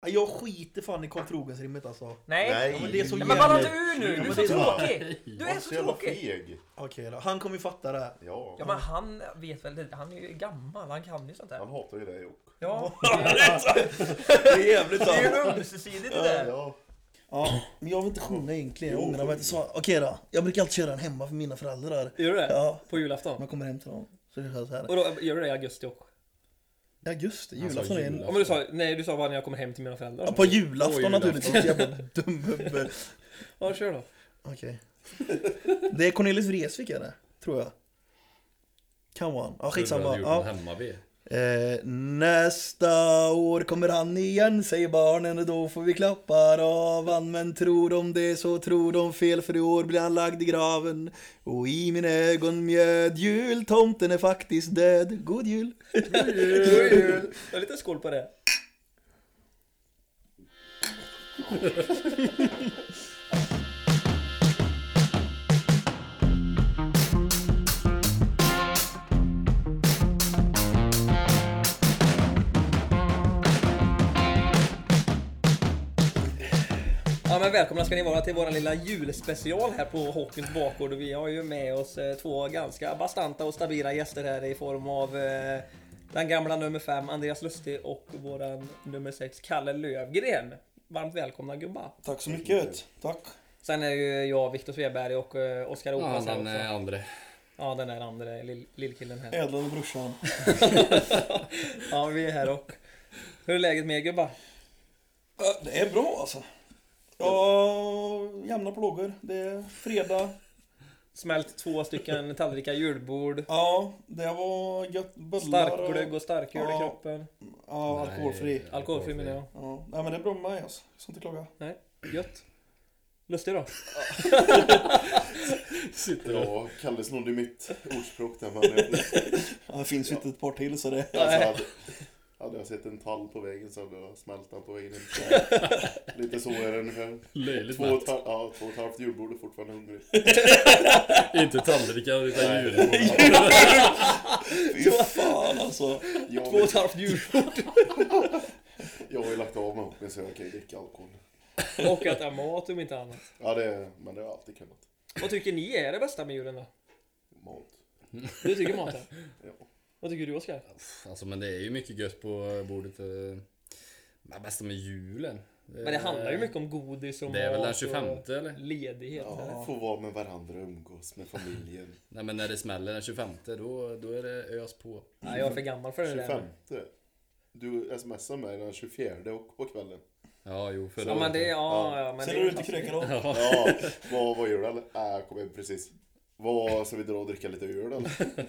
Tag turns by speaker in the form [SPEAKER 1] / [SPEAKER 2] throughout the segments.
[SPEAKER 1] Ja, Jag skiter fan i Karl Trogens-rimmet alltså.
[SPEAKER 2] Nej.
[SPEAKER 3] Nej.
[SPEAKER 1] Ja, men det är så
[SPEAKER 2] Nej,
[SPEAKER 1] jävla...
[SPEAKER 2] men balla inte ur nu! Du
[SPEAKER 1] Men
[SPEAKER 2] är
[SPEAKER 1] det
[SPEAKER 2] så
[SPEAKER 1] är så-
[SPEAKER 2] tråkig! Du är
[SPEAKER 3] Han
[SPEAKER 2] så
[SPEAKER 3] jävla
[SPEAKER 2] tråkig!
[SPEAKER 3] feg.
[SPEAKER 1] Okej då, han kommer ju fatta det. här.
[SPEAKER 3] Ja.
[SPEAKER 2] Ja men han vet väl det. Han är ju gammal, han kan ju sånt där.
[SPEAKER 3] Han hatar ju dig också.
[SPEAKER 2] Ja,
[SPEAKER 1] Det är jävligt
[SPEAKER 2] det
[SPEAKER 1] sant.
[SPEAKER 2] är ju ömsesidigt det
[SPEAKER 4] Äh.
[SPEAKER 2] där.
[SPEAKER 3] Ja.
[SPEAKER 1] Ja, men jag vill inte sjunga egentligen. Jag ångrar mig att jag sa... Okej då. Jag brukar alltid köra den hemma för mina föräldrar.
[SPEAKER 4] Gör du det?
[SPEAKER 1] Ja.
[SPEAKER 4] På
[SPEAKER 1] Om
[SPEAKER 4] julafton?
[SPEAKER 1] jag kommer hem till dem. Så kör jag så här.
[SPEAKER 4] Och då, gör du det i augusti också?
[SPEAKER 1] I augusti,
[SPEAKER 5] Han sa
[SPEAKER 1] julafton är en...
[SPEAKER 5] julafton.
[SPEAKER 4] Ja men du sa, nej du sa bara när jag kommer hem till mina föräldrar.
[SPEAKER 1] Ja, på julafton
[SPEAKER 5] På julafton.
[SPEAKER 1] naturligtvis. Jävla dum gubbe.
[SPEAKER 4] Ja, kör då.
[SPEAKER 1] Okej. Det är Cornelis Vreeswijk är det, tror jag. Kan vara han. Ja,
[SPEAKER 5] Du
[SPEAKER 1] skitsamma.
[SPEAKER 5] hade gjort en
[SPEAKER 1] Ja.
[SPEAKER 5] hemmaby.
[SPEAKER 1] Eh, nästa år kommer han igen, säger barnen och då får vi klappar av han. Men tror de det så tror de fel, för i år blir han lagd i graven. Och i mina ögon mjöd jul, tomten är faktiskt död. God jul!
[SPEAKER 4] God jul! Jag har lite skål på det. Ja men välkomna ska ni vara till våran lilla julspecial här på Hockeyns bakgård. Vi har ju med oss eh, två ganska bastanta och stabila gäster här i form av eh, den gamla nummer fem Andreas Lustig och våran nummer sex Kalle Lövgren. Varmt välkomna gubbar!
[SPEAKER 1] Tack så mycket! Tack!
[SPEAKER 4] Sen är ju jag Viktor Sveberg och eh, Oskar
[SPEAKER 5] Ja,
[SPEAKER 4] Opas här
[SPEAKER 5] den
[SPEAKER 4] också.
[SPEAKER 5] eh, andra.
[SPEAKER 4] Ja den där andra lill- lillkillen här.
[SPEAKER 1] Ädlande brorsan.
[SPEAKER 4] Ja vi är här och... Hur är läget med er gubbar?
[SPEAKER 1] Ja, Det är bra alltså. Ja, jämna plågor. Det är fredag.
[SPEAKER 4] Smält två stycken tallrikar julbord.
[SPEAKER 1] Ja, det var gött. Bullar och-
[SPEAKER 4] Starkglögg och starköl i
[SPEAKER 1] Ja.
[SPEAKER 4] kroppen.
[SPEAKER 1] Ja,
[SPEAKER 5] Nej,
[SPEAKER 1] alkoholfri.
[SPEAKER 4] Alkoholfri menar jag.
[SPEAKER 1] Ja, nej men det är bra med mig alltså. Jag ska inte klaga.
[SPEAKER 4] Nej, gött. Lustig då?
[SPEAKER 3] Ja, Kalle snodde mitt ordspråk där men jag,
[SPEAKER 1] Ja, det finns ju inte ett par till så det...
[SPEAKER 3] alltså, hade, hade jag sett en tall på vägen så hade jag smält den på vägen in. Så, lite så är det ungefär.
[SPEAKER 5] Löjligt
[SPEAKER 3] Två och,
[SPEAKER 5] mätt.
[SPEAKER 3] ett, halv- ja, två och ett halvt julbord och fortfarande hungrig.
[SPEAKER 5] Inte tallrikar utan
[SPEAKER 3] Nej.
[SPEAKER 5] julbord.
[SPEAKER 1] Fy fan alltså.
[SPEAKER 3] Jag,
[SPEAKER 4] Två och ett halvt julbord
[SPEAKER 3] jag har ju lagt av mig hockeyn så jag kan ju dricka alkohol.
[SPEAKER 4] och äta mat om inte annat.
[SPEAKER 3] Ja, det, men det har jag alltid kunnat.
[SPEAKER 4] Vad tycker ni är det bästa med julen då?
[SPEAKER 3] Mat.
[SPEAKER 4] Du tycker maten?
[SPEAKER 3] Ja.
[SPEAKER 4] Vad tycker du Oskar?
[SPEAKER 5] Alltså men det är ju mycket gött på bordet. eh, Men bästa med julen.
[SPEAKER 4] Men det handlar ju mycket om godis och
[SPEAKER 5] Eh, Det är väl den
[SPEAKER 4] mat
[SPEAKER 5] 25
[SPEAKER 4] och
[SPEAKER 5] eller?
[SPEAKER 4] ledighet. eller?
[SPEAKER 3] Ja, få vara med varandra och umgås med familjen.
[SPEAKER 5] Nej men när det smäller den 25 då, då är det ös på.
[SPEAKER 4] Nej, jag är för gammal för det där.
[SPEAKER 3] 25. Du smsar mig den 24 och på kvällen.
[SPEAKER 5] Ja jo förra
[SPEAKER 4] Ja men det, ja, ja men
[SPEAKER 1] Sen är du
[SPEAKER 4] det
[SPEAKER 1] ute och krökar om.
[SPEAKER 3] Ja, vad, vad gör du eller? Äh, jag kommer precis. Vad, ska vi dra och dricka lite öl eller?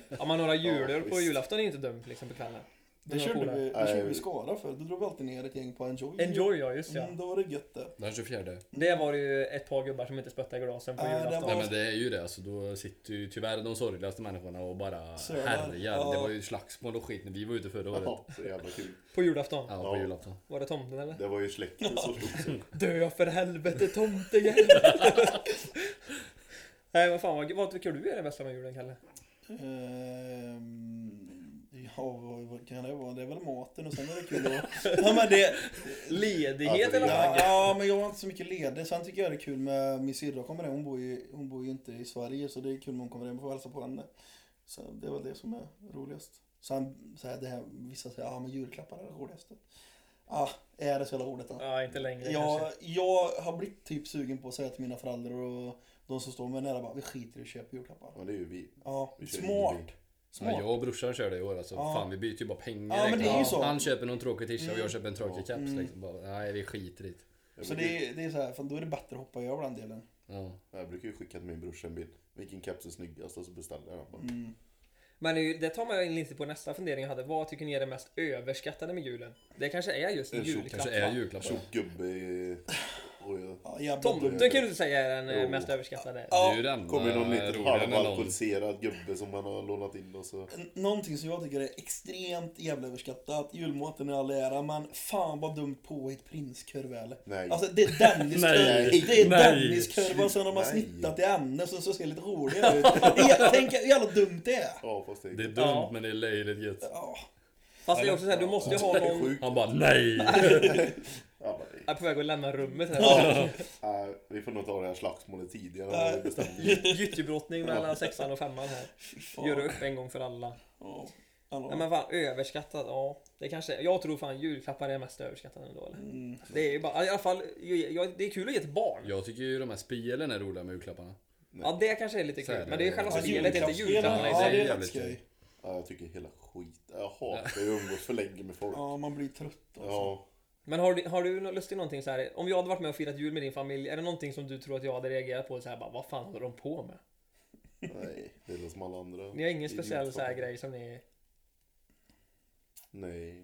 [SPEAKER 4] Ja men några julöl
[SPEAKER 3] Ja,
[SPEAKER 4] på
[SPEAKER 3] visst.
[SPEAKER 4] julafton är ju inte dumt liksom på kvällen.
[SPEAKER 1] Det körde vi, det
[SPEAKER 3] Nej.
[SPEAKER 1] körde vi i Skara för. Då drog vi alltid ner ett gäng på Enjoy.
[SPEAKER 4] Enjoy ja, just ja.
[SPEAKER 1] Mm, då var det gött det.
[SPEAKER 5] Den 24.
[SPEAKER 4] Det var det ju ett par gubbar som inte spöttade i glasen på
[SPEAKER 1] Nej, det
[SPEAKER 4] julafton.
[SPEAKER 1] var-
[SPEAKER 5] Nej men det är ju det alltså. Då sitter ju tyvärr de sorgligaste människorna och bara
[SPEAKER 1] Sölar.
[SPEAKER 5] härjar.
[SPEAKER 1] Ja.
[SPEAKER 5] Det var ju slagsmål och skit när vi var ute förra året.
[SPEAKER 3] Ja, så jävla kul.
[SPEAKER 4] På julafton?
[SPEAKER 5] Ja, på
[SPEAKER 3] Ja.
[SPEAKER 5] julafton.
[SPEAKER 4] Var det tomten eller?
[SPEAKER 3] Det var ju släkten som slog sig.
[SPEAKER 4] Dö för helvete tomtejävel! Nej vad fan vad, vad tycker du är det bästa med julen Kalle?
[SPEAKER 1] Ehm, Ja, vad vad kan det vara? Det är väl maten och sen är det kul att... Ja, men det...
[SPEAKER 4] Ledighet
[SPEAKER 3] Ja,
[SPEAKER 4] eller
[SPEAKER 1] Ja,
[SPEAKER 4] vad?
[SPEAKER 1] ja, men jag var inte så mycket ledig. Sen tycker jag det är kul med min syrra kommer hem. Hon bor, ju, hon bor ju inte i Sverige så det är kul när hon kommer hem och får hälsa på henne. Så det är väl det som är roligast. Sen så här, det här, vissa säger ja ah, men julklappar är det roligaste. Ah, är det så jävla ordet då?
[SPEAKER 4] Ja inte längre
[SPEAKER 1] Jag,
[SPEAKER 4] kanske.
[SPEAKER 1] jag har blivit typ sugen på att säga till mina föräldrar och de som står mig nära bara vi skiter i att köpa julklappar.
[SPEAKER 3] Ja, det är ju vi.
[SPEAKER 1] Ja,
[SPEAKER 3] Vi kör
[SPEAKER 1] smart.
[SPEAKER 3] ingen bil.
[SPEAKER 5] Ja,
[SPEAKER 1] Smart.
[SPEAKER 5] jag och brorsan körde i år alltså.
[SPEAKER 1] Ja.
[SPEAKER 5] Fan vi byter ju bara pengar.
[SPEAKER 1] Ja, men
[SPEAKER 5] egentligen.
[SPEAKER 1] det är ju så.
[SPEAKER 5] Han köper någon tråkig tisha och
[SPEAKER 1] Mm.
[SPEAKER 5] jag köper en tråkig
[SPEAKER 3] Ja.
[SPEAKER 5] keps.
[SPEAKER 1] Mm.
[SPEAKER 5] Liksom. Bara, nej vi skiter i det.
[SPEAKER 3] Jag,
[SPEAKER 1] Så
[SPEAKER 3] brukar,
[SPEAKER 1] det är, det är så här, fan, då är det bättre att hoppa över den delen.
[SPEAKER 5] Ja.
[SPEAKER 3] jag brukar ju skicka till min brorsa en bild. Vilken keps är snyggast? Och så beställer jag den. bara.
[SPEAKER 1] Mm.
[SPEAKER 4] Men det är ju- det tar mig in lite på nästa fundering jag hade. Vad tycker ni är det mest överskattade med julen? Det kanske är just
[SPEAKER 3] Det är så-
[SPEAKER 4] julklappar.
[SPEAKER 5] Kanske är julklappar.
[SPEAKER 3] Tjock gubbe i... Oj, ja.
[SPEAKER 1] Ja, jävla
[SPEAKER 4] Tomten
[SPEAKER 1] dumt.
[SPEAKER 4] kan du inte säga är den eh,
[SPEAKER 3] Jo.
[SPEAKER 4] mest överskattade.
[SPEAKER 1] Ja.
[SPEAKER 5] Det är ju den.
[SPEAKER 3] Kommer någon
[SPEAKER 5] eh,
[SPEAKER 3] liten
[SPEAKER 5] roligare än någon.
[SPEAKER 3] halvalkoholiserad gubbe som man har lånat in och så...
[SPEAKER 1] N- Någonting som jag tycker är extremt jävla överskattat, julmaten i all ära, men fan vad dumt påhitt prinskorv är. eller?
[SPEAKER 3] Nej.
[SPEAKER 1] Alltså det är Dennis-korv,
[SPEAKER 5] Nej.
[SPEAKER 1] det är
[SPEAKER 5] Nej.
[SPEAKER 1] Dennis-korv och sen har man
[SPEAKER 3] Nej.
[SPEAKER 1] snittat i ämnen så så ser det lite roligare ut. Det är- Tänk hur jävla dumt det är.
[SPEAKER 3] Ja, fast det är...
[SPEAKER 5] Det är dumt
[SPEAKER 4] Ja.
[SPEAKER 5] men det är löjligt gött.
[SPEAKER 1] Ja.
[SPEAKER 4] Fast det är också såhär, du måste ju ha
[SPEAKER 3] Det är
[SPEAKER 4] någon...
[SPEAKER 3] sjukt.
[SPEAKER 5] Han bara nej.
[SPEAKER 3] Ja, men det-
[SPEAKER 4] Jag är på väg att lämna rummet här.
[SPEAKER 3] Ja, nej, vi får nog ta det här slagsmålet tidigare än vad vi bestämde.
[SPEAKER 4] Gyttjebrottning mellan sexan och femman här. Gör det upp en gång för alla.
[SPEAKER 1] Ja. Hallå.
[SPEAKER 4] Nej men fan överskattat, ja. Det kanske, jag tror fan julklappar är mest överskattat ändå eller?
[SPEAKER 1] Mm.
[SPEAKER 4] Det är ju bara, i alla fall, jag, jag, det är kul att ge till barn. Ja.
[SPEAKER 5] Jag tycker ju de här spelen är roliga med julklapparna.
[SPEAKER 4] det kanske är lite
[SPEAKER 5] Så är
[SPEAKER 4] kul.
[SPEAKER 5] det.
[SPEAKER 4] Men det är ju själva
[SPEAKER 5] Alltså,
[SPEAKER 4] spelet, inte julklapparna i
[SPEAKER 1] liksom Ja,
[SPEAKER 4] sig.
[SPEAKER 1] det är
[SPEAKER 5] jävligt
[SPEAKER 1] jävligt skoj.
[SPEAKER 5] skoj.
[SPEAKER 3] Ja, jag tycker hela skit. Jag hatar ju att umgås för länge med folk.
[SPEAKER 1] Ja, man blir trött alltså.
[SPEAKER 3] Ja,
[SPEAKER 4] Men har du, har du nå- lust till någonting så här? Om jag hade varit med och firat jul med din familj, är det någonting som du tror att jag hade reagerat på så här bara, vad fan håller de på med?
[SPEAKER 3] nej. Det är som alla andra.
[SPEAKER 4] Ni har ingen speciell
[SPEAKER 3] idiotfolk.
[SPEAKER 4] så här grej som ni...
[SPEAKER 3] Nej,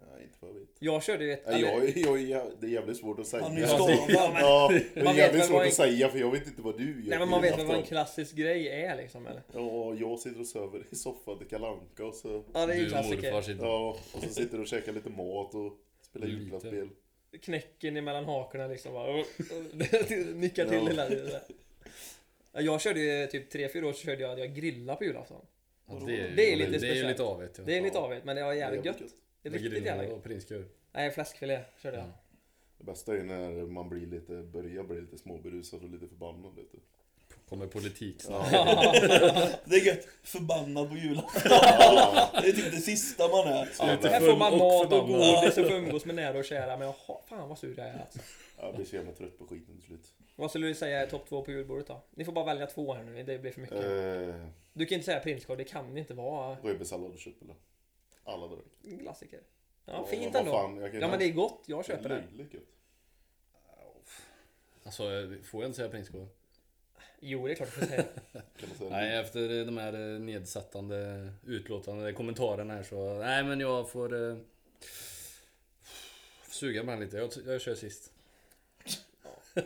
[SPEAKER 3] ja, inte vad jag vet.
[SPEAKER 4] Jag körde ju ett...
[SPEAKER 3] Nej, jag, jag, jag, det är jävligt svårt att säga.
[SPEAKER 1] Han är ju
[SPEAKER 4] Ja, det-
[SPEAKER 1] skadad.
[SPEAKER 3] Ja, det
[SPEAKER 4] Man
[SPEAKER 3] är
[SPEAKER 4] vet
[SPEAKER 3] jävligt
[SPEAKER 4] väl vad
[SPEAKER 3] svårt
[SPEAKER 4] en-
[SPEAKER 3] att säga för jag vet inte vad du gör.
[SPEAKER 4] Nej men man vet väl vad en
[SPEAKER 3] julafton.
[SPEAKER 4] klassisk grej är liksom eller?
[SPEAKER 3] Ja, jag sitter och söver i soffan till Kalle Anka och så...
[SPEAKER 4] Ja det är ju en
[SPEAKER 5] Du och
[SPEAKER 4] klassiker.
[SPEAKER 5] morfar sitter
[SPEAKER 3] Ja, och så sitter du och käkar lite mat och spelar
[SPEAKER 5] Lite.
[SPEAKER 3] julklappsspel.
[SPEAKER 4] knäcken emellan hakorna liksom bara, Nickar till
[SPEAKER 3] Ja.
[SPEAKER 4] hela tiden Jag körde ju typ 3-4 år så körde jag att jag grillade på julafton
[SPEAKER 5] Ja, det, är ju,
[SPEAKER 4] Det är lite
[SPEAKER 5] Det är ju
[SPEAKER 4] speciellt.
[SPEAKER 5] lite avigt. Ja.
[SPEAKER 4] Det är lite
[SPEAKER 3] Ja.
[SPEAKER 4] avigt men det var jävligt
[SPEAKER 3] Det är
[SPEAKER 4] gött Det är riktigt jävla gött
[SPEAKER 5] gött. Prinskorv.
[SPEAKER 4] Nej fläskfilé körde jag
[SPEAKER 5] Ja.
[SPEAKER 3] Det bästa är när man blir lite, börjar bli lite småberusad och lite förbannad lite.
[SPEAKER 5] Kommer politik snart.
[SPEAKER 3] Ja,
[SPEAKER 1] Det är gött. Förbannad på julafton. Det är typ det sista man är.
[SPEAKER 3] jävla-
[SPEAKER 4] Här får man
[SPEAKER 5] full och
[SPEAKER 4] mat och
[SPEAKER 5] förbannad.
[SPEAKER 4] godis och får umgås med nära och kära men jag har, fan vad sur jag är alltså.
[SPEAKER 3] jag blir så jävla trött på skiten till slut.
[SPEAKER 4] Vad skulle du säga är topp två på julbordet då? Ni får bara välja två här nu, det blir för mycket
[SPEAKER 3] Eh,
[SPEAKER 4] Du kan inte säga prinskorv, det kan inte vara
[SPEAKER 3] Rödbetssallad och köttbullar. Alla dagar.
[SPEAKER 4] en klassiker
[SPEAKER 3] Ja,
[SPEAKER 4] Ja fint
[SPEAKER 3] vad
[SPEAKER 4] ändå
[SPEAKER 3] fan, jag kan-
[SPEAKER 4] Ja men det är gott, jag
[SPEAKER 3] Det är
[SPEAKER 4] köper det
[SPEAKER 3] löjligt gött.
[SPEAKER 5] Alltså, får jag inte säga prinskorv?
[SPEAKER 4] Jo det är klart du får säga
[SPEAKER 3] Kan man säga.
[SPEAKER 5] Nej, efter de här eh, nedsättande, utlåtande kommentarerna här så... Nej, men jag får... Eh, suga mig lite. Jag, jag kör sist.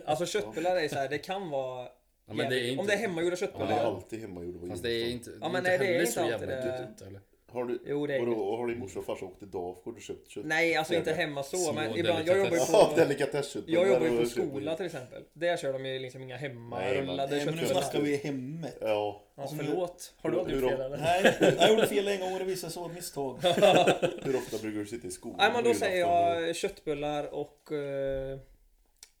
[SPEAKER 4] Alltså köttbullar är så här, det kan vara...
[SPEAKER 5] Ja, men det är inte-
[SPEAKER 4] Om det är hemmagjorda
[SPEAKER 3] Ja,
[SPEAKER 4] köttbullar.
[SPEAKER 3] det är
[SPEAKER 4] Ja,
[SPEAKER 3] alltid hemmagjord och
[SPEAKER 5] Fast det är
[SPEAKER 3] julafton.
[SPEAKER 5] inte,
[SPEAKER 4] men
[SPEAKER 5] inte
[SPEAKER 4] nej, det är
[SPEAKER 5] heller
[SPEAKER 4] inte
[SPEAKER 5] så
[SPEAKER 4] alltid
[SPEAKER 5] jävla
[SPEAKER 4] det.
[SPEAKER 5] gött. Eller?
[SPEAKER 3] liksom. Har du,
[SPEAKER 4] Jo, det är
[SPEAKER 3] vadå, har din morsa och farsa åkt till Dafgård och köpt kött?
[SPEAKER 4] Nej, alltså inte
[SPEAKER 3] Jävla-
[SPEAKER 4] hemma så, men
[SPEAKER 5] små
[SPEAKER 4] ibland... Jag jobbar ju
[SPEAKER 3] Ja,
[SPEAKER 4] på...
[SPEAKER 3] delikatessköttbullar.
[SPEAKER 4] Jag jobbar ju på
[SPEAKER 3] och köttbullar.
[SPEAKER 4] skola till exempel. Där kör de ju liksom inga
[SPEAKER 3] Nej,
[SPEAKER 4] hemmarullade
[SPEAKER 1] Nej, men nu snackar
[SPEAKER 4] köttbullar.
[SPEAKER 1] vi hemmet.
[SPEAKER 3] Ja,
[SPEAKER 4] Ja, förlåt. Har du aldrig
[SPEAKER 3] Hur
[SPEAKER 4] gjort
[SPEAKER 3] då?
[SPEAKER 4] fel eller?
[SPEAKER 1] Nej, jag gjorde fel en gång och det visade sig vara ett misstag.
[SPEAKER 3] hur ofta brukar du sitta i skolan?
[SPEAKER 4] Nej, men
[SPEAKER 3] på
[SPEAKER 4] då säger
[SPEAKER 3] julafton?
[SPEAKER 4] jag köttbullar och... eh,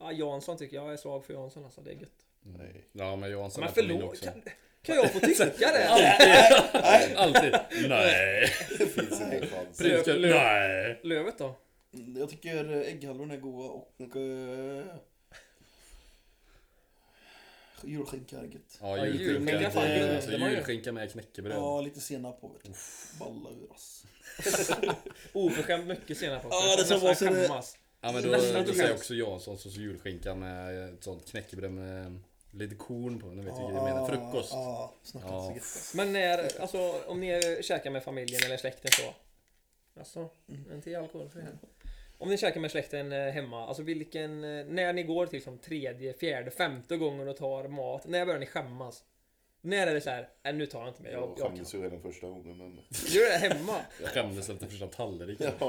[SPEAKER 4] Ja, Jansson tycker jag. Jag är svag för Jansson alltså, det är gött.
[SPEAKER 3] Nej.
[SPEAKER 5] Ja, men Jansson
[SPEAKER 4] Men
[SPEAKER 5] är på min
[SPEAKER 4] förlåt,
[SPEAKER 5] också.
[SPEAKER 4] kan, kan jag få tycka det?
[SPEAKER 5] Alltid! Alltid! Nej!
[SPEAKER 3] Det finns inte en chans.
[SPEAKER 5] Prinskorv? Nej!
[SPEAKER 4] Lövet då?
[SPEAKER 1] Jag tycker ägghallon är goda och... eh, julskinka är gött.
[SPEAKER 5] Ja,
[SPEAKER 4] Ja,
[SPEAKER 5] julskinka.
[SPEAKER 4] julskinka
[SPEAKER 5] är
[SPEAKER 1] fan,
[SPEAKER 5] guld,
[SPEAKER 1] det-
[SPEAKER 5] Alltså,
[SPEAKER 4] det var ju-
[SPEAKER 5] julskinka med knäckebröd.
[SPEAKER 1] Ja, lite senap på vet du. Balla ur ass.
[SPEAKER 4] Oförskämt mycket senap också.
[SPEAKER 1] Ja,
[SPEAKER 4] Jag
[SPEAKER 1] det
[SPEAKER 4] ska
[SPEAKER 1] som
[SPEAKER 4] nästan
[SPEAKER 1] var så det-
[SPEAKER 4] skämmas.
[SPEAKER 5] Ja men då,
[SPEAKER 4] Nästan
[SPEAKER 5] då
[SPEAKER 4] till
[SPEAKER 5] säger jag
[SPEAKER 4] skämt.
[SPEAKER 5] också Janssons och så julskinka med eh, ett sånt knäckebröd med eh, lite korn på. Nu vet jag
[SPEAKER 1] Ja,
[SPEAKER 5] vilket jag menar. Frukost.
[SPEAKER 1] Ja, snacka inte så
[SPEAKER 5] Ja.
[SPEAKER 1] gött alltså.
[SPEAKER 4] Men när, alltså om ni käkar med familjen eller släkten så Alltså, inte alkoholfri här Om ni käkar med släkten eh, hemma, alltså vilken, eh, när ni går till som tredje, fjärde, femte gången och tar mat, när börjar ni skämmas? När är det så här, "Nej, nu tar jag inte mer, jag,
[SPEAKER 3] Jag
[SPEAKER 4] jag kan
[SPEAKER 3] skämdes ju redan första gången men...
[SPEAKER 4] Gör det hemma!
[SPEAKER 5] Jag skämdes efter första tallriken.
[SPEAKER 3] Ja,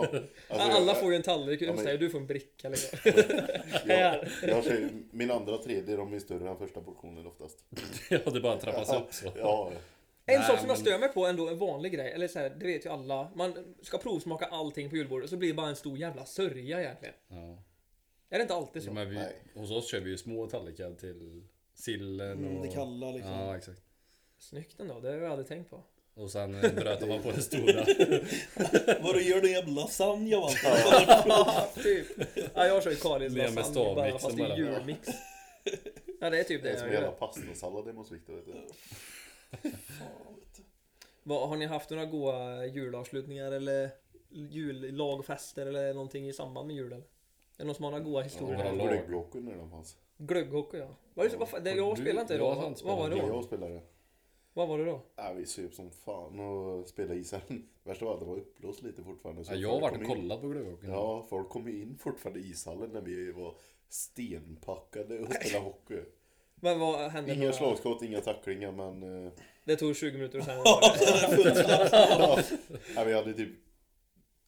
[SPEAKER 3] alltså,
[SPEAKER 4] Alla
[SPEAKER 3] jag-
[SPEAKER 4] får ju en tallrik,
[SPEAKER 3] Ja, men-
[SPEAKER 4] ja, du får en bricka liksom
[SPEAKER 3] jag,
[SPEAKER 4] här.
[SPEAKER 3] jag säger, Min andra och tredje de är större än första portionen oftast.
[SPEAKER 5] Ja det bara trappas upp så.
[SPEAKER 3] Ja,
[SPEAKER 4] En
[SPEAKER 5] Nej,
[SPEAKER 4] sak som
[SPEAKER 5] men-
[SPEAKER 4] jag stör mig på ändå, en vanlig grej, eller så här, det vet ju alla Man ska provsmaka allting på julbordet och så blir det bara en stor jävla sörja egentligen
[SPEAKER 5] Ja.
[SPEAKER 4] Är det inte alltid så?
[SPEAKER 5] Men vi,
[SPEAKER 3] Nej.
[SPEAKER 5] hos oss kör vi ju små tallrikar till sillen och...
[SPEAKER 1] Mm, det kalla liksom.
[SPEAKER 5] Ja exakt.
[SPEAKER 4] Snyggt ändå, det har jag aldrig tänkt på
[SPEAKER 5] Och sen eh, bröt man på den stora.
[SPEAKER 1] Vad du gör din jävla lasagne va?
[SPEAKER 4] Ja, typ. Ja, jag kör ju Karins
[SPEAKER 5] Med- med
[SPEAKER 4] lasagne
[SPEAKER 5] stavmixen
[SPEAKER 4] bara, fast i
[SPEAKER 5] bara.
[SPEAKER 4] julmix. Ja, det är typ
[SPEAKER 3] det
[SPEAKER 4] det
[SPEAKER 3] är som
[SPEAKER 4] jag
[SPEAKER 3] en jävla
[SPEAKER 4] gör.
[SPEAKER 3] pastasallad hemma hos Viktor vet du.
[SPEAKER 4] Vad, har ni haft några goa julavslutningar eller jullagfester eller någonting i samband med julen? Är det någon som har några goa historier?
[SPEAKER 5] Ja.
[SPEAKER 4] Ja.
[SPEAKER 3] Var det Glocken när de fanns?
[SPEAKER 4] Glögghockey ja. Var det, så- vad, fan- det, jag
[SPEAKER 5] Du-
[SPEAKER 4] spelade inte
[SPEAKER 5] jag
[SPEAKER 4] då.
[SPEAKER 5] har
[SPEAKER 4] Vad,
[SPEAKER 5] inte
[SPEAKER 4] vad var
[SPEAKER 5] spelat.
[SPEAKER 4] det då?
[SPEAKER 3] Jag spelade.
[SPEAKER 4] Vad var det då?
[SPEAKER 3] Ja, vi söp som fan och spelade i sen. Värsta var att det var uppblåst lite fortfarande. så
[SPEAKER 5] Ja, jag har varit
[SPEAKER 3] folk kom
[SPEAKER 5] och
[SPEAKER 3] in.
[SPEAKER 5] kollat på glöggåken.
[SPEAKER 3] Ja, folk kom ju in fortfarande i ishallen när vi var stenpackade och spelade hockey.
[SPEAKER 4] Men vad hände?
[SPEAKER 3] Inga
[SPEAKER 4] då?
[SPEAKER 3] slagskott, inga tacklingar men... eh,
[SPEAKER 4] Det tog 20 minuter och sen var det.
[SPEAKER 3] ja, nej, vi hade typ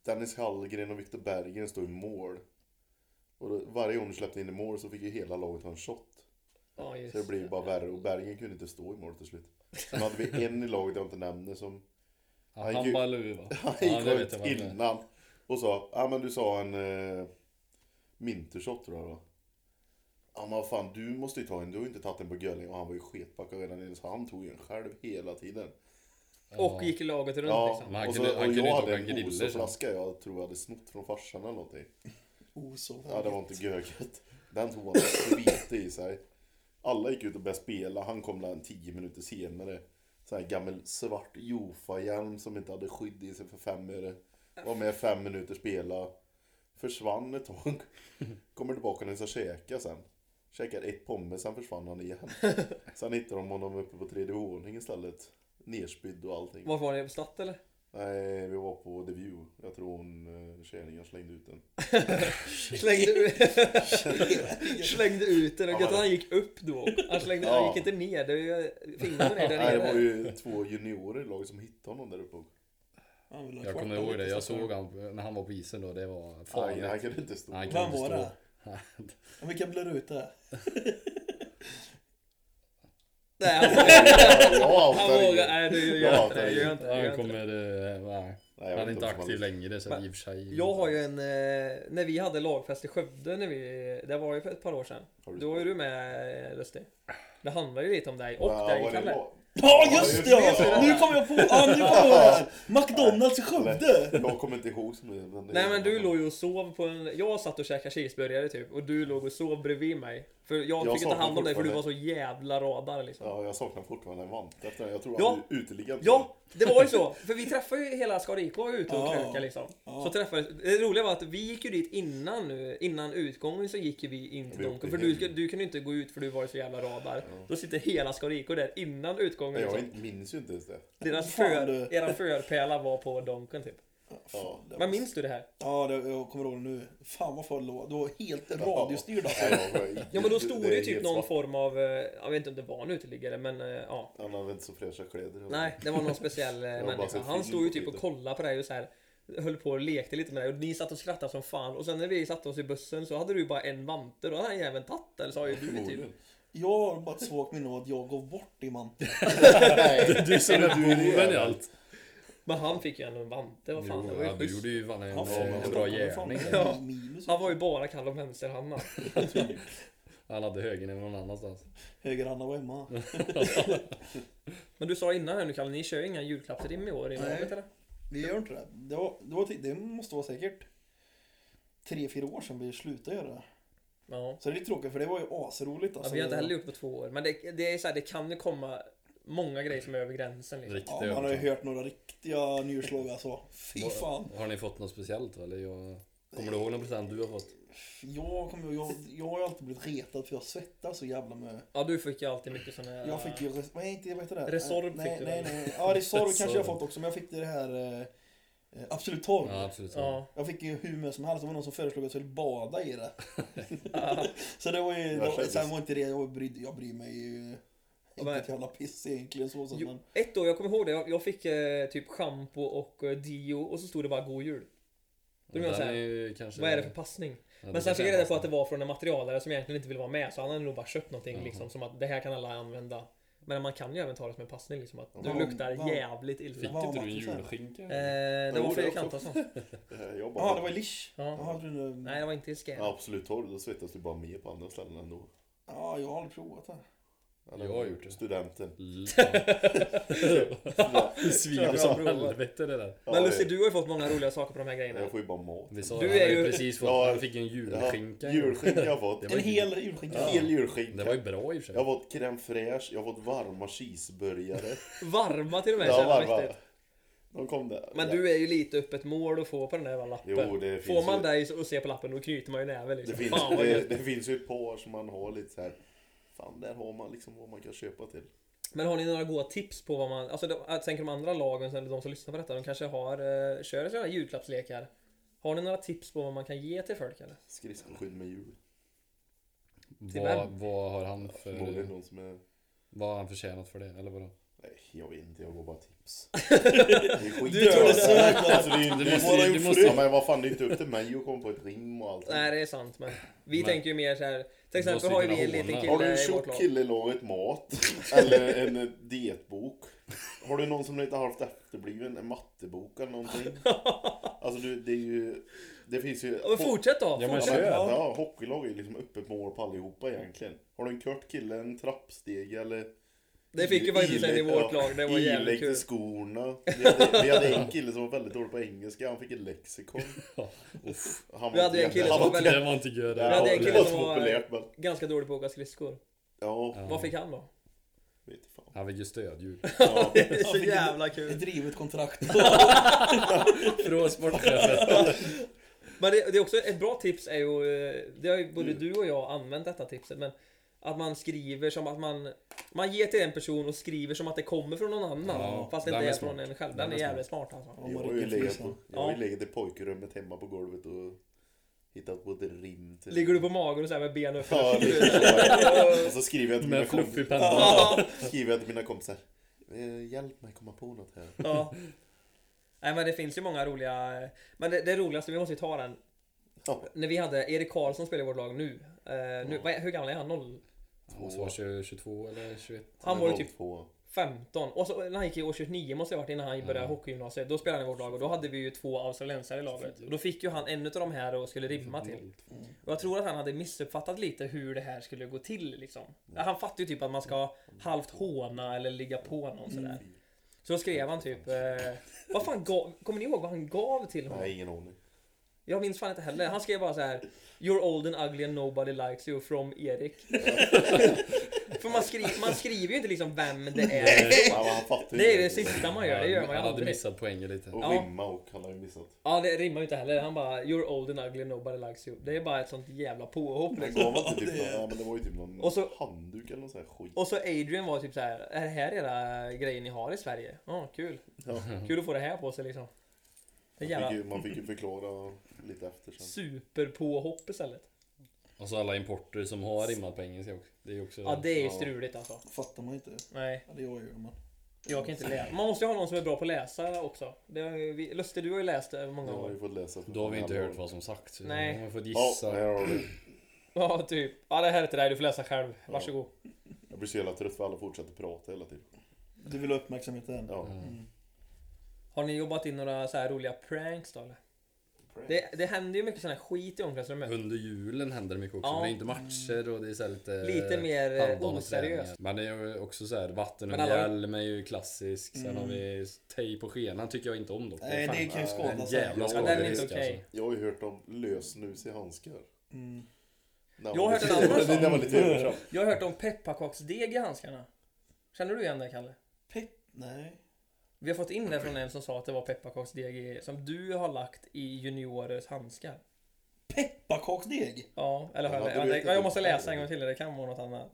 [SPEAKER 3] Dennis Hallgren och Viktor Berggren stod i mål. Och då, varje gång de släppte in i mål så fick ju hela laget ha en shot.
[SPEAKER 4] Ja, just.
[SPEAKER 3] Så det blev ju bara värre och Berggren kunde inte stå i mål till slut. Sen hade vi en i laget jag inte nämner som
[SPEAKER 5] Ja,
[SPEAKER 3] Han
[SPEAKER 5] han
[SPEAKER 3] gick-
[SPEAKER 5] bara lurar va?
[SPEAKER 3] Han
[SPEAKER 5] Ja,
[SPEAKER 3] gick
[SPEAKER 5] det
[SPEAKER 3] ut
[SPEAKER 5] vet jag vad han är.
[SPEAKER 3] innan och sa, ja men du sa en eh, mintershot tror jag då. Ja men vad fan du måste ju ta en, du har ju inte tagit en på Gölling och han var ju sketpackad redan innan så han tog ju en själv hela tiden.
[SPEAKER 4] Och gick laget runt
[SPEAKER 3] Ja,
[SPEAKER 4] liksom.
[SPEAKER 5] Men han
[SPEAKER 3] och, så,
[SPEAKER 5] kunde- han
[SPEAKER 3] och
[SPEAKER 5] kunde
[SPEAKER 3] jag
[SPEAKER 5] inte
[SPEAKER 3] hade
[SPEAKER 5] åka
[SPEAKER 3] en
[SPEAKER 5] griller,
[SPEAKER 3] Oso-flaska jag tror jag hade snott från farsan eller någonting.
[SPEAKER 1] Oh, så
[SPEAKER 3] Ja det var inte göget. Den tog han svite i sig. Alla gick ut och började spela, han kom där en tio minuter senare. Sån här gammal svart Jofa-hjälm som inte hade skydd i sig för fem öre. Var med fem minuter spela. Försvann ett tag. Kommer tillbaka när han ska käka sen. Käkar ett pommes, sen försvann han igen. Sen hittade de honom uppe på tredje våningen istället. Nerspydd och allting.
[SPEAKER 4] Vart var ni? På Statt eller?
[SPEAKER 3] Nej, vi var på The View. Jag tror hon, eh, tjejen slängde ut den.
[SPEAKER 4] Slängde, ut- slängde ut den.
[SPEAKER 3] Ja,
[SPEAKER 4] Och gött att
[SPEAKER 3] men-
[SPEAKER 4] han gick upp då. Han, slängde,
[SPEAKER 3] Ja.
[SPEAKER 4] han gick inte ner. Det är ju, filmen är där
[SPEAKER 3] Nej, det var
[SPEAKER 4] nere.
[SPEAKER 3] ju två juniorer i laget som hittade honom där uppe.
[SPEAKER 5] Jag kommer ihåg det,
[SPEAKER 1] alltså.
[SPEAKER 5] jag såg han när han var på isen då, det var
[SPEAKER 3] Aj, han
[SPEAKER 5] farligt.
[SPEAKER 3] kunde inte stå.
[SPEAKER 5] Han kunde
[SPEAKER 1] Vem
[SPEAKER 5] inte
[SPEAKER 1] var
[SPEAKER 5] stå.
[SPEAKER 1] det? Om vi kan blurra ut det.
[SPEAKER 4] Nej, han,
[SPEAKER 3] Jag
[SPEAKER 4] han
[SPEAKER 3] hatar
[SPEAKER 4] vågar.
[SPEAKER 3] ingen.
[SPEAKER 4] Nej, du
[SPEAKER 3] Jag
[SPEAKER 4] gör inte
[SPEAKER 3] hatar
[SPEAKER 4] det. Gör
[SPEAKER 3] ingen.
[SPEAKER 4] inte, det, gör
[SPEAKER 5] Han
[SPEAKER 4] inte det.
[SPEAKER 5] kommer... eh, nej.
[SPEAKER 3] Nej,
[SPEAKER 5] Han
[SPEAKER 3] jag vet
[SPEAKER 5] är inte
[SPEAKER 3] om han
[SPEAKER 5] aktiv
[SPEAKER 3] vill.
[SPEAKER 5] längre så
[SPEAKER 4] Men
[SPEAKER 5] i och för sig...
[SPEAKER 4] Jag har ju en... eh, När vi hade lagfest i Skövde, när vi, det var ju för ett par år sedan.
[SPEAKER 3] Har du-
[SPEAKER 4] Då var ju du med eh, Lustig. Det handlar ju lite om dig och
[SPEAKER 3] Ja,
[SPEAKER 4] dig
[SPEAKER 3] vad det
[SPEAKER 4] Kalle.
[SPEAKER 3] var.
[SPEAKER 1] Ja
[SPEAKER 3] Ja,
[SPEAKER 1] just
[SPEAKER 3] just
[SPEAKER 1] det!
[SPEAKER 4] det.
[SPEAKER 1] Ja. Nu kom jag på ja, nu kom jag på det! McDonalds i Skövde!
[SPEAKER 3] Jag kommer inte ihåg som det. men det-
[SPEAKER 4] Nej men du låg ju och sov på en... Jag satt och käkade cheeseburgare typ och du låg och sov bredvid mig. För jag,
[SPEAKER 3] Jag
[SPEAKER 4] fick inte
[SPEAKER 3] saknar
[SPEAKER 4] hand om dig för du var så
[SPEAKER 3] fortfarande-
[SPEAKER 4] jävla radar liksom. Ja.
[SPEAKER 3] Ja, jag saknar fortfarande en vant efter den. Jag tror
[SPEAKER 4] Ja.
[SPEAKER 3] han är uteliggande.
[SPEAKER 4] det var ju så! För vi träffade ju hela Skara IK ute och
[SPEAKER 1] Ja.
[SPEAKER 4] krökade liksom.
[SPEAKER 1] Ja.
[SPEAKER 4] Så träffades, det roliga var att vi gick ju dit innan nu, innan utgången så gick ju vi in till
[SPEAKER 3] Vi åkte
[SPEAKER 4] Donken. För
[SPEAKER 3] hem.
[SPEAKER 4] du, du kunde inte gå ut för du var ju så jävla radar. Då sitter hela Skara IK där innan utgången.
[SPEAKER 3] Nej, Jag
[SPEAKER 4] Liksom.
[SPEAKER 3] inte- minns ju inte ens det.
[SPEAKER 4] Deras
[SPEAKER 1] Fan,
[SPEAKER 4] för,
[SPEAKER 1] du.
[SPEAKER 4] era förpärla var på Donken typ.
[SPEAKER 3] Ja.
[SPEAKER 4] Men minns du det här?
[SPEAKER 1] Ja, det, jag kommer ihåg det nu. Fan vad fan låg. Du var helt radiostyrd alltså.
[SPEAKER 3] Nej, jag var-
[SPEAKER 4] Ja men då stod det ju
[SPEAKER 3] är
[SPEAKER 4] typ
[SPEAKER 3] helt
[SPEAKER 4] någon
[SPEAKER 3] svart.
[SPEAKER 4] form av, eh, jag vet inte om det var en uteliggare men eh, ja.
[SPEAKER 3] Han hade inte så fräscha kläder.
[SPEAKER 4] Nej, det var någon speciell eh,
[SPEAKER 3] har bara
[SPEAKER 4] människa.
[SPEAKER 3] sett
[SPEAKER 4] Han
[SPEAKER 3] film
[SPEAKER 4] stod ju
[SPEAKER 3] på
[SPEAKER 4] typ och
[SPEAKER 3] Twitter.
[SPEAKER 4] kollade på dig och så här höll på och lekte lite med dig och ni satt och skrattade som fan och sen när vi satte oss i bussen så hade du ju bara en vante då hade han även tagit eller så har ju du typ
[SPEAKER 3] Förmodligen.
[SPEAKER 1] Jag har bara ett svagt minne av att jag gav bort din man.
[SPEAKER 3] Nej.
[SPEAKER 5] Du ser upp
[SPEAKER 3] Du är
[SPEAKER 5] boven i
[SPEAKER 3] det.
[SPEAKER 5] allt.
[SPEAKER 4] Men han fick ju ändå en vante, vad fan det
[SPEAKER 5] Jo,
[SPEAKER 4] var
[SPEAKER 5] ja,
[SPEAKER 4] ju
[SPEAKER 5] du
[SPEAKER 4] schysst
[SPEAKER 5] gjorde ju fan en,
[SPEAKER 1] Han fan,
[SPEAKER 5] en bra
[SPEAKER 1] vad fan, vad fan,
[SPEAKER 5] gärning.
[SPEAKER 1] vad fan, Minus.
[SPEAKER 4] Han var ju bara kall om vänster han
[SPEAKER 5] Han hade högen än någon annanstans.
[SPEAKER 1] Högerhanda var hemma.
[SPEAKER 4] Men du sa innan här nu Kalle, ni kör ju inga julklappsrim i år i
[SPEAKER 1] Nej.
[SPEAKER 4] laget eller?
[SPEAKER 1] Vi gör inte det. Det, var, det, var, det måste vara säkert tre, fyra år sedan vi slutade göra det.
[SPEAKER 4] Ja.
[SPEAKER 1] Så det är lite tråkigt för det var ju asroligt
[SPEAKER 4] ja
[SPEAKER 1] alltså.
[SPEAKER 4] vi har inte heller gjort på två år men det, det är så här, det kan ju komma många grejer som är över gränsen liksom.
[SPEAKER 5] Riktigt
[SPEAKER 1] Ja, man har ju
[SPEAKER 5] övertag.
[SPEAKER 1] hört några riktiga njurslag alltså. Fy fan.
[SPEAKER 5] Har ni fått något speciellt eller? Jag... Kommer du ihåg någon present du har fått?
[SPEAKER 1] Jag, kommer, jag, jag har ju alltid blivit retad för jag svettas så jävla mycket.
[SPEAKER 4] Ja du fick ju alltid mycket såna här...
[SPEAKER 1] Jag fick ju... res- Nej, inte vad heter det?
[SPEAKER 4] Resorb
[SPEAKER 1] nej,
[SPEAKER 4] fick du,
[SPEAKER 1] Nej,
[SPEAKER 4] eller?
[SPEAKER 1] nej. Ja, Resorb kanske jag
[SPEAKER 5] Resorb.
[SPEAKER 1] har fått också. Men jag fick det här... eh, eh, Absolut torr.
[SPEAKER 5] Ja, absolut.
[SPEAKER 4] Ja.
[SPEAKER 1] Jag fick ju hur mycket som helst. Det var någon som föreslog att jag skulle bada i det. så det var ju...
[SPEAKER 3] Jag känner-
[SPEAKER 1] Sen var inte det... Jag, bryd, jag bryr mig ju... Inte
[SPEAKER 4] Nej.
[SPEAKER 1] ett jävla piss egentligen så sett,
[SPEAKER 4] Jo,
[SPEAKER 1] men...
[SPEAKER 4] ett år, jag kommer ihåg det. Jag, jag fick eh, typ schampo och eh, dio och så stod det bara god jul. Då blir man
[SPEAKER 5] Den
[SPEAKER 4] såhär,
[SPEAKER 5] är ju kanske...
[SPEAKER 4] Vad är det för passning?
[SPEAKER 5] Alltså, eh, Ja, det
[SPEAKER 4] Men sen
[SPEAKER 5] kanske
[SPEAKER 4] fick
[SPEAKER 5] är
[SPEAKER 4] jag reda på
[SPEAKER 5] en
[SPEAKER 4] att det var från en materialare som egentligen inte ville vara med så han hade nog bara köpt någonting liksom som att det här kan alla använda. Men man kan ju även ta det som en passning liksom att du
[SPEAKER 1] Vad-
[SPEAKER 4] luktar
[SPEAKER 1] vad-
[SPEAKER 4] jävligt
[SPEAKER 5] Fick
[SPEAKER 4] illa.
[SPEAKER 1] Vad
[SPEAKER 5] inte
[SPEAKER 1] var
[SPEAKER 5] du en
[SPEAKER 1] det sen?
[SPEAKER 5] julskinka?
[SPEAKER 4] Eh, det
[SPEAKER 3] Jo,
[SPEAKER 4] var
[SPEAKER 3] det
[SPEAKER 4] Fredrik
[SPEAKER 3] också.
[SPEAKER 4] Antonsson.
[SPEAKER 3] Eh, Jag bara...
[SPEAKER 1] Jaha, det var Lish.
[SPEAKER 4] Ja.
[SPEAKER 1] Jaha, du...
[SPEAKER 4] Nej det var inte i Skåne.
[SPEAKER 3] Ja, Absolut torr, då svettas du bara mer på andra ställen ändå.
[SPEAKER 1] Ja, jag har aldrig provat det.
[SPEAKER 5] Jag har gjort det.
[SPEAKER 3] Studenten.
[SPEAKER 5] Det svider
[SPEAKER 4] Bra,
[SPEAKER 5] som
[SPEAKER 4] bra.
[SPEAKER 5] helvete det där.
[SPEAKER 4] Men
[SPEAKER 3] Ja,
[SPEAKER 4] Lustig du har ju fått många roliga saker på de här grejerna.
[SPEAKER 3] Jag får ju bara mat.
[SPEAKER 5] Vi sa
[SPEAKER 4] Du
[SPEAKER 5] du är
[SPEAKER 4] är ju-
[SPEAKER 5] precis fått,
[SPEAKER 3] Ja,
[SPEAKER 5] han fick en julskinka.
[SPEAKER 3] Ja, julskinka har jag fått.
[SPEAKER 5] Det
[SPEAKER 1] En
[SPEAKER 5] var ju-
[SPEAKER 1] hel julskinka.
[SPEAKER 3] En hel julskinka.
[SPEAKER 5] Det var ju bra i och för
[SPEAKER 3] Jag har
[SPEAKER 5] sig.
[SPEAKER 3] fått crème fraîche, jag har fått varma cheeseburgare.
[SPEAKER 4] Varma till och med
[SPEAKER 3] Ja,
[SPEAKER 4] känner jag
[SPEAKER 3] varma.
[SPEAKER 4] mäktigt.
[SPEAKER 3] De kom där.
[SPEAKER 4] Men du är ju lite upp ett mål att få på den där jävla lappen.
[SPEAKER 3] Jo, det
[SPEAKER 4] Får
[SPEAKER 3] finns
[SPEAKER 4] man
[SPEAKER 3] ju-
[SPEAKER 4] dig och ser på lappen då knyter man ju näven liksom.
[SPEAKER 3] det, finns,
[SPEAKER 4] Fan vad
[SPEAKER 3] det,
[SPEAKER 4] gött.
[SPEAKER 3] det finns ju ett par som man har lite så här. Fan, där har man liksom vad man kan köpa till.
[SPEAKER 4] Men har ni några goda tips på vad man, alltså de, jag tänker de andra lagen eller de som lyssnar på detta, de kanske har, eh, kör sådana här julklappslekar. Har ni några tips på vad man kan ge till folk
[SPEAKER 3] Mm.
[SPEAKER 4] eller?
[SPEAKER 3] Skridskoskydd med hjul.
[SPEAKER 5] Vad, vad har han för...
[SPEAKER 3] Förmodligen någon som är...
[SPEAKER 5] Vad har han förtjänat för det? Eller vadå?
[SPEAKER 3] Nej, jag vet inte. Jag går bara tips.
[SPEAKER 4] Du tror det
[SPEAKER 5] Du måste- du måste-
[SPEAKER 3] Ja, men vad fan, det är inte upp till mig att komma på ett rim och allt.
[SPEAKER 4] Nej det är sant men vi
[SPEAKER 5] Men-
[SPEAKER 4] tänker ju mer så här.
[SPEAKER 5] Måste
[SPEAKER 4] Till exempel
[SPEAKER 5] ju
[SPEAKER 4] har ju
[SPEAKER 5] kunna
[SPEAKER 4] vi en
[SPEAKER 5] håna.
[SPEAKER 4] liten
[SPEAKER 3] Har
[SPEAKER 4] kille
[SPEAKER 3] du en
[SPEAKER 4] i vårt
[SPEAKER 3] tjock
[SPEAKER 4] lag.
[SPEAKER 3] kille i laget mat? Eller en eh, dietbok? Har du någon som inte har haft efterbliven? En mattebok eller någonting? Alltså du, det är ju... Det finns ju...
[SPEAKER 4] Ja, men fortsätt då!
[SPEAKER 5] Ja, men
[SPEAKER 3] Ja,
[SPEAKER 4] fortsätt.
[SPEAKER 5] kör.
[SPEAKER 3] men,
[SPEAKER 4] Ja.
[SPEAKER 3] ja, hockeylag är ju liksom öppet mål på allihopa egentligen. Har du en kort kille, en trappsteg eller...
[SPEAKER 4] Det fick ju faktiskt en i
[SPEAKER 3] Ilägg-
[SPEAKER 4] vårt lag, det var
[SPEAKER 3] ja,
[SPEAKER 4] jävligt
[SPEAKER 3] ilägg
[SPEAKER 4] kul.
[SPEAKER 3] till skorna. Vi hade, vi hade en kille som var väldigt dålig på engelska, han fick ett lexikon. Uff, han var
[SPEAKER 4] Vi hade
[SPEAKER 3] inte
[SPEAKER 4] en kille
[SPEAKER 3] jätte-
[SPEAKER 4] som
[SPEAKER 3] han
[SPEAKER 4] var
[SPEAKER 5] Det var inte gött.
[SPEAKER 3] Ja,
[SPEAKER 4] Vi hade en
[SPEAKER 3] det
[SPEAKER 4] kille
[SPEAKER 3] var
[SPEAKER 4] som
[SPEAKER 3] så
[SPEAKER 4] var-
[SPEAKER 3] populärt men...
[SPEAKER 4] Ganska dålig på att åka skridskor.
[SPEAKER 3] Ja,
[SPEAKER 5] Ja.
[SPEAKER 4] Vad fick han då?
[SPEAKER 3] vet fan.
[SPEAKER 5] Han fick ju stödhjul.
[SPEAKER 3] Ja.
[SPEAKER 4] Det är så jävla kul!
[SPEAKER 1] Ett rivet kontrakt.
[SPEAKER 5] Från sportchefen.
[SPEAKER 4] Men det, det är också ett bra tips är ju, eh, det har ju både du och jag använt detta tipset men att man skriver som att man Man ger till en person och skriver som att det kommer från någon annan
[SPEAKER 5] Ja,
[SPEAKER 4] fast det
[SPEAKER 5] den
[SPEAKER 4] inte är,
[SPEAKER 5] är
[SPEAKER 4] från
[SPEAKER 5] smart.
[SPEAKER 4] en själv.
[SPEAKER 5] Den
[SPEAKER 4] Den, är
[SPEAKER 5] är smart.
[SPEAKER 4] jävligt smart alltså.
[SPEAKER 3] Jag
[SPEAKER 1] man
[SPEAKER 3] har ju
[SPEAKER 1] rycker
[SPEAKER 3] legat,
[SPEAKER 1] frysen.
[SPEAKER 3] jag har ju
[SPEAKER 4] Ja.
[SPEAKER 3] legat i pojkrummet hemma på golvet och hittat både rim till...
[SPEAKER 4] Ligger du på magen och så här med benen uppe?
[SPEAKER 3] Ja, lite så. Och så skriver jag till mina,
[SPEAKER 5] Med
[SPEAKER 3] kom...
[SPEAKER 5] fluffig penna.
[SPEAKER 3] skriver jag till mina kompisar. "Eh, Hjälp mig komma på något här.
[SPEAKER 4] Ja. Nej men det finns ju många roliga Men det, det roligaste, vi måste ju ta den
[SPEAKER 3] Ja,
[SPEAKER 4] När vi hade Erik Karlsson spelar i vårt lag nu, eh, nu vad är, Hur gammal är han? Noll-
[SPEAKER 5] Han måste vara 20 22 eller 21.
[SPEAKER 4] Han var ju typ
[SPEAKER 3] Två.
[SPEAKER 4] 15 och så, när han gick i årskurs 9 måste det ha varit innan han började
[SPEAKER 5] Ja.
[SPEAKER 4] hockeygymnasiet Då spelade han i vårt lag och då hade vi ju två australiensare i laget och Då fick ju han en utav de här och skulle rimma
[SPEAKER 5] Mm.
[SPEAKER 4] till
[SPEAKER 1] Mm.
[SPEAKER 4] Och jag tror att han hade missuppfattat lite hur det här skulle gå till liksom Han fattade ju typ att man ska halvt håna eller ligga på någon sådär Så då skrev han typ eh, Vad fan gav, kommer ni ihåg vad han gav till honom?
[SPEAKER 3] Nej, ingen aning.
[SPEAKER 4] Jag minns fan inte heller. Han skrev bara så här. You're old and ugly and nobody likes you from Erik. För man, skri man skriver ju inte liksom vem det är.
[SPEAKER 3] Ja, men han fattar ju
[SPEAKER 4] Det är det
[SPEAKER 3] inte.
[SPEAKER 4] sista man gör. Det gör man ju
[SPEAKER 5] Han hade
[SPEAKER 4] aldrig.
[SPEAKER 5] missat poängen lite.
[SPEAKER 3] Och
[SPEAKER 4] Ja.
[SPEAKER 3] rimma och han har ju missat.
[SPEAKER 4] Ja, det rimmar ju inte heller. Han bara You're old and ugly and nobody likes you. Det är bara ett sånt jävla påhopp
[SPEAKER 3] Men
[SPEAKER 4] liksom.
[SPEAKER 3] gav han inte typ någon, ja, men det var ju typ någon
[SPEAKER 4] Och så-
[SPEAKER 3] handduk eller någon sån här skit.
[SPEAKER 4] Och så Adrian var typ så här. Är det här era grejer ni har i Sverige? Ja, kul.
[SPEAKER 3] Ja.
[SPEAKER 4] Kul att få det här på sig liksom. Det är
[SPEAKER 3] Man,
[SPEAKER 4] jävla
[SPEAKER 3] fick ju, man fick ju förklara lite efter
[SPEAKER 4] liksom.
[SPEAKER 3] sen.
[SPEAKER 4] superpåhopp istället.
[SPEAKER 5] Och så alla importer som har rimmat på engelska också. Det är ju också...
[SPEAKER 4] Ja, det är ju struligt alltså.
[SPEAKER 1] Fattar man inte.
[SPEAKER 4] Nej.
[SPEAKER 1] Ja, det gör man.
[SPEAKER 4] Jag kan inte läsa. Man måste ju ha någon som är bra på att läsa också. Det har ju vi, Lustig, du har ju läst eh,
[SPEAKER 3] Det
[SPEAKER 4] många
[SPEAKER 3] har vi
[SPEAKER 4] år.
[SPEAKER 3] fått läsa.
[SPEAKER 5] Då har vi inte hört vad som sagts. utan
[SPEAKER 4] Nej.
[SPEAKER 5] Vi har fått
[SPEAKER 3] Ja,
[SPEAKER 5] gissa.
[SPEAKER 3] här har du.
[SPEAKER 4] Ja, typ. Ja, det här är till dig. Du får läsa själv. Varsågod.
[SPEAKER 3] Jag blir så jävla trött för alla fortsätter prata hela tiden.
[SPEAKER 1] Du vill ha Mm. uppmärksamheten?
[SPEAKER 3] Ja.
[SPEAKER 4] Har ni jobbat in några så här roliga pranks då eller? Det, det händer ju mycket sån här skit i omklädningsrummet.
[SPEAKER 5] Under julen händer det mycket också.
[SPEAKER 4] Ja.
[SPEAKER 5] men Det är inte matcher och det är så här lite...
[SPEAKER 4] Lite mer eh,
[SPEAKER 5] handboll och träningar.
[SPEAKER 4] oseriöst.
[SPEAKER 5] Men det är ju också så här vatten och
[SPEAKER 4] Men alla- Mm.
[SPEAKER 5] hjälm är ju klassisk. Sen har vi tejp på skenan tycker jag inte om dock.
[SPEAKER 1] Nej,
[SPEAKER 5] fan
[SPEAKER 1] det kan ju skada
[SPEAKER 5] en
[SPEAKER 1] sig.
[SPEAKER 5] jävla
[SPEAKER 4] Ja, den är inte
[SPEAKER 5] skaderisk
[SPEAKER 4] okej.
[SPEAKER 5] alltså.
[SPEAKER 3] Jag har ju hört om lösnus i handskar.
[SPEAKER 1] Mm.
[SPEAKER 3] När
[SPEAKER 4] Jag har
[SPEAKER 3] man-
[SPEAKER 4] hört en annan
[SPEAKER 3] Det där var
[SPEAKER 4] sak.
[SPEAKER 3] lite övertramp.
[SPEAKER 4] Jag har hört om pepparkaksdeg i handskarna. Känner du igen det Kalle?
[SPEAKER 1] Pepp? Nej.
[SPEAKER 4] Vi har fått in det från en som sa att det var pepparkaksdeg i, som du har lagt i juniorers handskar.
[SPEAKER 1] Pepparkaksdeg?
[SPEAKER 4] Ja, eller har
[SPEAKER 3] Ja,
[SPEAKER 4] jag,
[SPEAKER 3] du
[SPEAKER 4] ja,
[SPEAKER 3] vet
[SPEAKER 4] det,
[SPEAKER 3] inte
[SPEAKER 4] ja, jag måste
[SPEAKER 3] vilken
[SPEAKER 4] läsa
[SPEAKER 3] färg.
[SPEAKER 4] en gång till, det kan vara något annat.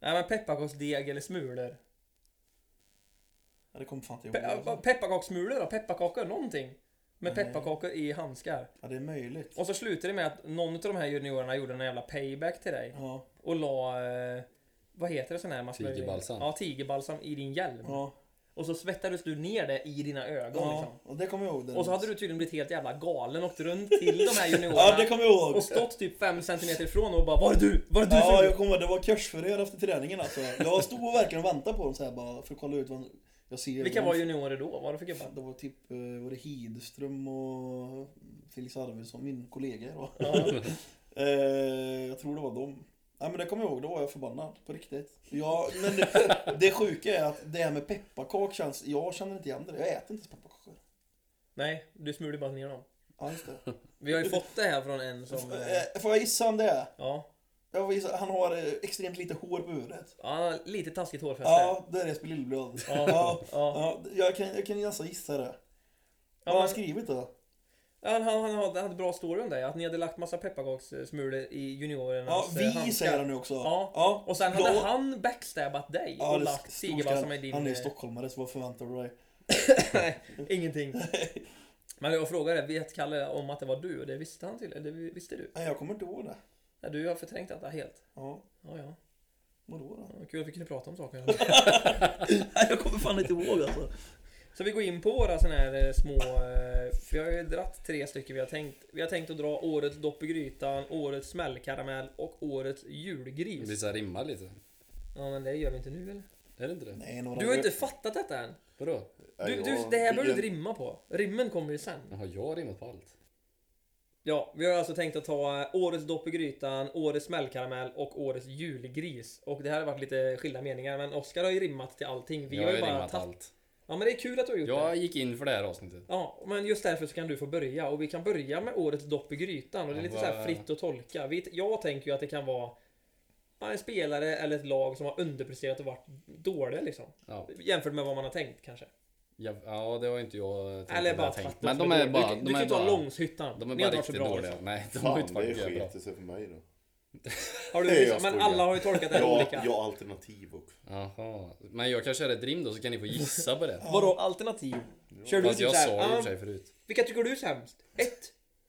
[SPEAKER 4] Nej men pepparkaksdeg eller smulor.
[SPEAKER 1] Ja, det kommer fan inte
[SPEAKER 4] Pe
[SPEAKER 1] jag
[SPEAKER 3] Mm.
[SPEAKER 4] ja,
[SPEAKER 1] ihåg.
[SPEAKER 4] pepparkakssmulor då? Pepparkakor? Någonting? Med
[SPEAKER 1] Nej.
[SPEAKER 4] pepparkakor i handskar.
[SPEAKER 1] Ja, det är möjligt.
[SPEAKER 4] Och så slutade det med att någon av de här juniorerna gjorde en jävla payback till dig.
[SPEAKER 1] Ja.
[SPEAKER 4] Och la... Eh, vad heter det sån här man smörjer in?
[SPEAKER 5] Tigerbalsam.
[SPEAKER 4] Ja, tigerbalsam i din hjälm.
[SPEAKER 1] Ja.
[SPEAKER 4] Och så svettades du ner det i dina ögon
[SPEAKER 1] ja.
[SPEAKER 4] liksom.
[SPEAKER 1] Och det kommer jag ihåg.
[SPEAKER 4] Och så hade du tydligen blivit helt jävla galen och åkt runt till de här juniorerna.
[SPEAKER 1] Ja, det kommer jag ihåg.
[SPEAKER 4] Och stått typ 5 centimeter ifrån och bara Var är du? Var är du? som
[SPEAKER 1] Ja,
[SPEAKER 4] gjorde
[SPEAKER 1] jag kommer ihåg. Det var kursförhör efter träningen alltså. Jag stod och verkligen väntade på dem så här bara för att kolla ut vad jag ser.
[SPEAKER 4] Vilka var juniorer då? Vad var det för gubbar?
[SPEAKER 1] Det var typ eh, var det Hidström och Felix Arvidsson, min kollega då. Eh, jag tror det var dem. Nej men det kommer jag ihåg, då var jag förbannad på riktigt. Ja, men det, det sjuka är att det här med pepparkak känns, jag känner inte igen det. Jag äter inte ens pepparkakor.
[SPEAKER 4] Nej, du smulde bara ner dem.
[SPEAKER 1] Ja, just det.
[SPEAKER 4] Vi har ju fått det här från en som... eh,
[SPEAKER 1] Eh, får jag gissa om det är?
[SPEAKER 4] Ja,
[SPEAKER 1] Jag får gissa, han har eh, extremt lite hår på huvudet.
[SPEAKER 4] ja han har lite taskigt hårfäste.
[SPEAKER 1] Ja, det är Jesper Lillblad.
[SPEAKER 4] Ja,
[SPEAKER 1] Ja,
[SPEAKER 4] ja.
[SPEAKER 1] ja, jag kan, jag kan nästan gissa det.
[SPEAKER 4] Ja,
[SPEAKER 1] Vad har han
[SPEAKER 4] men-
[SPEAKER 1] skrivit då?
[SPEAKER 4] Han, han, han hade hade bra story om det, att ni hade lagt massa pepparkakssmulor i
[SPEAKER 1] Ja,
[SPEAKER 4] juniorernas eh,
[SPEAKER 1] vi
[SPEAKER 4] handskar.
[SPEAKER 1] säger han nu också.
[SPEAKER 4] Ja.
[SPEAKER 1] ja.
[SPEAKER 4] Och sen hade
[SPEAKER 1] Då-
[SPEAKER 4] han backstabbat dig
[SPEAKER 1] Ja,
[SPEAKER 4] och
[SPEAKER 1] det är
[SPEAKER 4] lagt
[SPEAKER 1] storskall.
[SPEAKER 4] tigerbalsam i din...
[SPEAKER 1] Han är ju
[SPEAKER 4] eh,
[SPEAKER 1] stockholmare så vad förväntar du dig?
[SPEAKER 4] Nej, ingenting. Men jag frågade, vet Kalle om att det var du? Och det visste han tydligen. Det visste du.
[SPEAKER 1] Nej jag kommer inte ihåg det.
[SPEAKER 4] Nej, du har förträngt detta helt.
[SPEAKER 1] Ja.
[SPEAKER 4] Ja, ja.
[SPEAKER 1] Vadå då?
[SPEAKER 4] Ja, Kul att vi kunde prata om saker.
[SPEAKER 1] Nej, jag kommer fan inte ihåg alltså.
[SPEAKER 4] Så vi går in på våra såna här eh, små... eh, För jag har ju dratt tre stycken vi har tänkt. Vi har tänkt att dra årets dopp i grytan, årets smällkaramell och årets
[SPEAKER 5] Det
[SPEAKER 4] julgris.
[SPEAKER 5] blir så här rimmar lite.
[SPEAKER 4] Ja men det gör vi inte nu eller?
[SPEAKER 5] Är det inte det?
[SPEAKER 1] Nej, några
[SPEAKER 4] Du har ju inte fattat detta än.
[SPEAKER 5] Vadå?
[SPEAKER 4] Du, du, det här behöver du inte rimma på. Rimmen kommer ju sen.
[SPEAKER 5] Jaha, jag har rimmat på allt.
[SPEAKER 4] Ja, vi har alltså tänkt att ta eh, årets dopp i grytan, årets smällkaramell och årets julgris. Och det här har varit lite skilda meningar men Oskar har ju rimmat till allting. Vi
[SPEAKER 5] jag
[SPEAKER 4] har ju bara
[SPEAKER 5] rimmat
[SPEAKER 4] tagit...
[SPEAKER 5] allt.
[SPEAKER 4] Ja men det är kul att du har gjort det.
[SPEAKER 5] Jag gick in för det här avsnittet.
[SPEAKER 4] Ja, men just därför så kan du få börja och vi kan börja med årets dopp i grytan och det är lite
[SPEAKER 5] Ja,
[SPEAKER 4] så här
[SPEAKER 5] vad-
[SPEAKER 4] fritt att tolka. Vi- Jag tänker ju att det kan vara ja, en spelare eller ett lag som har underpresterat och varit dåliga liksom.
[SPEAKER 5] Ja,
[SPEAKER 4] Jämfört med vad man har tänkt kanske.
[SPEAKER 5] ja, ja det var inte jag tänkt
[SPEAKER 4] eller
[SPEAKER 5] att jag
[SPEAKER 4] bara
[SPEAKER 5] tänkt.
[SPEAKER 4] tänkt.
[SPEAKER 5] Men de är bara...
[SPEAKER 4] Du, du
[SPEAKER 5] De
[SPEAKER 4] kan
[SPEAKER 5] är
[SPEAKER 4] ju ta
[SPEAKER 5] bara,
[SPEAKER 4] Långshyttan.
[SPEAKER 5] de är
[SPEAKER 4] Ni har
[SPEAKER 5] bara
[SPEAKER 4] inte varit så
[SPEAKER 5] riktigt
[SPEAKER 4] bra
[SPEAKER 5] dåliga.
[SPEAKER 4] liksom.
[SPEAKER 5] Nej, de har
[SPEAKER 3] Fan,
[SPEAKER 5] inte
[SPEAKER 3] det
[SPEAKER 5] varit så jävla
[SPEAKER 3] sket
[SPEAKER 5] bra.
[SPEAKER 3] sig för mig då.
[SPEAKER 4] Har du
[SPEAKER 3] Nej, jag
[SPEAKER 4] liksom, men
[SPEAKER 3] skojar.
[SPEAKER 4] alla har ju tolkat det här
[SPEAKER 3] Jag,
[SPEAKER 4] olika.
[SPEAKER 3] jag har alternativ också.
[SPEAKER 5] Jaha. Men jag kan köra ett rim då så kan ni få gissa på det.
[SPEAKER 4] Vadå alternativ? Kör du
[SPEAKER 5] Fast
[SPEAKER 4] typ
[SPEAKER 5] jag
[SPEAKER 4] såhär,
[SPEAKER 5] sa ju i och
[SPEAKER 4] ah,
[SPEAKER 5] för sig förut.
[SPEAKER 4] vilka tycker du är sämst? 1.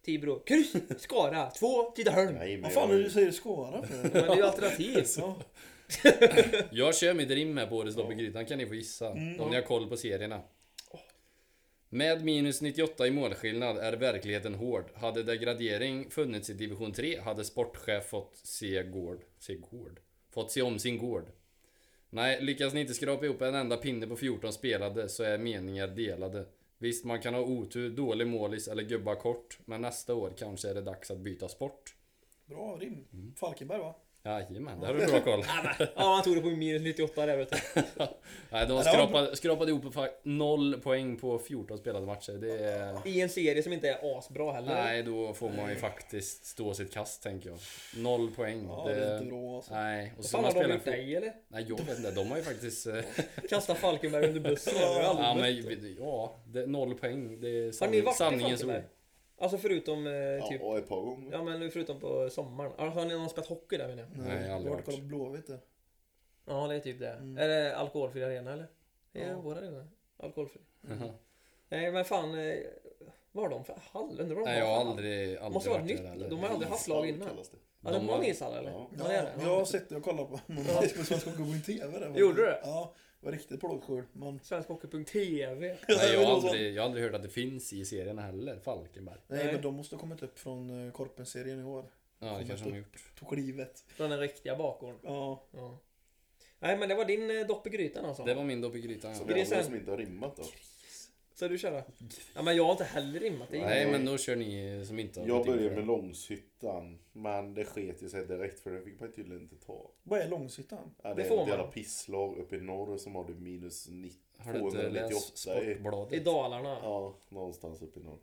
[SPEAKER 4] Tibro. Kryss. Skara. 2. Tidaholm.
[SPEAKER 3] Nej, men
[SPEAKER 1] Vad fan är
[SPEAKER 3] jag,
[SPEAKER 1] det du säger Skara för?
[SPEAKER 4] Men det är ju alternativ.
[SPEAKER 1] Ja.
[SPEAKER 5] Jag kör mitt rim här på årets lopp i grytan kan ni få gissa. Om ni har koll på serierna. Med minus 98 i målskillnad är verkligheten hård. Hade degradering funnits i division 3 hade sportchef fått se gård. Se gård? Fått se om sin gård. Nej, lyckas ni inte skrapa ihop en enda pinne på 14 spelade så är meningar delade. Visst, man kan ha otur, dålig målis eller gubba kort, men nästa år kanske är det dags att byta sport.
[SPEAKER 1] Bra rim. Falkenberg va?
[SPEAKER 5] Jajamän, där har du bra koll.
[SPEAKER 4] Ja, han tog det på minus 98 där vet du.
[SPEAKER 5] Nej, de skrapade, skrapade ihop fa- noll poäng på 14 spelade matcher. Det är...
[SPEAKER 4] I en serie som inte är asbra heller.
[SPEAKER 5] Nej, då får man ju faktiskt stå sitt kast tänker jag. Noll poäng.
[SPEAKER 1] Ja, det är inte bra alltså.
[SPEAKER 5] Nej, och så
[SPEAKER 4] Fan
[SPEAKER 5] man
[SPEAKER 4] har de
[SPEAKER 5] spelar...
[SPEAKER 4] gjort
[SPEAKER 5] fot-
[SPEAKER 4] dig eller?
[SPEAKER 5] Nej, jag vet inte. De har ju faktiskt... eh,
[SPEAKER 4] Kasta Falkenberg under bussen. det har du aldrig
[SPEAKER 5] ja,
[SPEAKER 4] mött.
[SPEAKER 5] men, ja det, noll poäng. Det är
[SPEAKER 4] Har ni varit i
[SPEAKER 5] sanningens ord.
[SPEAKER 4] Falkenberg? Alltså förutom eh, typ...
[SPEAKER 3] ja, ett par gånger.
[SPEAKER 4] Ja men förutom på sommaren. Alltså, har ni någon spelat hockey där menar jag?
[SPEAKER 5] Nej, jag har aldrig varit.
[SPEAKER 1] varit. kollat på Blåvitt där.
[SPEAKER 4] Ja det är typ det.
[SPEAKER 1] Mm.
[SPEAKER 4] Är det alkoholfri arena eller? Det är
[SPEAKER 1] Ja.
[SPEAKER 4] vår arena. Alkoholfri.
[SPEAKER 5] Jaha.
[SPEAKER 4] Nej men fan. Eh, vad har de för hall? Undrar vad de
[SPEAKER 5] Nej, jag
[SPEAKER 4] har
[SPEAKER 5] har
[SPEAKER 4] för hall?
[SPEAKER 5] aldrig, aldrig
[SPEAKER 4] Måste vara
[SPEAKER 5] varit
[SPEAKER 4] nytt.
[SPEAKER 5] där heller.
[SPEAKER 4] De har aldrig haft lag innan.
[SPEAKER 3] Kallas det.
[SPEAKER 4] Ja, de
[SPEAKER 5] De
[SPEAKER 4] har
[SPEAKER 5] har-
[SPEAKER 4] en ishall eller?
[SPEAKER 3] Ja.
[SPEAKER 4] Ja, det är det.
[SPEAKER 1] jag har sett det och kollat på någon match på Svenska Hockeyförbundet TV där.
[SPEAKER 4] Gjorde du det?
[SPEAKER 1] Ja, det var riktigt plåtskjul. Men...
[SPEAKER 4] Svenskhockey.tv.
[SPEAKER 5] Nej, jag,
[SPEAKER 1] Det
[SPEAKER 5] har
[SPEAKER 1] var så.
[SPEAKER 5] aldrig, jag har aldrig hört att det finns i serierna heller, Falkenberg.
[SPEAKER 1] Nej,
[SPEAKER 4] Nej.
[SPEAKER 1] men de måste ha kommit upp från eh, Korpen-serien i år.
[SPEAKER 5] Ja, det kanske de har gjort.
[SPEAKER 1] Tog livet.
[SPEAKER 4] Från den riktiga bakgården.
[SPEAKER 1] Ja.
[SPEAKER 4] Ja. Nej men det var din eh, dopp i grytan alltså.
[SPEAKER 5] Det var min dopp i grytan.
[SPEAKER 3] Så
[SPEAKER 5] ja.
[SPEAKER 4] det
[SPEAKER 3] det
[SPEAKER 4] är
[SPEAKER 3] är andra
[SPEAKER 4] sen-
[SPEAKER 3] som inte har rimmat då.
[SPEAKER 4] Ska du köra? Ja men jag har inte heller rimmat det. är
[SPEAKER 5] Nej,
[SPEAKER 4] ingen-
[SPEAKER 5] men då kör ni som inte har
[SPEAKER 3] Jag
[SPEAKER 5] gått in
[SPEAKER 3] började
[SPEAKER 5] för
[SPEAKER 3] med
[SPEAKER 5] det.
[SPEAKER 3] Långshyttan. Men det sket ju sig direkt för det fick man ju tydligen inte ta.
[SPEAKER 1] Vad är Långshyttan?
[SPEAKER 3] Ja, det,
[SPEAKER 4] Det
[SPEAKER 3] är
[SPEAKER 4] får
[SPEAKER 3] något
[SPEAKER 4] man.
[SPEAKER 3] jävla pisslag uppe i norr som har det minus 90.
[SPEAKER 5] Har du inte läst
[SPEAKER 3] 298 i-
[SPEAKER 5] Sportbladet?
[SPEAKER 4] I Dalarna.
[SPEAKER 3] Ja, någonstans uppe i norr.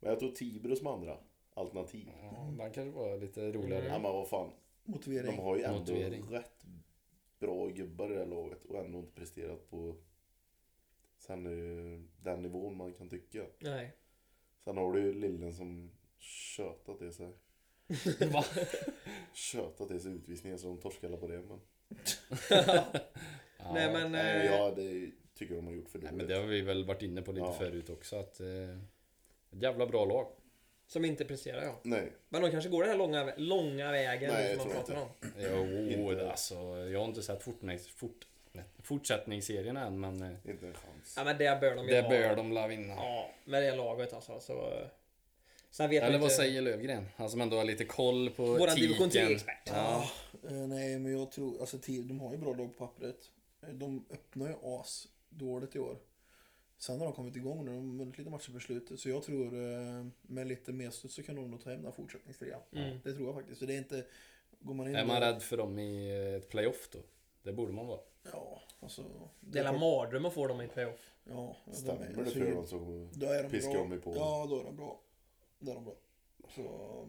[SPEAKER 3] Men jag tror Tibro som andra alternativ.
[SPEAKER 5] Ja, Mm. den kanske var lite roligare.
[SPEAKER 3] Ja, men vad fan. De
[SPEAKER 1] Motivering.
[SPEAKER 3] har ju ändå
[SPEAKER 5] Motivering.
[SPEAKER 3] rätt bra gubbar i det här laget och ändå inte presterat på sen eh, den nivån man kan tycka.
[SPEAKER 4] Nej.
[SPEAKER 3] Sen har du ju lillen som tjötat det sig.
[SPEAKER 4] Va?
[SPEAKER 3] Tjötat det sig utvisningar så de torskar alla på det. Men,
[SPEAKER 5] Ja.
[SPEAKER 4] Nej men...
[SPEAKER 3] nej,
[SPEAKER 4] eh,
[SPEAKER 3] jag det tycker de har gjort för
[SPEAKER 5] Nej,
[SPEAKER 3] dåligt.
[SPEAKER 5] men det har vi väl varit inne på lite
[SPEAKER 3] Ja.
[SPEAKER 5] förut också att... Eh, ett jävla bra lag.
[SPEAKER 4] Som inte presterar ja.
[SPEAKER 3] Nej,
[SPEAKER 4] Men de kanske går den här långa, vä- långa vägen
[SPEAKER 3] Nej, jag
[SPEAKER 4] som man
[SPEAKER 3] tror
[SPEAKER 4] pratar om.
[SPEAKER 5] Jo,
[SPEAKER 3] Inte.
[SPEAKER 5] det, alltså, jag har inte sett Fortnite, fort, fortsättningsserien än men... Eh,
[SPEAKER 3] inte en chans.
[SPEAKER 4] Ja men det bör de ju
[SPEAKER 5] det
[SPEAKER 4] ha.
[SPEAKER 5] bör de la vinna.
[SPEAKER 4] Ja, med det laget alltså. Så... eh, Sen vet
[SPEAKER 5] Eller
[SPEAKER 4] man
[SPEAKER 5] vad
[SPEAKER 4] inte...
[SPEAKER 5] säger Lövgren? Han som ändå har lite koll på
[SPEAKER 4] Våran division
[SPEAKER 5] tiken.
[SPEAKER 4] 3-expert.
[SPEAKER 5] Ja.
[SPEAKER 1] Eh, nej, men jag tror... Alltså, Ti- de har ju bra lag på pappret. Eh, De öppnar ju as dåligt i år. Sen har de kommit igång nu. De har vunnit lite matcher på slutet. Så jag tror eh, med lite mer studs så kan de nog ta hem den här fortsättningstrean. Det tror jag faktiskt. Så det är inte... Går man in
[SPEAKER 5] Mm. Är man
[SPEAKER 1] där-
[SPEAKER 5] rädd för dem i eh, ett playoff då? Det borde man vara.
[SPEAKER 1] Ja, alltså...
[SPEAKER 4] Det är en mardröm att få dem i playoff.
[SPEAKER 1] Ja, de är-
[SPEAKER 3] Stämmer det
[SPEAKER 1] alltså,
[SPEAKER 3] för dem så
[SPEAKER 1] Då är de
[SPEAKER 3] piskar
[SPEAKER 1] bra.
[SPEAKER 3] de ju på.
[SPEAKER 1] Ja, då är de bra. Då är de bra. Så,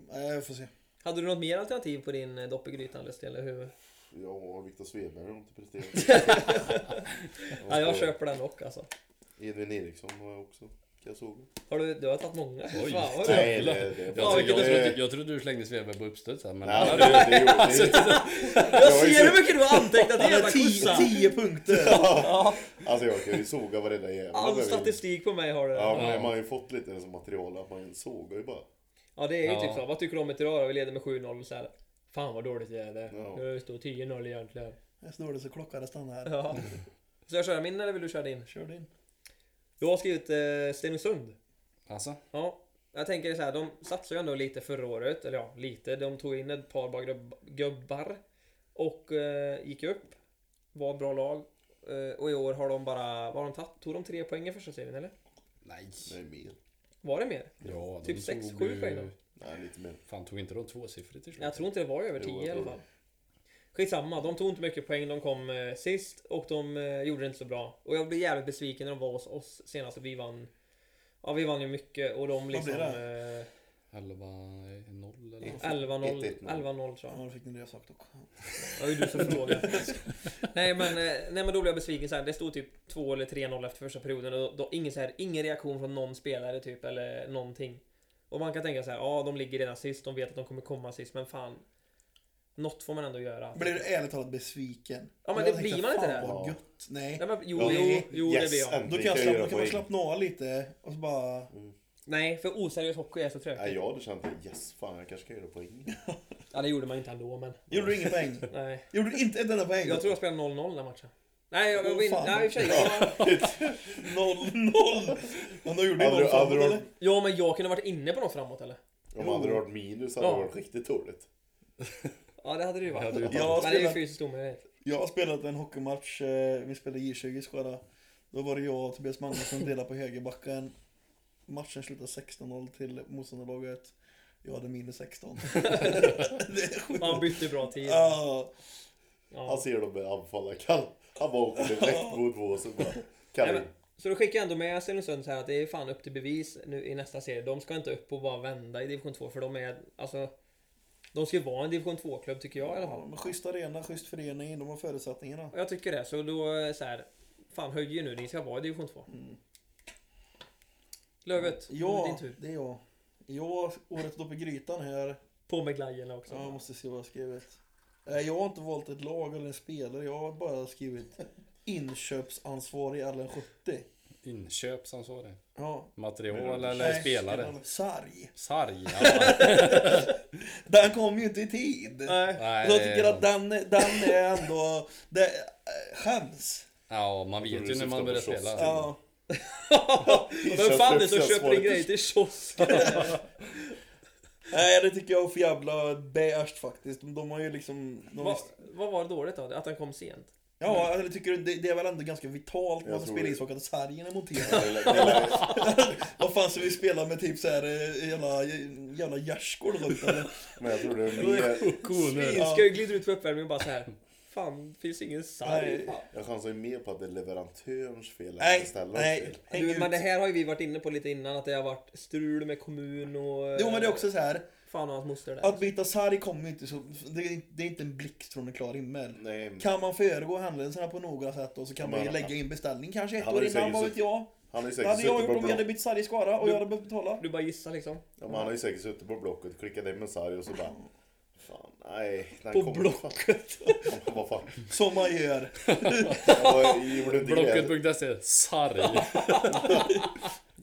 [SPEAKER 1] nej, jag får se.
[SPEAKER 4] Hade du något mer alternativ på din eh, dopp i grytan Lustig, eller hur?
[SPEAKER 3] Ja, Viktor Svedberg har inte presterat.
[SPEAKER 4] Ja, jag köper den dock alltså.
[SPEAKER 3] Edvin Eriksson har jag också. Kan jag såga.
[SPEAKER 4] Har du, du har tagit många. Oj. Fan, vad bra.
[SPEAKER 3] Nej, det, det,
[SPEAKER 5] Jag,
[SPEAKER 4] Ja,
[SPEAKER 5] trodde- jag,
[SPEAKER 4] vilket-
[SPEAKER 5] trodde, jag trodde du slängde Svedberg på uppstuds här men...
[SPEAKER 3] Nej, men det, det, det,
[SPEAKER 4] Alltså,
[SPEAKER 3] det,
[SPEAKER 4] jag ser hur mycket du har antecknat i jävla kossan!
[SPEAKER 1] 10 punkter!
[SPEAKER 3] Alltså jag kan ju såga varenda jävla
[SPEAKER 4] All
[SPEAKER 3] bög.
[SPEAKER 4] statistik på mig har du.
[SPEAKER 3] Ja
[SPEAKER 4] Ja,
[SPEAKER 3] men man har ju fått lite som material att man sågar ju bara
[SPEAKER 4] det är ju
[SPEAKER 5] Ja.
[SPEAKER 4] typ så. Vad tycker du om ett idag då? Vi leder med 7-0 och så här.
[SPEAKER 6] Fan vad dåligt det är det.
[SPEAKER 3] Ja.
[SPEAKER 6] Nu står 10-0 egentligen.
[SPEAKER 1] Här står det så klockan stannar här.
[SPEAKER 4] Ja. Ska jag köra min eller vill du köra din?
[SPEAKER 1] Kör din.
[SPEAKER 4] Jag har skrivit eh, Stenungsund.
[SPEAKER 5] Alltså?
[SPEAKER 4] Ja, jag tänker så här, de satsade ju ändå lite förra året, eller ja, lite. De tog in ett par bara grubb- gubbar och eh, gick upp. Var ett bra lag. Eh, och i år har de bara, vad har de tagit? Tog de tre poäng i första serien eller?
[SPEAKER 5] Nej.
[SPEAKER 3] Nej, mer.
[SPEAKER 4] Var det mer?
[SPEAKER 5] Ja, de
[SPEAKER 4] Typ
[SPEAKER 5] tog
[SPEAKER 4] sex, sju
[SPEAKER 5] ju-
[SPEAKER 4] poäng då.
[SPEAKER 3] Nej, lite mer.
[SPEAKER 5] Fan, tog inte de tvåsiffrigt till slut?
[SPEAKER 4] Jag tror inte det var över 10
[SPEAKER 3] Jo, jag
[SPEAKER 4] i alla
[SPEAKER 3] tror
[SPEAKER 4] fall. Skitsamma, de tog inte mycket poäng. De kom eh, sist och de eh, gjorde det inte så bra. Och jag blev jävligt besviken när de var hos oss senast och vi vann. Ja, vi vann ju mycket och de liksom...
[SPEAKER 1] blev
[SPEAKER 4] eh,
[SPEAKER 5] 11, 0 eh, eller? något.
[SPEAKER 4] 11-0
[SPEAKER 3] 1-1-0.
[SPEAKER 4] 11-0 tror jag.
[SPEAKER 1] Ja, då fick ni det jag sagt också.
[SPEAKER 4] Det var ju du som frågade. nej, men, eh, nej men då blev jag besviken så här. Det stod typ 2 eller 3-0 efter första perioden och då, då, ingen, så här, ingen reaktion från någon spelare typ eller någonting. Och man kan tänka så här, ja de ligger redan sist, de vet att de kommer komma sist, men fan. Något får man ändå göra.
[SPEAKER 1] Alltså, Blir du ärligt talat besviken?
[SPEAKER 4] Ja,
[SPEAKER 1] Jag
[SPEAKER 4] men det
[SPEAKER 1] tänkte,
[SPEAKER 4] blir man inte
[SPEAKER 1] fan
[SPEAKER 4] det.
[SPEAKER 1] vad
[SPEAKER 3] Ja.
[SPEAKER 1] gött. Nej.
[SPEAKER 4] Nej, men, jo,
[SPEAKER 3] Ja,
[SPEAKER 4] jo,
[SPEAKER 1] nej.
[SPEAKER 4] jo det blir jag.
[SPEAKER 1] Då kan, jag
[SPEAKER 3] jag
[SPEAKER 1] slappna, då
[SPEAKER 3] göra
[SPEAKER 1] kan man
[SPEAKER 3] poäng.
[SPEAKER 1] slappna av lite och så bara...
[SPEAKER 4] Nej, för oseriös hockey är så
[SPEAKER 3] Nej,
[SPEAKER 4] trögt.
[SPEAKER 3] jag hade känt att yes, fan jag kanske kan göra poäng.
[SPEAKER 4] Ja, det gjorde man inte ändå, men.
[SPEAKER 1] Gjorde du ingen poäng?
[SPEAKER 4] Nej.
[SPEAKER 1] Gjorde du inte ett enda poäng?
[SPEAKER 4] Jag tror jag spelade 0-0 den här matchen. Nej, jag, jag
[SPEAKER 1] Åh,
[SPEAKER 4] vinner.
[SPEAKER 1] fan.
[SPEAKER 4] Nej, i och för sig. jag-
[SPEAKER 1] 0-0! Men då gjorde ju
[SPEAKER 3] Hade
[SPEAKER 1] någon
[SPEAKER 3] du, hade
[SPEAKER 1] framåt
[SPEAKER 3] du,
[SPEAKER 1] eller?
[SPEAKER 3] varit-
[SPEAKER 4] Ja, men jag kunde varit inne på något framåt eller?
[SPEAKER 3] om hade det varit minus hade
[SPEAKER 4] Ja.
[SPEAKER 3] det varit riktigt dåligt.
[SPEAKER 4] Ja, det hade det ju varit.
[SPEAKER 5] Ja, du-
[SPEAKER 1] Jag har
[SPEAKER 4] men det är ju
[SPEAKER 1] spelat,
[SPEAKER 4] fysiskt omöjligt.
[SPEAKER 1] jag har spelat en hockeymatch, eh, vi spelade J20 i Skara. Då var det jag och Tobias Magnusson delade på högerbacken. Matchen slutade 16-0 till motståndarlaget. Jag hade minus 16. det är sjukt.
[SPEAKER 4] Han bytte bra tid.
[SPEAKER 1] Ja,
[SPEAKER 4] Ja.
[SPEAKER 3] Han
[SPEAKER 1] Alltså-
[SPEAKER 3] ser dem börja anfalla. Kan, han bara åker direkt mot båsen bara.
[SPEAKER 4] Nej,
[SPEAKER 3] Kan
[SPEAKER 4] men- Så då skickar jag ändå med Stenungsund så här att det är fan upp till bevis nu i nästa serie. De ska inte upp och bara vända i division 2 för de är alltså... De ska ju vara en division 2-klubb tycker jag i alla fall.
[SPEAKER 1] men schysst arena, schysst förening, de har förutsättningarna.
[SPEAKER 4] Och jag tycker det, så då eh, så här, Fan höj er nu, ni ska vara i division 2.
[SPEAKER 1] Mm.
[SPEAKER 4] Lövet, nu är det
[SPEAKER 1] Ja,
[SPEAKER 4] din tur.
[SPEAKER 1] det är jag. Jag, året upp i grytan här.
[SPEAKER 4] På med glajjorna också.
[SPEAKER 1] Ja, jag måste se vad jag har skrivit. Nej, Jag har inte valt ett lag eller en spelare. Jag har bara skrivit inköpsansvarig Allen 70.
[SPEAKER 5] Inköpsansvarig.
[SPEAKER 1] Ja.
[SPEAKER 5] Material eller
[SPEAKER 1] Nej,
[SPEAKER 5] spelare?
[SPEAKER 1] Sarg.
[SPEAKER 5] Sarg? ja.
[SPEAKER 1] Den kom ju inte i tid.
[SPEAKER 4] Nej.
[SPEAKER 5] Nej,
[SPEAKER 1] Så jag tycker
[SPEAKER 5] det är
[SPEAKER 1] att den, den är ändå... Det, eh, chans.
[SPEAKER 5] Ja, man
[SPEAKER 3] Jag
[SPEAKER 5] vet
[SPEAKER 3] tror
[SPEAKER 5] ju
[SPEAKER 3] du
[SPEAKER 5] när man
[SPEAKER 3] syftar
[SPEAKER 5] börjar
[SPEAKER 3] på kiosk.
[SPEAKER 5] spela.
[SPEAKER 1] Ja.
[SPEAKER 4] Vem fan är det som
[SPEAKER 3] Inköpsansvaret.
[SPEAKER 4] köper en grej till kiosken?
[SPEAKER 1] Nej, det tycker jag är för jävla beige faktiskt. De, de har ju liksom... De,
[SPEAKER 4] Vad- Vad var det dåligt då? Att han kom sent?
[SPEAKER 1] ja, eller tycker du det, det är väl ändå ganska vitalt när
[SPEAKER 3] Jag
[SPEAKER 1] man
[SPEAKER 3] tror
[SPEAKER 1] spelar
[SPEAKER 3] det.
[SPEAKER 1] ishockey att sargen är monterad.
[SPEAKER 3] Det lär- det lär-
[SPEAKER 1] Vad fan ska vi spela med typ såhär jävla, jävla gärdsgård runt eller?
[SPEAKER 3] Men jag tror det är mer,
[SPEAKER 5] Koner.
[SPEAKER 4] Svin ska ju glida ut på uppvärmningen och bara så här. Fan, finns ingen sarg.
[SPEAKER 1] Nej.
[SPEAKER 3] jag chansar ju mer på att det är leverantörens fel än
[SPEAKER 1] Nej,
[SPEAKER 3] beställarens
[SPEAKER 1] nej,
[SPEAKER 3] fel.
[SPEAKER 1] häng
[SPEAKER 4] Du,
[SPEAKER 1] ut.
[SPEAKER 4] men det här har ju vi varit inne på lite innan att det har varit strul med kommun och... eh,
[SPEAKER 1] Jo men det är också så här
[SPEAKER 4] Fan och hans moster där.
[SPEAKER 1] att byta sarg kommer ju inte så, det är, det är inte en blixt från en klar himmel.
[SPEAKER 3] Nej,
[SPEAKER 1] Kan man föregå händelserna på några sätt då så kan man ju
[SPEAKER 3] Men-
[SPEAKER 1] lägga in beställning kanske ett
[SPEAKER 3] Han har
[SPEAKER 1] år
[SPEAKER 3] ju
[SPEAKER 1] innan,
[SPEAKER 3] säkert
[SPEAKER 1] vad
[SPEAKER 3] suttit-
[SPEAKER 1] vet jag?
[SPEAKER 3] han har ju
[SPEAKER 1] Det
[SPEAKER 3] säkert
[SPEAKER 1] hade jag
[SPEAKER 3] suttit
[SPEAKER 1] gjort
[SPEAKER 3] på
[SPEAKER 1] om vi hade
[SPEAKER 3] block.
[SPEAKER 1] bytt sarg i Skara och jag hade behövt betala.
[SPEAKER 4] Du bara gissar liksom.
[SPEAKER 3] Ja, men han har ju säkert suttit på blocket, klickat hem en sarg och så bara... Fan, nej. den
[SPEAKER 4] På
[SPEAKER 3] kommer-
[SPEAKER 4] Blocket.
[SPEAKER 3] Fan, Vad fan.
[SPEAKER 1] Som man gör.
[SPEAKER 3] Jag gjorde inte gräs.
[SPEAKER 5] Blocket.se. E, Sarg.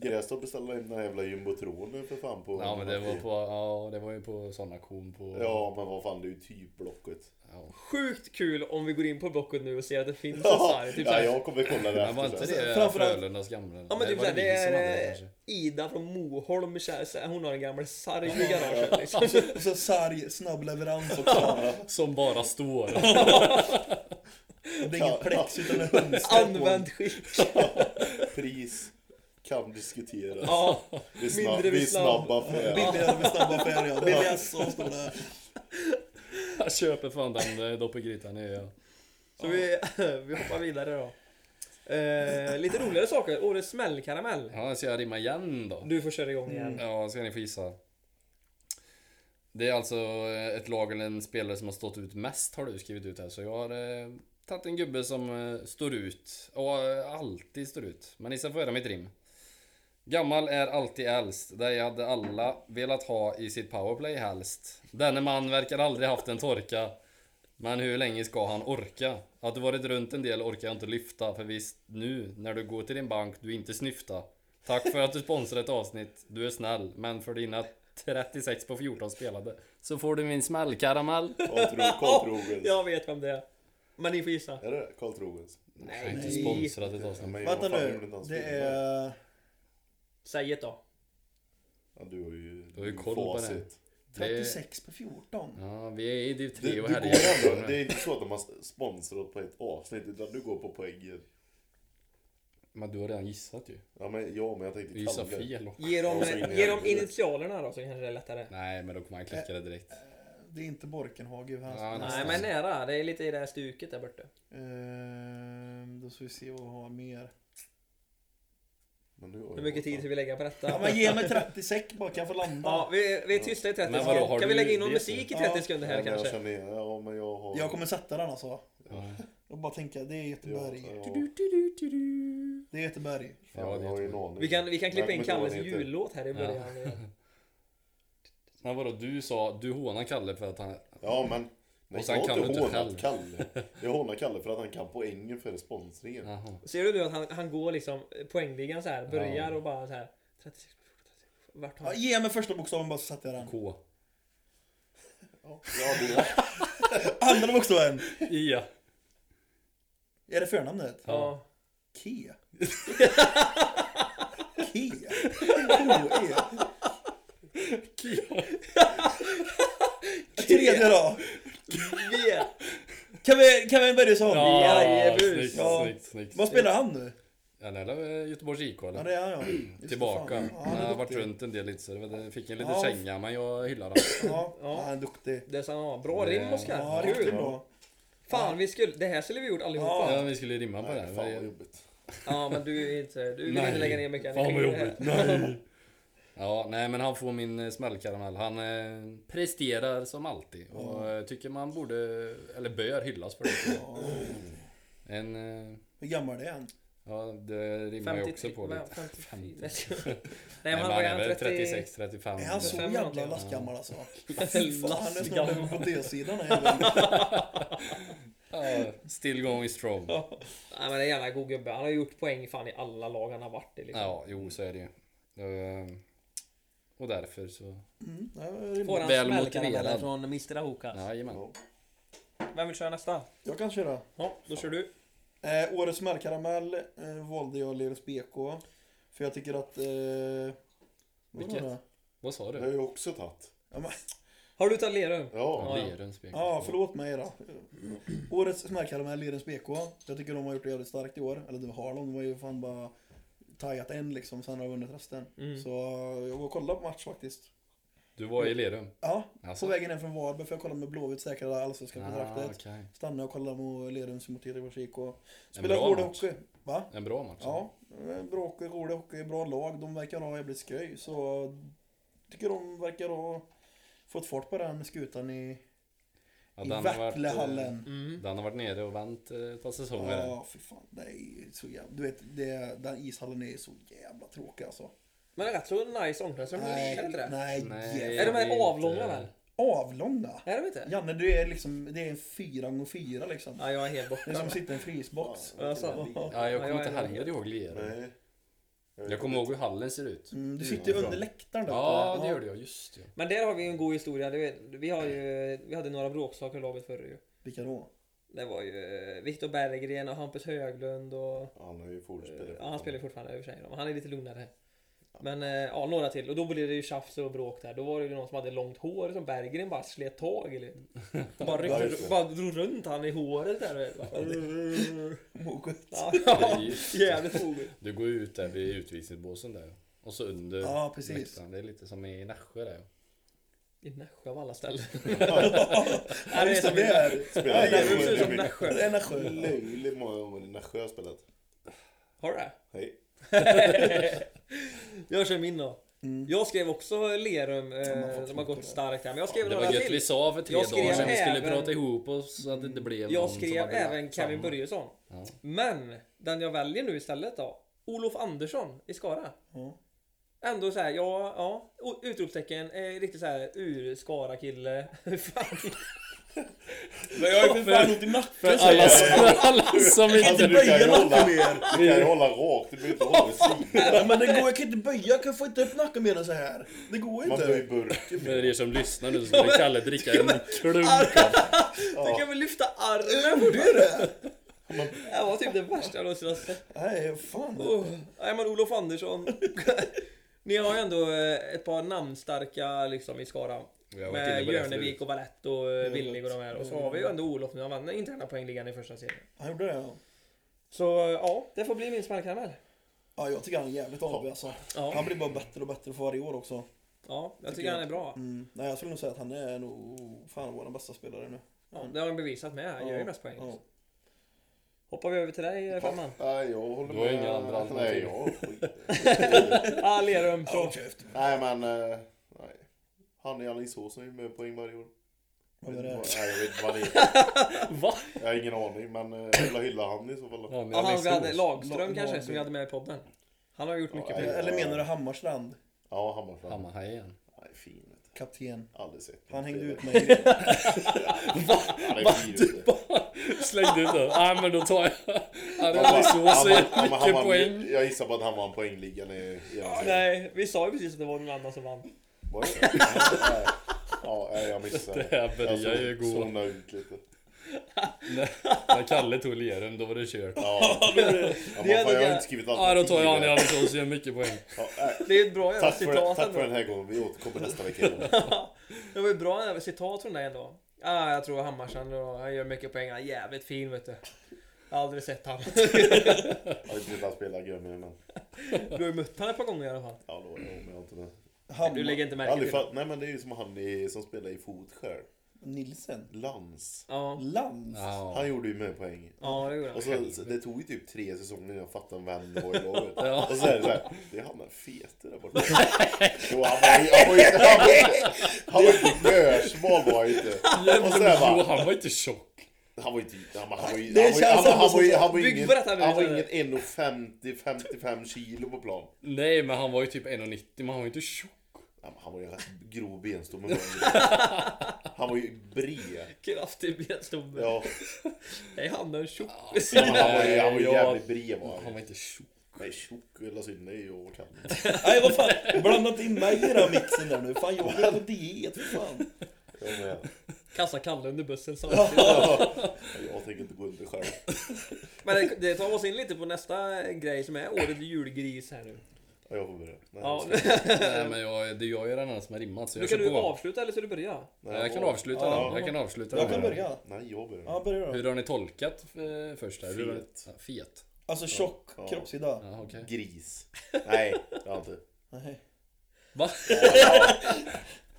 [SPEAKER 3] Grästorp beställde in den här jävla jumbotronen för fan på...
[SPEAKER 5] Ja, men det var på, ja, det var ju på sån auktion på...
[SPEAKER 3] Ja, men vad fan, det är ju typ Blocket.
[SPEAKER 5] Ja.
[SPEAKER 4] Sjukt kul om vi går in på Blocket nu och ser att det finns en
[SPEAKER 3] Ja,
[SPEAKER 4] sarg. Typ så
[SPEAKER 3] ja,
[SPEAKER 4] här.
[SPEAKER 3] jag kommer kolla det
[SPEAKER 5] Men var inte
[SPEAKER 3] efter sen.
[SPEAKER 5] det
[SPEAKER 1] Framförallt-
[SPEAKER 5] Frölundas gamla?
[SPEAKER 4] Ja men typ
[SPEAKER 5] var
[SPEAKER 4] såhär, det
[SPEAKER 5] vi som hade det,
[SPEAKER 4] är
[SPEAKER 5] kanske?
[SPEAKER 4] Ida från Moholm, kär- så här, hon har en gammal sarg i garaget liksom.
[SPEAKER 1] Och så sarg, snabb leverans också.
[SPEAKER 5] Som bara står.
[SPEAKER 1] Det är inget plex utan en hundställ på.
[SPEAKER 4] Använd skick.
[SPEAKER 3] Pris kan diskuteras.
[SPEAKER 4] Ja,
[SPEAKER 3] vi, är snabb,
[SPEAKER 4] mindre
[SPEAKER 3] vi är
[SPEAKER 4] snabb.
[SPEAKER 3] snabba för det.
[SPEAKER 1] Billigare med snabba affärer ja. BBS och stora.
[SPEAKER 5] Jag köper fan den eh, doppergrytan. det gör jag.
[SPEAKER 4] så vi, vi hoppar vidare då. Eh, lite roligare saker. Årets smällkaramell.
[SPEAKER 5] Ja, så jag rimmar igen då.
[SPEAKER 4] Du får köra
[SPEAKER 1] Mm.
[SPEAKER 4] igång igen.
[SPEAKER 5] Ja, ska ni få gissa. Det är alltså eh, ett lag eller en spelare som har stått ut mest har du skrivit ut här. Så jag har eh, tagit en gubbe som eh, står ut. Och eh, alltid står ut. Men ni ska få höra mitt rim. Gammal är alltid äldst. Där jag hade alla velat ha i sitt powerplay helst. Denne man verkar aldrig haft en torka. Men hur länge ska han orka? Att du varit runt en del orkar jag inte lyfta för visst nu när du går till din bank du inte snyfta. Tack för att du sponsrar ett avsnitt. Du är snäll, men för dina 36 på 14 spelade. Så får du min smällkaramell.
[SPEAKER 3] Karl Trogens.
[SPEAKER 4] Jag vet vem det är. Men ni får gissa.
[SPEAKER 3] Är det Karl Trogens?
[SPEAKER 5] Nej, jag är inte sponsrat ett avsnitt.
[SPEAKER 3] men
[SPEAKER 1] Vänta
[SPEAKER 3] vad fan gjorde
[SPEAKER 1] nu,
[SPEAKER 3] inte han
[SPEAKER 1] det
[SPEAKER 3] spelare?
[SPEAKER 1] är...
[SPEAKER 4] Säg ett då.
[SPEAKER 3] Ja, du har ju...
[SPEAKER 5] Du har ju koll på det.
[SPEAKER 3] facit.
[SPEAKER 5] Det,
[SPEAKER 1] 36 på 14.
[SPEAKER 5] ja, vi är i div 3
[SPEAKER 3] Du, du
[SPEAKER 5] och
[SPEAKER 3] går
[SPEAKER 5] härjar.
[SPEAKER 3] ändå, det är inte så att de har sponsrat på ett avsnitt utan du går på poängen.
[SPEAKER 5] Men du har redan gissat ju.
[SPEAKER 3] Ja men, ja, men jag tänkte
[SPEAKER 5] Du gissar
[SPEAKER 3] Kalle.
[SPEAKER 5] fel också.
[SPEAKER 4] Ge dem,
[SPEAKER 3] Jag var så inne i
[SPEAKER 4] ge dem
[SPEAKER 3] helvete.
[SPEAKER 4] initialerna då så kanske det är lättare.
[SPEAKER 5] Nej, men då kommer han klicka det direkt.
[SPEAKER 1] Eh, Det är inte Borkenhage. ur hans-
[SPEAKER 5] Ja,
[SPEAKER 4] Nej men nära, det är lite i det här stuket där borta.
[SPEAKER 1] Ehm, Då ska vi se vad vi har mer.
[SPEAKER 3] Men nu har
[SPEAKER 4] Hur
[SPEAKER 3] jag
[SPEAKER 4] mycket
[SPEAKER 3] gått,
[SPEAKER 4] tid ska vi lägga på detta?
[SPEAKER 1] Ja, men ge mig 30 säck bara kan jag få
[SPEAKER 4] Ja,
[SPEAKER 1] landa.
[SPEAKER 4] vi, vi är tysta i 30
[SPEAKER 5] Men vadå,
[SPEAKER 4] sekunder.
[SPEAKER 5] har
[SPEAKER 4] Kan vi
[SPEAKER 5] du
[SPEAKER 4] lägga in någon
[SPEAKER 5] det så?
[SPEAKER 4] musik i 30
[SPEAKER 1] Ja.
[SPEAKER 4] sekunder
[SPEAKER 3] Ja,
[SPEAKER 4] här
[SPEAKER 3] men jag
[SPEAKER 4] kanske?
[SPEAKER 3] känner igen- Ja men jag har...
[SPEAKER 1] Jag kommer sätta den alltså.
[SPEAKER 5] Ja,
[SPEAKER 1] Jag bara tänker, det är
[SPEAKER 3] Ja,
[SPEAKER 1] Göteborg.
[SPEAKER 4] Typ.
[SPEAKER 3] ja.
[SPEAKER 1] Det är Göteborg.
[SPEAKER 5] Ja, det
[SPEAKER 3] Fan, jag har ju en aning.
[SPEAKER 4] Vi kan, vi kan klippa
[SPEAKER 3] Jag
[SPEAKER 4] in
[SPEAKER 3] kommer
[SPEAKER 4] Kalles
[SPEAKER 3] inte ihåg vad den heter.
[SPEAKER 4] jullåt här i början.
[SPEAKER 5] Men vadå, du sa, du hånar Kalle för att han...
[SPEAKER 3] Ja men. Nej,
[SPEAKER 5] Och sen
[SPEAKER 3] jag har
[SPEAKER 5] kan
[SPEAKER 3] inte
[SPEAKER 5] du inte
[SPEAKER 3] hånat Kalle. Jag hånar Kalle för att han kan poängen för sponsringen.
[SPEAKER 5] Jaha.
[SPEAKER 4] Ser du nu att han, han går liksom poängligan så här, börjar och bara så här 36, 36, vart har
[SPEAKER 1] Ja,
[SPEAKER 4] han?
[SPEAKER 1] ge mig första bokstaven bara så sätter jag den.
[SPEAKER 5] K.
[SPEAKER 3] Ja, det är
[SPEAKER 1] Andra bokstaven.
[SPEAKER 5] Ja.
[SPEAKER 1] Är det förnamnet?
[SPEAKER 4] Ja.
[SPEAKER 1] Ke. Ke. K-E. Tredje då.
[SPEAKER 4] Yeah.
[SPEAKER 1] Kan vi, kan vi börja så?
[SPEAKER 5] Ja,
[SPEAKER 4] Jajebus.
[SPEAKER 5] snyggt,
[SPEAKER 1] Ja.
[SPEAKER 5] snyggt, snyggt.
[SPEAKER 1] Vad spelar han nu?
[SPEAKER 5] Han är väl Göteborgs IK
[SPEAKER 1] Ja,
[SPEAKER 5] eller?
[SPEAKER 1] det är han ja. Just det,
[SPEAKER 5] Tillbaka.
[SPEAKER 1] fan. Ja,
[SPEAKER 5] Han
[SPEAKER 1] han
[SPEAKER 5] har
[SPEAKER 1] är
[SPEAKER 5] varit
[SPEAKER 1] duktig.
[SPEAKER 5] runt en del lite så det var- det fick en liten
[SPEAKER 1] Ja.
[SPEAKER 5] känga men jag hyllar honom.
[SPEAKER 1] Ja,
[SPEAKER 4] Ja.
[SPEAKER 1] han är duktig.
[SPEAKER 4] Det sa han var. Bra rim
[SPEAKER 5] Nej.
[SPEAKER 1] Ja,
[SPEAKER 4] Oskar.
[SPEAKER 1] riktigt
[SPEAKER 4] Kul.
[SPEAKER 1] bra.
[SPEAKER 4] Fan, vi skulle, det här skulle vi gjort allihopa.
[SPEAKER 5] Ja, vi skulle rimma på det.
[SPEAKER 3] Nej,
[SPEAKER 5] här.
[SPEAKER 3] fan vad jobbigt.
[SPEAKER 4] Ja men du är inte, du vill
[SPEAKER 5] Nej.
[SPEAKER 4] inte lägga ner mycket
[SPEAKER 5] Fan vad
[SPEAKER 4] energi på det här.
[SPEAKER 5] jobbigt. Nej. Ja, nej men han får min eh, smällkaramell. Han eh, presterar som alltid. Och
[SPEAKER 1] Mm.
[SPEAKER 5] eh, tycker man borde, eller bör hyllas för det. En, eh,
[SPEAKER 1] Hur gammal är han?
[SPEAKER 5] ja det rimmar ju också
[SPEAKER 4] 53,
[SPEAKER 5] på lite.
[SPEAKER 4] men 54. Nej,
[SPEAKER 5] Nej,
[SPEAKER 4] men
[SPEAKER 5] men
[SPEAKER 4] han
[SPEAKER 5] han
[SPEAKER 4] var
[SPEAKER 5] är
[SPEAKER 4] ju
[SPEAKER 5] väl
[SPEAKER 4] 36.
[SPEAKER 5] 36, 35.
[SPEAKER 1] Är han så
[SPEAKER 4] Fem
[SPEAKER 1] jävla
[SPEAKER 4] någonting, va?
[SPEAKER 1] lastgammal alltså? Fy fan, han är snart
[SPEAKER 4] Lastgammal.
[SPEAKER 1] över på D-sidan den jäveln.
[SPEAKER 5] Ja, still going strong.
[SPEAKER 4] Nej men det är en jävla god gubbe. Han har gjort poäng fan i alla lag han har varit i liksom.
[SPEAKER 5] Ja, jo så är det ju. Eh, Och därför så...
[SPEAKER 1] Mm, det var rimligt.
[SPEAKER 4] Får han
[SPEAKER 5] Väl
[SPEAKER 4] smällkarameller
[SPEAKER 5] motiverad.
[SPEAKER 4] från Mr Ahokas?
[SPEAKER 5] Jajamän.
[SPEAKER 4] Vem vill köra nästa?
[SPEAKER 1] Jag kan köra.
[SPEAKER 4] Ja, då kör du.
[SPEAKER 1] Eh, årets smällkaramell eh, valde jag Leros BK. För jag tycker att... Eh, vadå
[SPEAKER 5] Vilket?
[SPEAKER 1] då?
[SPEAKER 5] Vad sa
[SPEAKER 3] Det har
[SPEAKER 5] du?
[SPEAKER 3] jag också tagit.
[SPEAKER 1] Ja, men,
[SPEAKER 4] Har du tagit Lerum?
[SPEAKER 3] Ja.
[SPEAKER 4] ja.
[SPEAKER 5] Lerums BK.
[SPEAKER 1] ja, förlåt mig då. Årets smällkaramell Leros BK. Jag tycker de har gjort det jävligt starkt i år. Eller det har de. De har ju fan bara taggat en liksom, sen har de vunnit resten.
[SPEAKER 4] Mm.
[SPEAKER 1] Så jag var och kollade på match faktiskt.
[SPEAKER 5] Du var i Lerum?
[SPEAKER 1] Ja,
[SPEAKER 5] Alltså?
[SPEAKER 1] på vägen hem från Varberg för jag kollade med Blåvitt säkrade allsvenska
[SPEAKER 5] Ah,
[SPEAKER 1] kontraktet.
[SPEAKER 5] okej.
[SPEAKER 1] Stannade och kollade mot Lerums mot Göteborgs IK. Spelade
[SPEAKER 5] bra
[SPEAKER 1] hård
[SPEAKER 5] match.
[SPEAKER 1] hockey. Va?
[SPEAKER 5] En bra match.
[SPEAKER 1] Ja, eh, bra hockey, rolig hockey, bra lag. De verkar ha jävligt skoj. Så tycker de verkar ha fått fart på den skutan i,
[SPEAKER 5] Ja,
[SPEAKER 1] i
[SPEAKER 5] den har varit, eh,
[SPEAKER 1] Värtlehallen.
[SPEAKER 4] Mm.
[SPEAKER 5] Den har varit nere och vänt eh, ett par säsonger.
[SPEAKER 1] Ja, fy fan. Det är så jävla... Du vet, det, den ishallen är så jävla tråkig alltså.
[SPEAKER 4] Men det är rätt så nice omklädningsrum. Är det inte det?
[SPEAKER 1] nej,
[SPEAKER 5] Nej,
[SPEAKER 1] jävla-
[SPEAKER 4] Är de här
[SPEAKER 5] det inte-
[SPEAKER 4] avlånga väl?
[SPEAKER 1] Avlånga.
[SPEAKER 4] Är de inte?
[SPEAKER 1] Janne, du är liksom... Det är en fyra gånger fyra liksom.
[SPEAKER 4] Ja, jag är helt
[SPEAKER 1] Det är som
[SPEAKER 4] borta.
[SPEAKER 1] att sitta i en frysbox.
[SPEAKER 4] Ja, så.
[SPEAKER 5] Alltså. Ja, jag
[SPEAKER 4] Ja,
[SPEAKER 5] kommer
[SPEAKER 4] jag
[SPEAKER 5] inte
[SPEAKER 4] är-
[SPEAKER 5] heller ihåg Lerum.
[SPEAKER 3] Nej.
[SPEAKER 5] Jag kommer ihåg hur hallen ser ut.
[SPEAKER 1] Mm, du sitter ju under läktaren där.
[SPEAKER 5] Ja, det gjorde jag. Just det.
[SPEAKER 4] Men där har vi ju en god historia. Du vet, Vi, har ju, vi hade några bråksaker i laget förr ju.
[SPEAKER 1] Vilka då?
[SPEAKER 4] Det var ju eh, Viktor Berggren och Hampus Höglund och...
[SPEAKER 3] Han har ju fortspelare.
[SPEAKER 4] Ja, han spelar ju fortfarande i och för sig. Men han är lite lugnare. Men eh, ja, några till. Och då blev det ju tjafs och bråk där. Då var det ju någon som hade långt hår som Berggren bara slet tag i. liksom. Bara,
[SPEAKER 3] Ja,
[SPEAKER 4] ryckte,
[SPEAKER 3] just det.
[SPEAKER 4] bara drog runt han i håret där. du vet.
[SPEAKER 1] Moget.
[SPEAKER 4] Ja,
[SPEAKER 5] är
[SPEAKER 4] ja,
[SPEAKER 5] ju-
[SPEAKER 4] jävligt roligt.
[SPEAKER 5] Du går ut där vid utvisningsbåsen där. Och så under
[SPEAKER 1] Ja, precis.
[SPEAKER 5] läktaren. Det är lite som i Nässjö där.
[SPEAKER 4] I Nässjö av alla ställen.
[SPEAKER 1] Ja, just det. Det är...
[SPEAKER 3] Spelar
[SPEAKER 4] Nej, det
[SPEAKER 3] ingen
[SPEAKER 4] ser ut
[SPEAKER 3] roll.
[SPEAKER 4] som
[SPEAKER 3] Det är
[SPEAKER 1] Det
[SPEAKER 4] Nässjö.
[SPEAKER 1] är Nässjö.
[SPEAKER 3] Löjligt många gånger i Nässjö har jag spelat.
[SPEAKER 4] Har du det?
[SPEAKER 3] Hej.
[SPEAKER 4] Jag kör min då. Jag skrev också Lerum. Eh, de har gått starkt här. Men jag skrev
[SPEAKER 5] Det
[SPEAKER 4] några
[SPEAKER 5] var gött vi
[SPEAKER 4] till.
[SPEAKER 5] sa för tre
[SPEAKER 4] Jag skrev
[SPEAKER 5] dagar sedan. Vi skulle
[SPEAKER 4] även-
[SPEAKER 5] prata ihop oss så att det inte blev någon
[SPEAKER 4] Jag
[SPEAKER 5] som
[SPEAKER 4] skrev
[SPEAKER 5] hade lagt
[SPEAKER 4] även Kevin
[SPEAKER 5] samma.
[SPEAKER 4] Börjesson.
[SPEAKER 5] Ja.
[SPEAKER 4] Men den jag väljer nu istället då. Olof Andersson i Skara.
[SPEAKER 1] Ja.
[SPEAKER 4] Ändå så här, ja, ja. O- Utropstecken, eh, riktigt så här urskara kille. Fan.
[SPEAKER 7] Men jag har ju för fan ont i nacken säger
[SPEAKER 5] Alla,
[SPEAKER 7] jag.
[SPEAKER 5] alla som
[SPEAKER 3] Alltså
[SPEAKER 5] inte...
[SPEAKER 3] du kan ju
[SPEAKER 1] böja
[SPEAKER 3] hålla,
[SPEAKER 1] nacken ner.
[SPEAKER 3] du kan ju hålla rakt, du behöver inte hålla vid sidan.
[SPEAKER 1] Ja, men det går, jag kan inte böja, jag kan få inte upp nacken mer än så här. Det går
[SPEAKER 3] Man
[SPEAKER 1] inte.
[SPEAKER 3] böjer burken.
[SPEAKER 5] För er som lyssnar nu så skulle Kalle dricka en klunk.
[SPEAKER 4] Du kan väl lyfta
[SPEAKER 1] Jag
[SPEAKER 4] armen?
[SPEAKER 1] gjorde ju det.
[SPEAKER 4] Det var typ det värsta jag någonsin har sett.
[SPEAKER 1] Nej, fan.
[SPEAKER 4] Oh, nej men Olof Andersson. Ni har ju ändå eh, ett par namnstarka liksom i Skara.
[SPEAKER 5] Jag har varit inne
[SPEAKER 4] Med
[SPEAKER 5] på det
[SPEAKER 4] Jörnevik och Valett och eh, Willig och de här. Och så har vi ju ändå Olof nu. Han vann internetpoängligan i första serien.
[SPEAKER 1] Han gjorde det ja.
[SPEAKER 4] Så eh, ja, det får bli min smällkaramell.
[SPEAKER 1] Ja, jag tycker han är jävligt avig alltså. Han
[SPEAKER 4] Ja,
[SPEAKER 1] blir bara bättre och bättre för varje år också.
[SPEAKER 4] ja, jag tycker han är bra.
[SPEAKER 1] Mm. Nej, jag skulle nog säga att han är nog fan vår bästa spelare nu.
[SPEAKER 4] Ja, det har han bevisat med. Han gör ju mest poäng.
[SPEAKER 1] Ja.
[SPEAKER 4] Hoppar vi över till dig eh, Femman.
[SPEAKER 3] Nej, jag håller
[SPEAKER 5] Du har
[SPEAKER 3] med.
[SPEAKER 5] inga andra
[SPEAKER 3] Nej,
[SPEAKER 5] alternativ.
[SPEAKER 3] jag skiter.
[SPEAKER 4] Ah, Lerum. Så.
[SPEAKER 3] Nej, men... eh, Nej. Han i Alingsås är ju med poäng varje år.
[SPEAKER 1] Vad är det?
[SPEAKER 3] Nej, jag vet inte vad det är.
[SPEAKER 4] Va?
[SPEAKER 3] Jag har ingen aning, men eh, jag vill hylla han i så fall.
[SPEAKER 5] Ja, men
[SPEAKER 4] Ja,
[SPEAKER 5] jag
[SPEAKER 4] han vi hade
[SPEAKER 5] missade oss.
[SPEAKER 4] Lagström
[SPEAKER 1] Lag-
[SPEAKER 4] kanske
[SPEAKER 1] lag-
[SPEAKER 4] som vi hade med i podden. Han har gjort mycket
[SPEAKER 3] Ja,
[SPEAKER 4] poäng.
[SPEAKER 3] ja.
[SPEAKER 1] Eller menar du Hammarstrand?
[SPEAKER 3] Ja, Hammarstrand.
[SPEAKER 5] Hammarhajen.
[SPEAKER 3] Nej, fin. vet du.
[SPEAKER 1] Kapten.
[SPEAKER 3] Aldrig sett.
[SPEAKER 1] Han hängde ut
[SPEAKER 3] mig.
[SPEAKER 1] mig.
[SPEAKER 3] Han är fin. vet du.
[SPEAKER 5] Slängde ut den. Nej men då tar jag... Han är
[SPEAKER 3] Han-
[SPEAKER 5] alldeles så
[SPEAKER 3] han-
[SPEAKER 5] säger
[SPEAKER 3] han- han
[SPEAKER 5] mycket
[SPEAKER 3] vann-
[SPEAKER 5] poäng.
[SPEAKER 3] Jag gissar på att han vann poängligan i... i Alingsås.
[SPEAKER 4] Nej, vi sa ju precis att det var någon annan som vann.
[SPEAKER 3] Var det det? Nej. Ja, nej, jag missade.
[SPEAKER 5] Det här börjar
[SPEAKER 3] Jag
[SPEAKER 5] ju gå.
[SPEAKER 3] zonade ut lite.
[SPEAKER 5] När Kalle tog Lerum då var det kört.
[SPEAKER 3] Ja, ja
[SPEAKER 4] Det är
[SPEAKER 3] man, fan, jag har
[SPEAKER 4] det-
[SPEAKER 3] inte skrivit allt.
[SPEAKER 5] Ja då tar jag han i Alingsås och gör mycket poäng.
[SPEAKER 3] Ja, nej.
[SPEAKER 4] Det är ett bra jävla
[SPEAKER 3] Tack för,
[SPEAKER 4] citat
[SPEAKER 3] tack för den
[SPEAKER 4] ändå.
[SPEAKER 3] här gången, vi återkommer nästa vecka.
[SPEAKER 4] Det var ju bra jävla citat från dig ändå. Ah, jag tror Hammarstrand och han gör mycket poäng. Han är jävligt fin vet du. Jag har aldrig sett han.
[SPEAKER 3] Jag vet inte hur han spelar Gummi, men...
[SPEAKER 4] Du har ju mött han ett par gånger i alla fall.
[SPEAKER 3] Ja, då, jo, men jag har inte det.
[SPEAKER 4] Du
[SPEAKER 1] Hammar...
[SPEAKER 4] lägger inte
[SPEAKER 3] Jag har
[SPEAKER 4] märke
[SPEAKER 3] aldrig
[SPEAKER 4] till det.
[SPEAKER 3] fatt, nej men det är ju som han i, som spelar i Fotskär.
[SPEAKER 1] Nilsen?
[SPEAKER 3] Lans.
[SPEAKER 4] Ja,
[SPEAKER 1] Lans?
[SPEAKER 5] Ja.
[SPEAKER 3] Han gjorde ju med poäng.
[SPEAKER 4] ja det gjorde han.
[SPEAKER 3] Och så, så- det tog ju typ tre säsonger innan jag fattade vem det var i laget.
[SPEAKER 5] Ja.
[SPEAKER 3] Och så är det såhär, det är han den fete där borta. Jo, han var ju... Han var ju han var ju- han var ju inte mörsmal var han ju inte. Och så här
[SPEAKER 5] Jo
[SPEAKER 3] bara,
[SPEAKER 5] han var inte tjock.
[SPEAKER 3] han var ju inte... Han var- han var ju...
[SPEAKER 1] Det
[SPEAKER 3] Han var ju- han
[SPEAKER 1] känns
[SPEAKER 3] var- han
[SPEAKER 1] ändå
[SPEAKER 3] var ju-
[SPEAKER 1] som-
[SPEAKER 3] han var ju
[SPEAKER 4] Bygg
[SPEAKER 3] ingen...
[SPEAKER 4] berätta nu,
[SPEAKER 3] Han var
[SPEAKER 4] så
[SPEAKER 3] ju
[SPEAKER 4] det.
[SPEAKER 3] ingen 1,50, 55 kilo på plan.
[SPEAKER 5] Nej men han var ju typ 1,90 men han var ju inte tjock.
[SPEAKER 3] Ja, men Han var ju en rätt grov benstomme. var han. Han var ju bred.
[SPEAKER 4] Kraftig benstomme.
[SPEAKER 3] Ja,
[SPEAKER 4] Nej, han är en tjock.
[SPEAKER 3] men han var ju, han var ju
[SPEAKER 5] Nej, jag-
[SPEAKER 3] jävligt bred var
[SPEAKER 5] Han
[SPEAKER 3] han.
[SPEAKER 5] var inte tjock.
[SPEAKER 3] Nej, tjock hela synd, det är ju jag kan.
[SPEAKER 1] Nej vad fan, blandat in mig i den här mixen där nu. Fan jag är på diet för fan.
[SPEAKER 3] Jag, med.
[SPEAKER 4] Kasta Kalle under bussen samtidigt.
[SPEAKER 3] jag tänker inte gå under själv.
[SPEAKER 4] Men det, det tar oss in lite på nästa grej som är årets julgris här nu.
[SPEAKER 3] Ja, Jag får börja. Nej,
[SPEAKER 4] Ja,
[SPEAKER 3] jag ska-
[SPEAKER 5] Nej men jag, det är jag ju den enda som har rimmat så
[SPEAKER 4] nu
[SPEAKER 5] jag
[SPEAKER 4] kan
[SPEAKER 5] kör
[SPEAKER 4] du
[SPEAKER 5] på.
[SPEAKER 4] avsluta eller ska du börja?
[SPEAKER 3] nej,
[SPEAKER 5] Jag kan
[SPEAKER 3] jag-
[SPEAKER 5] avsluta den. Jag kan avsluta
[SPEAKER 1] Jag kan
[SPEAKER 5] den.
[SPEAKER 1] börja.
[SPEAKER 3] Nej, jag börjar.
[SPEAKER 1] Ja, börja då.
[SPEAKER 5] Hur har ni tolkat eh, först här? Hur har ni-
[SPEAKER 3] Fet.
[SPEAKER 5] Ja, Fet.
[SPEAKER 1] Alltså tjock
[SPEAKER 3] Ja.
[SPEAKER 1] kroppshydda.
[SPEAKER 5] Ja, okej.
[SPEAKER 3] Gris. Nej, det har jag inte.
[SPEAKER 1] Nej.
[SPEAKER 5] Va?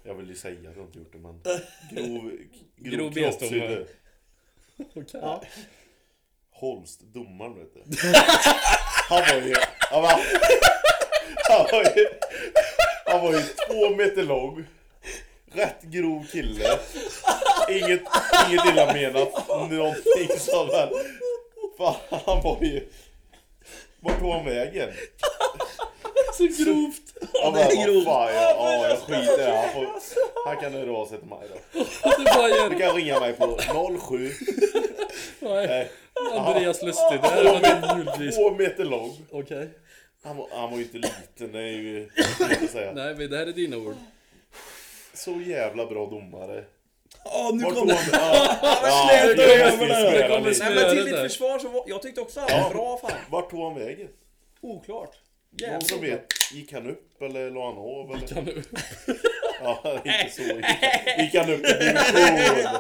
[SPEAKER 3] Jag vill ju säga att jag inte gjort det, men... Grov, grov,
[SPEAKER 5] Grov
[SPEAKER 3] grov
[SPEAKER 5] benstomme.
[SPEAKER 3] kroppshydde.
[SPEAKER 5] Okej.
[SPEAKER 3] Holst, domaren vet du. Han var ju... Han var, han var ju... Han var ju två meter lång. Rätt grov kille. Inget, inget illa menat. Någonting sånt där. Fan, han var ju... Vart tog han vägen?
[SPEAKER 4] Så grovt!
[SPEAKER 3] Han bara, vad fan, jag, ja, jag skiter i det. Han, får, han kan höra av sig till mig då.
[SPEAKER 5] Du bara
[SPEAKER 3] Du
[SPEAKER 5] gör...
[SPEAKER 3] kan ringa mig på 07.
[SPEAKER 5] Nej.
[SPEAKER 3] Eh,
[SPEAKER 5] Andreas Lustig, det här var din julgris.
[SPEAKER 3] två meter lång.
[SPEAKER 5] Okej.
[SPEAKER 3] Han var, han var ju inte liten, det är ju... vad ska man säga.
[SPEAKER 5] Nej men det här är dina ord.
[SPEAKER 3] Så jävla bra domare.
[SPEAKER 1] Ja, nu
[SPEAKER 3] Vart
[SPEAKER 1] kom
[SPEAKER 3] kom
[SPEAKER 1] det.
[SPEAKER 3] han? Ja, ja,
[SPEAKER 5] snälla,
[SPEAKER 3] det
[SPEAKER 5] jag
[SPEAKER 3] måste vi
[SPEAKER 5] menar, det
[SPEAKER 3] svära
[SPEAKER 5] kommer
[SPEAKER 3] lite.
[SPEAKER 4] Nej
[SPEAKER 5] Ja,
[SPEAKER 4] men
[SPEAKER 5] det
[SPEAKER 4] till ditt
[SPEAKER 5] där.
[SPEAKER 4] försvar så var, jag tyckte också han var bra fan.
[SPEAKER 3] Vart tog han vägen?
[SPEAKER 4] Oklart.
[SPEAKER 3] Någon som
[SPEAKER 4] Jävligt.
[SPEAKER 3] vet, gick han upp eller la han av? Eller?
[SPEAKER 5] Kan du...
[SPEAKER 3] Ja, inte så. Gick han, gick han upp i division?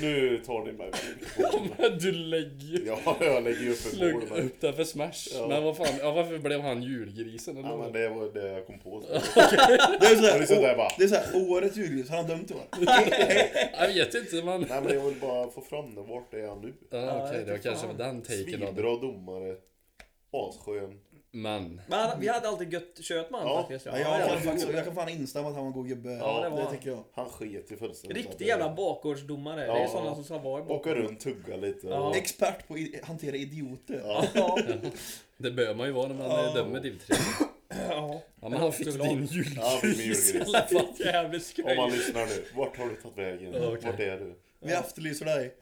[SPEAKER 3] Nu tar ni mig på division.
[SPEAKER 5] Men du lägger ju...
[SPEAKER 3] Ja, jag lägger ju upp en mål.
[SPEAKER 5] Slog
[SPEAKER 3] men-
[SPEAKER 5] upp den för smash.
[SPEAKER 3] Ja.
[SPEAKER 5] Men vad fan, ja, varför blev han julgrisen? Eller
[SPEAKER 3] Ja, men
[SPEAKER 5] vad?
[SPEAKER 3] det var det jag kom på.
[SPEAKER 1] Det är
[SPEAKER 3] Jag liksom
[SPEAKER 1] såhär,
[SPEAKER 3] där bara,
[SPEAKER 1] det är såhär årets julgris, han har dömt i år.
[SPEAKER 5] Jag vet inte men...
[SPEAKER 3] nej men jag vill bara få fram den. Vart är han nu?
[SPEAKER 5] Ja, okej,
[SPEAKER 4] jag
[SPEAKER 5] det var
[SPEAKER 4] vet
[SPEAKER 5] kanske
[SPEAKER 4] fan.
[SPEAKER 5] den taken då.
[SPEAKER 3] Svinbra domare. Asskön.
[SPEAKER 5] Men.
[SPEAKER 4] Men han, vi hade alltid gött kött med
[SPEAKER 3] Ja,
[SPEAKER 4] honom faktiskt.
[SPEAKER 1] Ja, jag,
[SPEAKER 4] ja.
[SPEAKER 1] kan faktiskt, jag kan fan instämma att han var en god gubbe.
[SPEAKER 4] Ja, det var
[SPEAKER 1] det
[SPEAKER 4] han.
[SPEAKER 1] tycker jag.
[SPEAKER 3] Han sket i fullständigt.
[SPEAKER 4] Riktig jävla bakgårdsdomare. Det
[SPEAKER 3] Ja.
[SPEAKER 4] är sådana som ska vara i bakgården.
[SPEAKER 3] Åka runt, tugga lite.
[SPEAKER 4] Ja.
[SPEAKER 3] Och...
[SPEAKER 1] Expert på att hantera idioter.
[SPEAKER 3] Ja.
[SPEAKER 5] Det bör man ju vara när man
[SPEAKER 1] Ja.
[SPEAKER 5] eh, dömer div 3.
[SPEAKER 4] Ja.
[SPEAKER 5] Ja, men han fick
[SPEAKER 4] Choklad.
[SPEAKER 5] din jul.
[SPEAKER 3] Ja, det är min julgris.
[SPEAKER 4] Jävligt
[SPEAKER 3] Om man
[SPEAKER 4] skoj.
[SPEAKER 3] lyssnar nu, vart har du tagit vägen? Vart är du?
[SPEAKER 1] Vi efterlyser dig.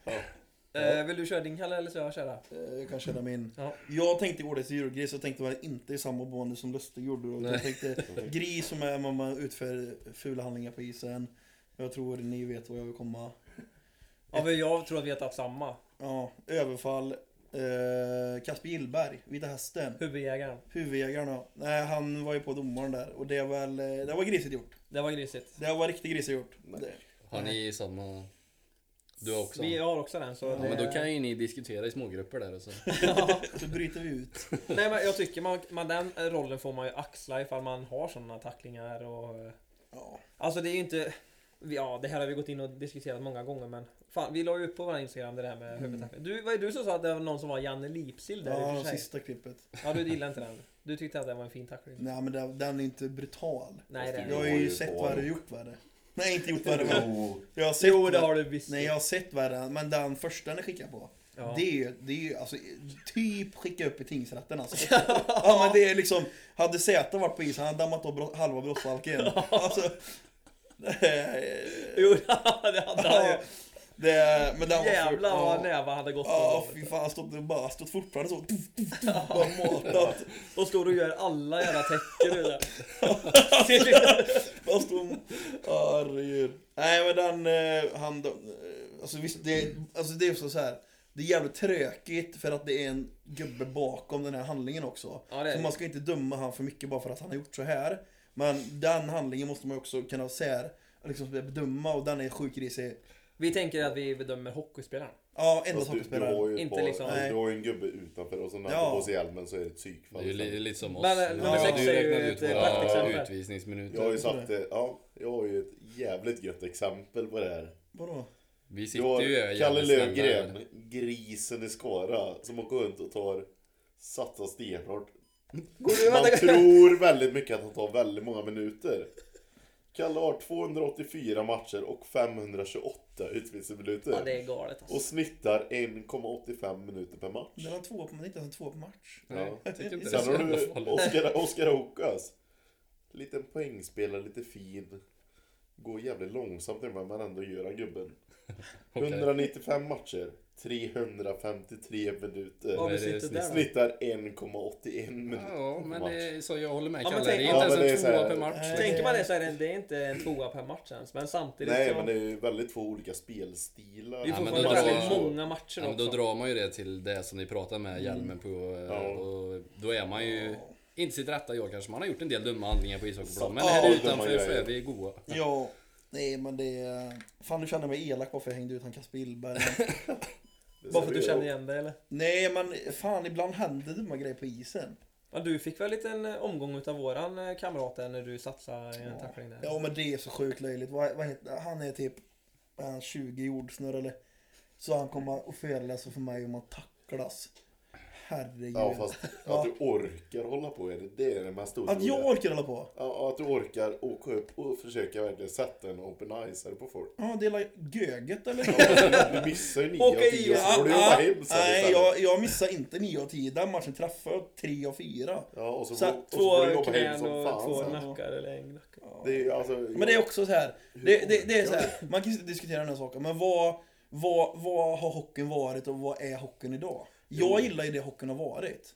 [SPEAKER 4] Eh, vill du köra din Kalle eller ska jag köra?
[SPEAKER 1] Eh, Jag kan känna min.
[SPEAKER 4] Ja.
[SPEAKER 1] Jag tänkte årets julgris och tänkte väl inte i samma bonus som Lustig gjorde. Och jag tänkte gris som är när man utför fula handlingar på isen. Jag tror ni vet vad jag vill komma.
[SPEAKER 4] Ja, men jag tror att vi har tagit samma.
[SPEAKER 1] Ja, överfall. Eh, Kasper Gillberg, Vita Hästen.
[SPEAKER 4] Huvudjägaren.
[SPEAKER 1] Huvudjägarna. Nej, han var ju på domaren där och det var, eh, det var grisigt gjort.
[SPEAKER 4] Det var grisigt.
[SPEAKER 1] Det var riktigt grisigt gjort. Det,
[SPEAKER 5] Har ni samma... Du har också?
[SPEAKER 4] Vi
[SPEAKER 5] Ja,
[SPEAKER 4] har också den så det...
[SPEAKER 5] men då kan ju ni diskutera i smågrupper där alltså. och så.
[SPEAKER 1] så bryter vi ut.
[SPEAKER 4] Nej men jag tycker man, man, den eh, rollen får man ju axla ifall man har sådana tacklingar och... eh,
[SPEAKER 1] Ja.
[SPEAKER 4] Alltså det är ju inte... Ja det här har vi gått in och diskuterat många gånger men... Fan vi la ju upp på vår Instagram det där med huvudtackling. Du, vad är du som sa att det var någon som var Janne Lipsill där i
[SPEAKER 1] Ja,
[SPEAKER 4] och för sig?
[SPEAKER 1] sista klippet.
[SPEAKER 4] Ja du gillade inte den. Du tyckte att det var en fin tackling.
[SPEAKER 1] Nej men den, den är inte brutal.
[SPEAKER 4] Nej det är
[SPEAKER 1] Jag har ju sett vad du gjort värre. Nej inte gjort värre men. Jag har sett
[SPEAKER 4] Jo det
[SPEAKER 1] värre.
[SPEAKER 4] har du visst.
[SPEAKER 1] Nej jag har sett värre men den första ni skickar på.
[SPEAKER 4] ja.
[SPEAKER 1] Det är ju, det är ju alltså, typ skicka upp i tingsrätten alltså. Ja men det är liksom, hade Zäta varit på isen hade han dammat av bro- halva brottsbalken. Alltså.
[SPEAKER 4] Jo det hade han ju.
[SPEAKER 1] Ja, det, men den var
[SPEAKER 4] Jävlar
[SPEAKER 1] för-
[SPEAKER 4] vad
[SPEAKER 1] ja.
[SPEAKER 4] näva hade gått
[SPEAKER 1] Ja,
[SPEAKER 4] på.
[SPEAKER 1] fy fan. Han stod, bara, han stod fortfarande så. Tuff, tuff, tuff, bara matat.
[SPEAKER 4] Och står och gör alla jävla tecken nu där.
[SPEAKER 1] Han stod... Herregud. Nej, men den... eh, Han, eh, alltså, visst, det, alltså, det är så, så här. Det är jävligt tråkigt för att det är en gubbe bakom den här handlingen också.
[SPEAKER 4] Ja, det är
[SPEAKER 1] så
[SPEAKER 4] det.
[SPEAKER 1] man ska inte döma han för mycket bara för att han har gjort så här. Men den handlingen måste man ju också kunna sär, liksom bedöma och den är sjukt grisig.
[SPEAKER 4] Vi tänker att vi bedömer hockeyspelaren.
[SPEAKER 1] Ja, enda
[SPEAKER 3] Fast du, du,
[SPEAKER 1] hockeyspelaren.
[SPEAKER 3] har ju
[SPEAKER 4] Inte
[SPEAKER 3] bara,
[SPEAKER 4] liksom-
[SPEAKER 3] alltså,
[SPEAKER 1] Nej.
[SPEAKER 3] du har ju en gubbe utanför och så när han
[SPEAKER 1] Ja.
[SPEAKER 3] tar på sig hjälmen så är det ett
[SPEAKER 5] Det
[SPEAKER 3] psykfall. liksom.
[SPEAKER 5] är ju li- lite som oss.
[SPEAKER 4] Men, eh, nummer
[SPEAKER 5] Ja,
[SPEAKER 1] sex
[SPEAKER 5] du
[SPEAKER 4] är ju
[SPEAKER 5] räknade
[SPEAKER 4] ett,
[SPEAKER 5] ut
[SPEAKER 4] eh,
[SPEAKER 5] våra
[SPEAKER 4] praktexempel.
[SPEAKER 3] Jag har
[SPEAKER 5] utvisningsminuter.
[SPEAKER 3] ju satt, eh, ja, jag har ju ett jävligt gött exempel på det här.
[SPEAKER 1] Vadå?
[SPEAKER 5] Vi
[SPEAKER 3] Du
[SPEAKER 5] sitter ju
[SPEAKER 3] har
[SPEAKER 5] jävligt
[SPEAKER 3] Kalle
[SPEAKER 5] snälla
[SPEAKER 3] Löfgren,
[SPEAKER 5] här.
[SPEAKER 3] grisen i Skara, som åker runt och tar, satsar stenhårt.
[SPEAKER 4] Går du,
[SPEAKER 3] Man
[SPEAKER 4] vänta,
[SPEAKER 3] tror väldigt mycket att han tar väldigt många minuter. Kalle har 284 matcher och 528 utvisningsminuter.
[SPEAKER 4] ja, det är galet alltså.
[SPEAKER 3] Och snittar 1,85 minuter per match.
[SPEAKER 1] Den har två på, men det är inte ens en två på match.
[SPEAKER 3] Ja.
[SPEAKER 5] Jag tycker inte det är
[SPEAKER 3] Sen
[SPEAKER 5] så
[SPEAKER 3] har
[SPEAKER 5] jävla
[SPEAKER 3] du
[SPEAKER 5] farligt.
[SPEAKER 3] Oskar, Oskar Okas. Liten poängspelare, lite fin. Går jävligt långsamt nu, men ändå gör han gubben.
[SPEAKER 5] Okej.
[SPEAKER 3] 195 matcher, 353
[SPEAKER 4] Vad
[SPEAKER 3] minuter.
[SPEAKER 5] men det är
[SPEAKER 4] besittet där då?
[SPEAKER 3] Snittar 1,81 minuter.
[SPEAKER 5] Ja, men det är så jag håller med
[SPEAKER 4] Ja, men
[SPEAKER 5] Kalle. Det
[SPEAKER 4] tänk-
[SPEAKER 5] är
[SPEAKER 4] ja,
[SPEAKER 5] inte ens
[SPEAKER 3] men det
[SPEAKER 5] en
[SPEAKER 3] är så
[SPEAKER 5] tvåa
[SPEAKER 3] här-
[SPEAKER 5] per match.
[SPEAKER 1] Nej.
[SPEAKER 4] Eh, Tänker man det så är det, det är inte en tvåa per match ens. Men samtidigt
[SPEAKER 3] Nej,
[SPEAKER 4] så...
[SPEAKER 3] men det är ju väldigt två olika
[SPEAKER 4] liksom-
[SPEAKER 3] spelstilar.
[SPEAKER 4] vi
[SPEAKER 5] Ja,
[SPEAKER 4] får
[SPEAKER 5] men
[SPEAKER 4] fortfarande
[SPEAKER 5] då drar-
[SPEAKER 4] väldigt många matcher
[SPEAKER 5] Ja, men då
[SPEAKER 4] också. Mm.
[SPEAKER 5] drar man ju det till det som ni pratar med hjälmen på. eh,
[SPEAKER 3] Ja.
[SPEAKER 5] Och då är man ju inte sitt rätta jag kanske. Man har gjort en del dumma handlingar på ishockeyplan. Men
[SPEAKER 1] Ja,
[SPEAKER 5] här
[SPEAKER 3] dumma
[SPEAKER 5] utanför så
[SPEAKER 3] grejer.
[SPEAKER 5] är vi goa.
[SPEAKER 1] Ja, nej men det... är- Fan nu känner jag mig elak varför jag hängde ut han Kasper Gillberg.
[SPEAKER 3] Det
[SPEAKER 4] Bara för
[SPEAKER 3] ser
[SPEAKER 4] att du
[SPEAKER 3] vi.
[SPEAKER 4] känner igen dig eller?
[SPEAKER 1] nej men fan ibland händer dumma grejer på isen.
[SPEAKER 4] Ja, du fick väl en liten eh, omgång utav våran eh, kamrat där när du satsade i en tackling där?
[SPEAKER 1] Ja men det är så sjukt löjligt. Vad, vad heter, han är typ är han 20 jordsnurr eller? Så han kommer och föreläser för mig om man tacklas. Herregud.
[SPEAKER 3] Ja, fast
[SPEAKER 1] Ja.
[SPEAKER 3] att du orkar hålla på är det, det är det mest
[SPEAKER 1] Att jag
[SPEAKER 3] otroliga.
[SPEAKER 1] orkar hålla på?
[SPEAKER 3] Ja, att du orkar åka upp och försöka verkligen sätta en open-icer på folk.
[SPEAKER 1] Ja, det är la- göget eller?
[SPEAKER 3] Ja, Du missar ju 9 av
[SPEAKER 4] Åka i-
[SPEAKER 3] 10 och så får du jobba
[SPEAKER 1] Ah,
[SPEAKER 3] hem sen
[SPEAKER 1] Nej,
[SPEAKER 3] istället.
[SPEAKER 1] jag, jag missar inte 9 av 10. Den matchen träffade jag 3 av 4.
[SPEAKER 3] Ja, och så,
[SPEAKER 1] Så
[SPEAKER 3] får-
[SPEAKER 1] att
[SPEAKER 3] och så får du
[SPEAKER 4] Två
[SPEAKER 3] jobba hem
[SPEAKER 4] knän
[SPEAKER 3] som
[SPEAKER 4] och
[SPEAKER 3] fan
[SPEAKER 4] två
[SPEAKER 3] sen.
[SPEAKER 4] nackar eller en nacke.
[SPEAKER 3] Det är ju alltså...
[SPEAKER 1] Men det är också så här. Det, det, det är så här man kan ju diskutera den här saken, men vad, vad, vad har hockeyn varit och vad är hockeyn idag? Jag gillar ju det hockeyn har varit.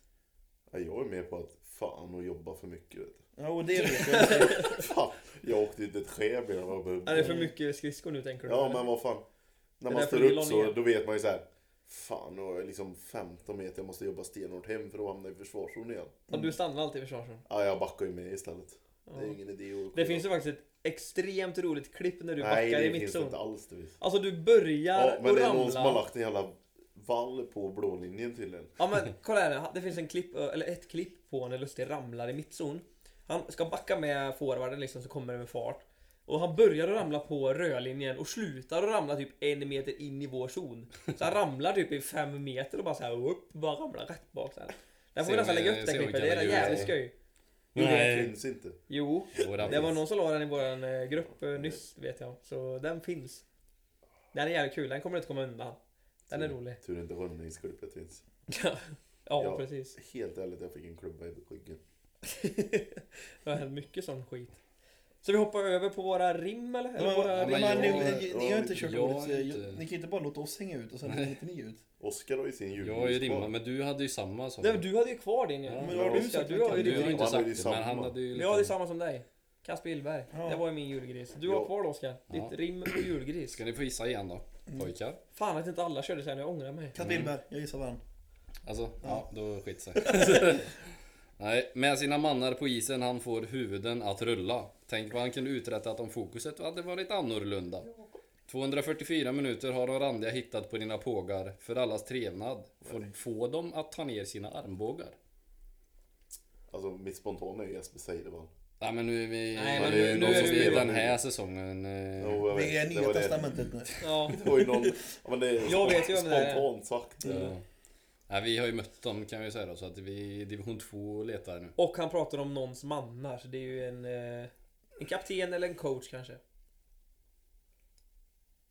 [SPEAKER 3] Ja, jag är med på att fan och jobba för mycket vet du.
[SPEAKER 1] Ja, och det vet jag.
[SPEAKER 3] Fan, jag åkte ut ett skev innan jag var på
[SPEAKER 4] Är det för mycket skridskor nu tänker du?
[SPEAKER 3] Ja
[SPEAKER 4] eller?
[SPEAKER 3] men vad fan. När
[SPEAKER 4] Det
[SPEAKER 3] man
[SPEAKER 4] där
[SPEAKER 3] står
[SPEAKER 4] flyger
[SPEAKER 3] upp
[SPEAKER 4] lång
[SPEAKER 3] så
[SPEAKER 4] igen.
[SPEAKER 3] då vet man ju så här. Fan nu har jag liksom 15 meter, jag måste jobba stenhårt hem för att hamna i försvarszon igen.
[SPEAKER 4] Ja, du stannar alltid i försvarszonen.
[SPEAKER 3] Ja, jag backar ju med istället. Mm. Det är
[SPEAKER 4] Ja.
[SPEAKER 3] ingen idé att...
[SPEAKER 4] Det finns ju faktiskt ett extremt roligt klipp när du
[SPEAKER 3] Nej,
[SPEAKER 4] backar
[SPEAKER 3] det
[SPEAKER 4] i
[SPEAKER 3] finns det inte
[SPEAKER 4] mittzon.
[SPEAKER 3] alls det finns.
[SPEAKER 4] Alltså du börjar
[SPEAKER 3] Ja, men
[SPEAKER 4] och
[SPEAKER 3] det är någon som har
[SPEAKER 4] ramlar.
[SPEAKER 3] lagt en jävla vall på blålinjen tydligen.
[SPEAKER 4] Ja men kolla här, det finns en klipp, eller ett klipp på när Lustig ramlar i mittzon. Han ska backa med forwarden liksom så kommer det med fart. Och han börjar att ramla på rödlinjen och slutar att ramla typ en meter in i vår zon. Så han ramlar typ i fem meter och bara såhär upp, bara ramlar rätt bak sen. Där får
[SPEAKER 5] Se
[SPEAKER 4] vi nästan
[SPEAKER 5] om-
[SPEAKER 4] lägga upp det
[SPEAKER 5] se om vi
[SPEAKER 4] klippet,
[SPEAKER 5] kan
[SPEAKER 4] det är
[SPEAKER 5] lägga ut
[SPEAKER 4] jävligt
[SPEAKER 5] det.
[SPEAKER 4] skoj.
[SPEAKER 3] Det
[SPEAKER 7] Nej.
[SPEAKER 3] finns inte.
[SPEAKER 4] Jo,
[SPEAKER 5] Och det
[SPEAKER 4] det var
[SPEAKER 5] finns.
[SPEAKER 4] någon som la den i våran eh, grupp eh, nyss vet jag. Så den finns. Den är jävligt kul, den kommer inte komma undan. Den är rolig.
[SPEAKER 3] Tur inte rundningsklippet finns.
[SPEAKER 4] Ja,
[SPEAKER 3] Ja.
[SPEAKER 4] precis.
[SPEAKER 3] Helt ärligt, jag fick en klubba i ryggen.
[SPEAKER 4] det har hänt mycket sån skit. Så vi hoppar över på våra rim eller? eller
[SPEAKER 1] Men,
[SPEAKER 4] våra
[SPEAKER 5] Ja,
[SPEAKER 1] men,
[SPEAKER 5] men jag-
[SPEAKER 1] ni, ni, ni har inte
[SPEAKER 3] jag-
[SPEAKER 1] kört
[SPEAKER 5] jag
[SPEAKER 1] ordet, eh,
[SPEAKER 5] inte.
[SPEAKER 1] Ni kan inte bara låta oss hänga ut och sen
[SPEAKER 5] Nej.
[SPEAKER 1] hänger inte ni ut.
[SPEAKER 3] Oskar har ju sin
[SPEAKER 5] Jag har ju
[SPEAKER 3] julljus
[SPEAKER 5] rimmat, men du hade ju samma som...
[SPEAKER 4] Nej, men du hade ju kvar din ju.
[SPEAKER 5] Ja,
[SPEAKER 1] Men vad har
[SPEAKER 3] jag-
[SPEAKER 1] du sagt?
[SPEAKER 4] du har ju
[SPEAKER 5] du har ju
[SPEAKER 4] rimmat.
[SPEAKER 5] inte
[SPEAKER 3] Han hade ju
[SPEAKER 5] sagt det, men han
[SPEAKER 3] samma.
[SPEAKER 5] hade ju...
[SPEAKER 4] Jag har ju samma som dig. Kasper Gillberg.
[SPEAKER 1] Ja.
[SPEAKER 4] Det var ju min julgris. Du
[SPEAKER 3] Ja.
[SPEAKER 4] har kvar då Oskar. Ditt
[SPEAKER 5] Ja.
[SPEAKER 4] rim på julgris.
[SPEAKER 5] Ska ni få gissa igen då? Pojkar?
[SPEAKER 4] Fan att inte alla körde sen, jag ångrar mig.
[SPEAKER 1] Kat Wilberg, jag gissar vann.
[SPEAKER 5] Alltså, ja, då skit sig. Nej, med sina mannar på isen han får huvuden att rulla. Tänk vad han kunde uträttat om fokuset hade varit annorlunda. 244 minuter har Arandia hittat på dina pågar för allas trevnad. Får få dem att ta ner sina armbågar.
[SPEAKER 3] Alltså mitt spontana är Jesper Seideman.
[SPEAKER 5] Nej men nu är vi...
[SPEAKER 4] Nej,
[SPEAKER 3] men nu- nu
[SPEAKER 5] de
[SPEAKER 3] är
[SPEAKER 5] som
[SPEAKER 3] vi-
[SPEAKER 5] är den här säsongen... eh,
[SPEAKER 3] Jo, jag
[SPEAKER 1] Vi är
[SPEAKER 3] vet. Det
[SPEAKER 1] Nya
[SPEAKER 3] var det.
[SPEAKER 1] Testamentet nu.
[SPEAKER 4] Ja.
[SPEAKER 3] Det var ju någon... Ja, men det är
[SPEAKER 4] Jag vet ju vem det är.
[SPEAKER 3] spontant sagt.
[SPEAKER 5] Ja. Nej, vi har ju mött dem kan vi säga då, så att vi är i division 2 och letar nu.
[SPEAKER 4] Och han pratar om någons mannar, så det är ju en, eh, en kapten eller en coach kanske.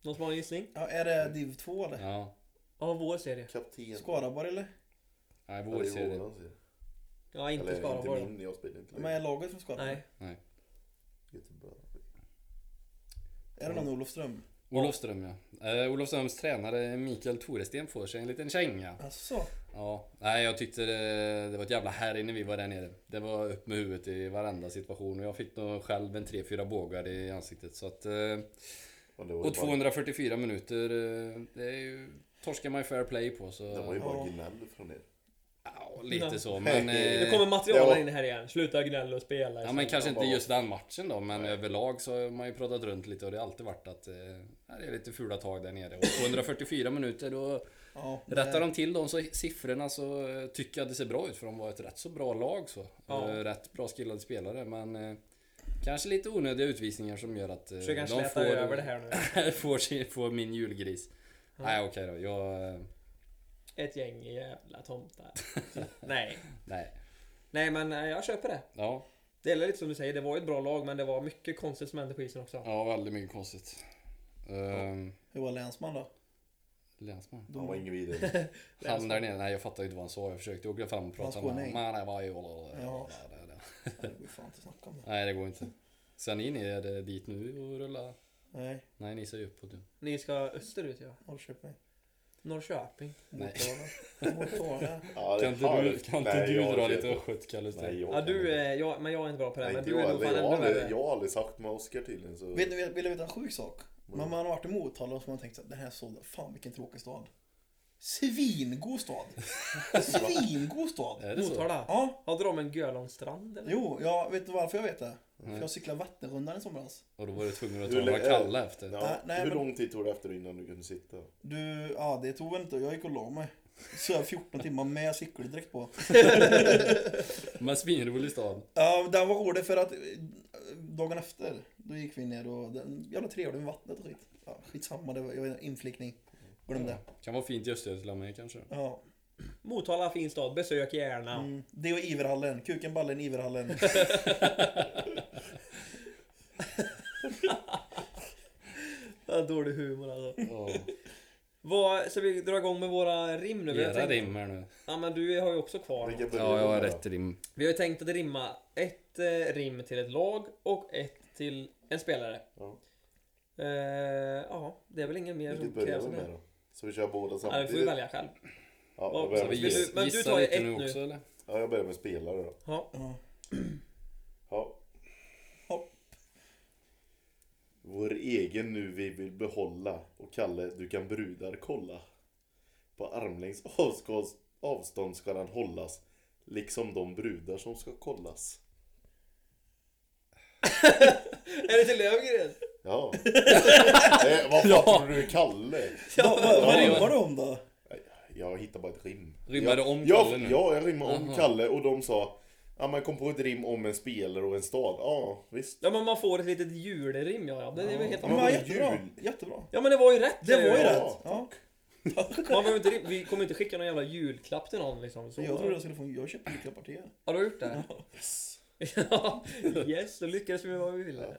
[SPEAKER 4] Någon som har en gissning?
[SPEAKER 1] Ja, är det div 2 eller?
[SPEAKER 5] Ja,
[SPEAKER 4] Ja, vår serie.
[SPEAKER 3] Kapten.
[SPEAKER 1] Skaraborg eller?
[SPEAKER 5] nej,
[SPEAKER 3] Ja, det
[SPEAKER 5] vår
[SPEAKER 3] är
[SPEAKER 5] serie.
[SPEAKER 3] våran serie.
[SPEAKER 4] Ja, inte
[SPEAKER 3] Eller inte
[SPEAKER 4] Skaraborg. då.
[SPEAKER 3] min, jag spelar inte
[SPEAKER 1] Men
[SPEAKER 3] längre. typ
[SPEAKER 1] är laget från Skaraborg?
[SPEAKER 4] Nej.
[SPEAKER 3] Göteborg.
[SPEAKER 1] Är det någon Olofström?
[SPEAKER 5] Olofström ja. Eh, Olofströms tränare Mikael Toresten får sig en liten känga.
[SPEAKER 1] Asså?
[SPEAKER 5] Ja. Nej jag tyckte det, det var ett jävla härj när vi var där nere. Det var upp med huvudet i varenda situation och jag fick nog själv en 3-4 bågar i ansiktet. Så att, eh,
[SPEAKER 3] Ja, det var ju
[SPEAKER 5] och
[SPEAKER 3] bara-
[SPEAKER 5] 244 minuter, eh, det är ju, torskar man ju fair play på så...
[SPEAKER 3] Det var ju bara
[SPEAKER 1] Ja.
[SPEAKER 3] gnäll från er.
[SPEAKER 5] Ja, lite så men...
[SPEAKER 4] Nu
[SPEAKER 5] Eh,
[SPEAKER 4] kommer materialen
[SPEAKER 3] Ja.
[SPEAKER 4] in här igen. Sluta gnälla och spela.
[SPEAKER 5] Ja men kanske inte
[SPEAKER 3] bara-
[SPEAKER 5] just den matchen då men överlag så har man ju pratat runt lite och det har alltid varit att eh, här är lite fula tag där nere. Och 244 minuter då
[SPEAKER 1] Ja,
[SPEAKER 5] Rättar de till de så siffrorna så eh, tycker jag det ser bra ut för de var ett rätt så bra lag så.
[SPEAKER 4] Ja.
[SPEAKER 5] Eh, Rätt bra skillade spelare men eh, kanske lite onödiga utvisningar som gör att eh,
[SPEAKER 4] Försök han
[SPEAKER 5] de
[SPEAKER 4] släta
[SPEAKER 5] får,
[SPEAKER 4] över det här nu.
[SPEAKER 5] får, sin, får min julgris. Nej okej då, jag... eh,
[SPEAKER 4] Ett gäng jävla tomtar. Nej.
[SPEAKER 5] Nej.
[SPEAKER 4] Nej men eh, jag köper det.
[SPEAKER 5] Ja,
[SPEAKER 4] Det är lite som du säger, det var ju ett bra lag men det var mycket konstigt som hände på isen också.
[SPEAKER 5] ja väldigt mycket konstigt. Ehm,
[SPEAKER 1] Hur var länsman då?
[SPEAKER 5] Länsman.
[SPEAKER 3] Han var ingen vidare.
[SPEAKER 5] Han där nere, nej jag fattar ju inte vad han sa. Jag försökte åka fram och prata
[SPEAKER 1] Han
[SPEAKER 5] med honom.
[SPEAKER 1] sa nej.
[SPEAKER 5] Men det var ju...
[SPEAKER 1] Ja. Nej, Det går ju fan inte att snacka om det.
[SPEAKER 5] Nej det går inte. Sen in är det dit nu och rulla.
[SPEAKER 1] Nej,
[SPEAKER 5] Nej ni ser ju uppåt nu.
[SPEAKER 4] Ni ska österut ja.
[SPEAKER 1] Norrköping.
[SPEAKER 4] Norrköping.
[SPEAKER 5] Nej.
[SPEAKER 1] Motala. Motala.
[SPEAKER 3] Ja, det
[SPEAKER 5] Kan inte
[SPEAKER 3] har-
[SPEAKER 5] du, kan inte
[SPEAKER 3] Nej,
[SPEAKER 5] du
[SPEAKER 3] jag
[SPEAKER 5] dra
[SPEAKER 3] vet
[SPEAKER 5] lite
[SPEAKER 3] inte.
[SPEAKER 5] östgötskalle
[SPEAKER 3] Nej,
[SPEAKER 5] istället?
[SPEAKER 3] jag
[SPEAKER 4] Ja du,
[SPEAKER 3] kan inte.
[SPEAKER 4] eh, jag, men jag är inte bra på det här.
[SPEAKER 3] Nej,
[SPEAKER 4] Men du
[SPEAKER 3] inte jag
[SPEAKER 4] är nog
[SPEAKER 3] heller.
[SPEAKER 4] fan
[SPEAKER 3] Jag har
[SPEAKER 4] ännu
[SPEAKER 3] aldrig-
[SPEAKER 4] värre.
[SPEAKER 3] Jag har aldrig sagt med Oskar tydligen så...
[SPEAKER 1] Vet ni, vill vill ni veta en sjuk sak? Men man har varit i Motala och så har man tänkt såhär, den här staden, fan vilken tråkig stad. Svingod stad! Svingod stad!
[SPEAKER 5] Är det så?
[SPEAKER 4] Motala.
[SPEAKER 1] Ja,
[SPEAKER 4] Hade de en Gölångsstrand eller?
[SPEAKER 1] jo, jag vet du varför jag vet det? För jag cyklade Vätternrundan i somras.
[SPEAKER 5] Och då var du tvungen att
[SPEAKER 3] Hur
[SPEAKER 5] ta några
[SPEAKER 3] lä-
[SPEAKER 5] kalla efter.
[SPEAKER 3] Ja,
[SPEAKER 1] nej,
[SPEAKER 3] hur
[SPEAKER 1] men-
[SPEAKER 3] lång tid tog det efter innan du kunde sitta?
[SPEAKER 1] Du, ja det tog väl inte, jag gick och la mig. Så jag 14 timmar med cykeldräkt på.
[SPEAKER 5] Men svinrolig stad.
[SPEAKER 1] Ja, den var rolig för att eh, dagen efter, då gick vi ner och den jävla trevlig med vattnet och skit. Ja, skitsamma, det var, jag vet, inflikning. Glöm det.
[SPEAKER 5] Kan vara fint i Östergötland med kanske.
[SPEAKER 1] Ja.
[SPEAKER 4] Motala, fin stad. Besök gärna.
[SPEAKER 1] Mm. Det och Iverhallen, kuken, ballen, Iverhallen.
[SPEAKER 4] Ja, Dålig humor alltså.
[SPEAKER 5] Ja.
[SPEAKER 4] Vad, ska vi dra igång med våra rim nu? Vi har
[SPEAKER 5] Era
[SPEAKER 4] tänkt-
[SPEAKER 5] rim här nu.
[SPEAKER 4] Ja men du har ju också kvar.
[SPEAKER 3] Vilka börjar
[SPEAKER 5] Ja, jag har
[SPEAKER 3] med då?
[SPEAKER 5] rätt rim.
[SPEAKER 4] Vi har ju tänkt att rimma ett eh, rim till ett lag och ett till en spelare.
[SPEAKER 3] Ja.
[SPEAKER 4] Eh, ja, det är väl ingen mer som
[SPEAKER 3] Vilket börjar
[SPEAKER 4] krävs
[SPEAKER 3] vi
[SPEAKER 4] än
[SPEAKER 3] med
[SPEAKER 4] det.
[SPEAKER 3] då? Så vi kör båda
[SPEAKER 4] Ja, det får vi
[SPEAKER 3] samtidigt?
[SPEAKER 4] välja själv.
[SPEAKER 3] Ja,
[SPEAKER 4] Vad-
[SPEAKER 3] jag börjar
[SPEAKER 4] så
[SPEAKER 5] Vi
[SPEAKER 3] med,
[SPEAKER 4] vi-
[SPEAKER 3] spel-
[SPEAKER 5] giss,
[SPEAKER 4] men du
[SPEAKER 5] gissa
[SPEAKER 4] tar ju
[SPEAKER 5] lite
[SPEAKER 4] ett
[SPEAKER 5] nu
[SPEAKER 4] nu.
[SPEAKER 5] också eller?
[SPEAKER 3] ja, jag börjar med spelare då.
[SPEAKER 4] Ja.
[SPEAKER 1] Ja.
[SPEAKER 3] Ja.
[SPEAKER 1] Ja.
[SPEAKER 3] Vår egen nu vi vill behålla och Kalle du kan brudar kolla. På armlängds avskås- avstånd ska han hållas. Liksom de brudar som ska kollas.
[SPEAKER 4] Är det till Löfgren?
[SPEAKER 3] Ja. eh, vad fan tror du Kalle?
[SPEAKER 1] Ja, vad vad rimmar du om då?
[SPEAKER 3] Jag hittar bara ett rim.
[SPEAKER 5] Rimmar
[SPEAKER 3] jag,
[SPEAKER 5] du om Kalle
[SPEAKER 3] jag,
[SPEAKER 5] nu?
[SPEAKER 3] Ja, jag rimmar om Kalle och de sa Ja man kom på ett rim om en spelare och en stad. Ja visst.
[SPEAKER 4] Ja men man får ett litet julrim ja, ja. Det är väl helt
[SPEAKER 1] Ja,
[SPEAKER 3] Ja,
[SPEAKER 1] men,
[SPEAKER 3] men
[SPEAKER 1] jättebra,
[SPEAKER 3] jul.
[SPEAKER 1] jättebra.
[SPEAKER 4] Ja men det var ju rätt!
[SPEAKER 1] Det var ju
[SPEAKER 4] Ja.
[SPEAKER 1] rätt. Ja.
[SPEAKER 4] Man behöver inte, rim- vi kommer inte skicka någon jävla julklapp till någon liksom. Så.
[SPEAKER 1] Jag trodde jag skulle få, jag köpte julklappar till er.
[SPEAKER 4] Har du gjort det? Ja. yes, då lyckades vi med vad vi ville.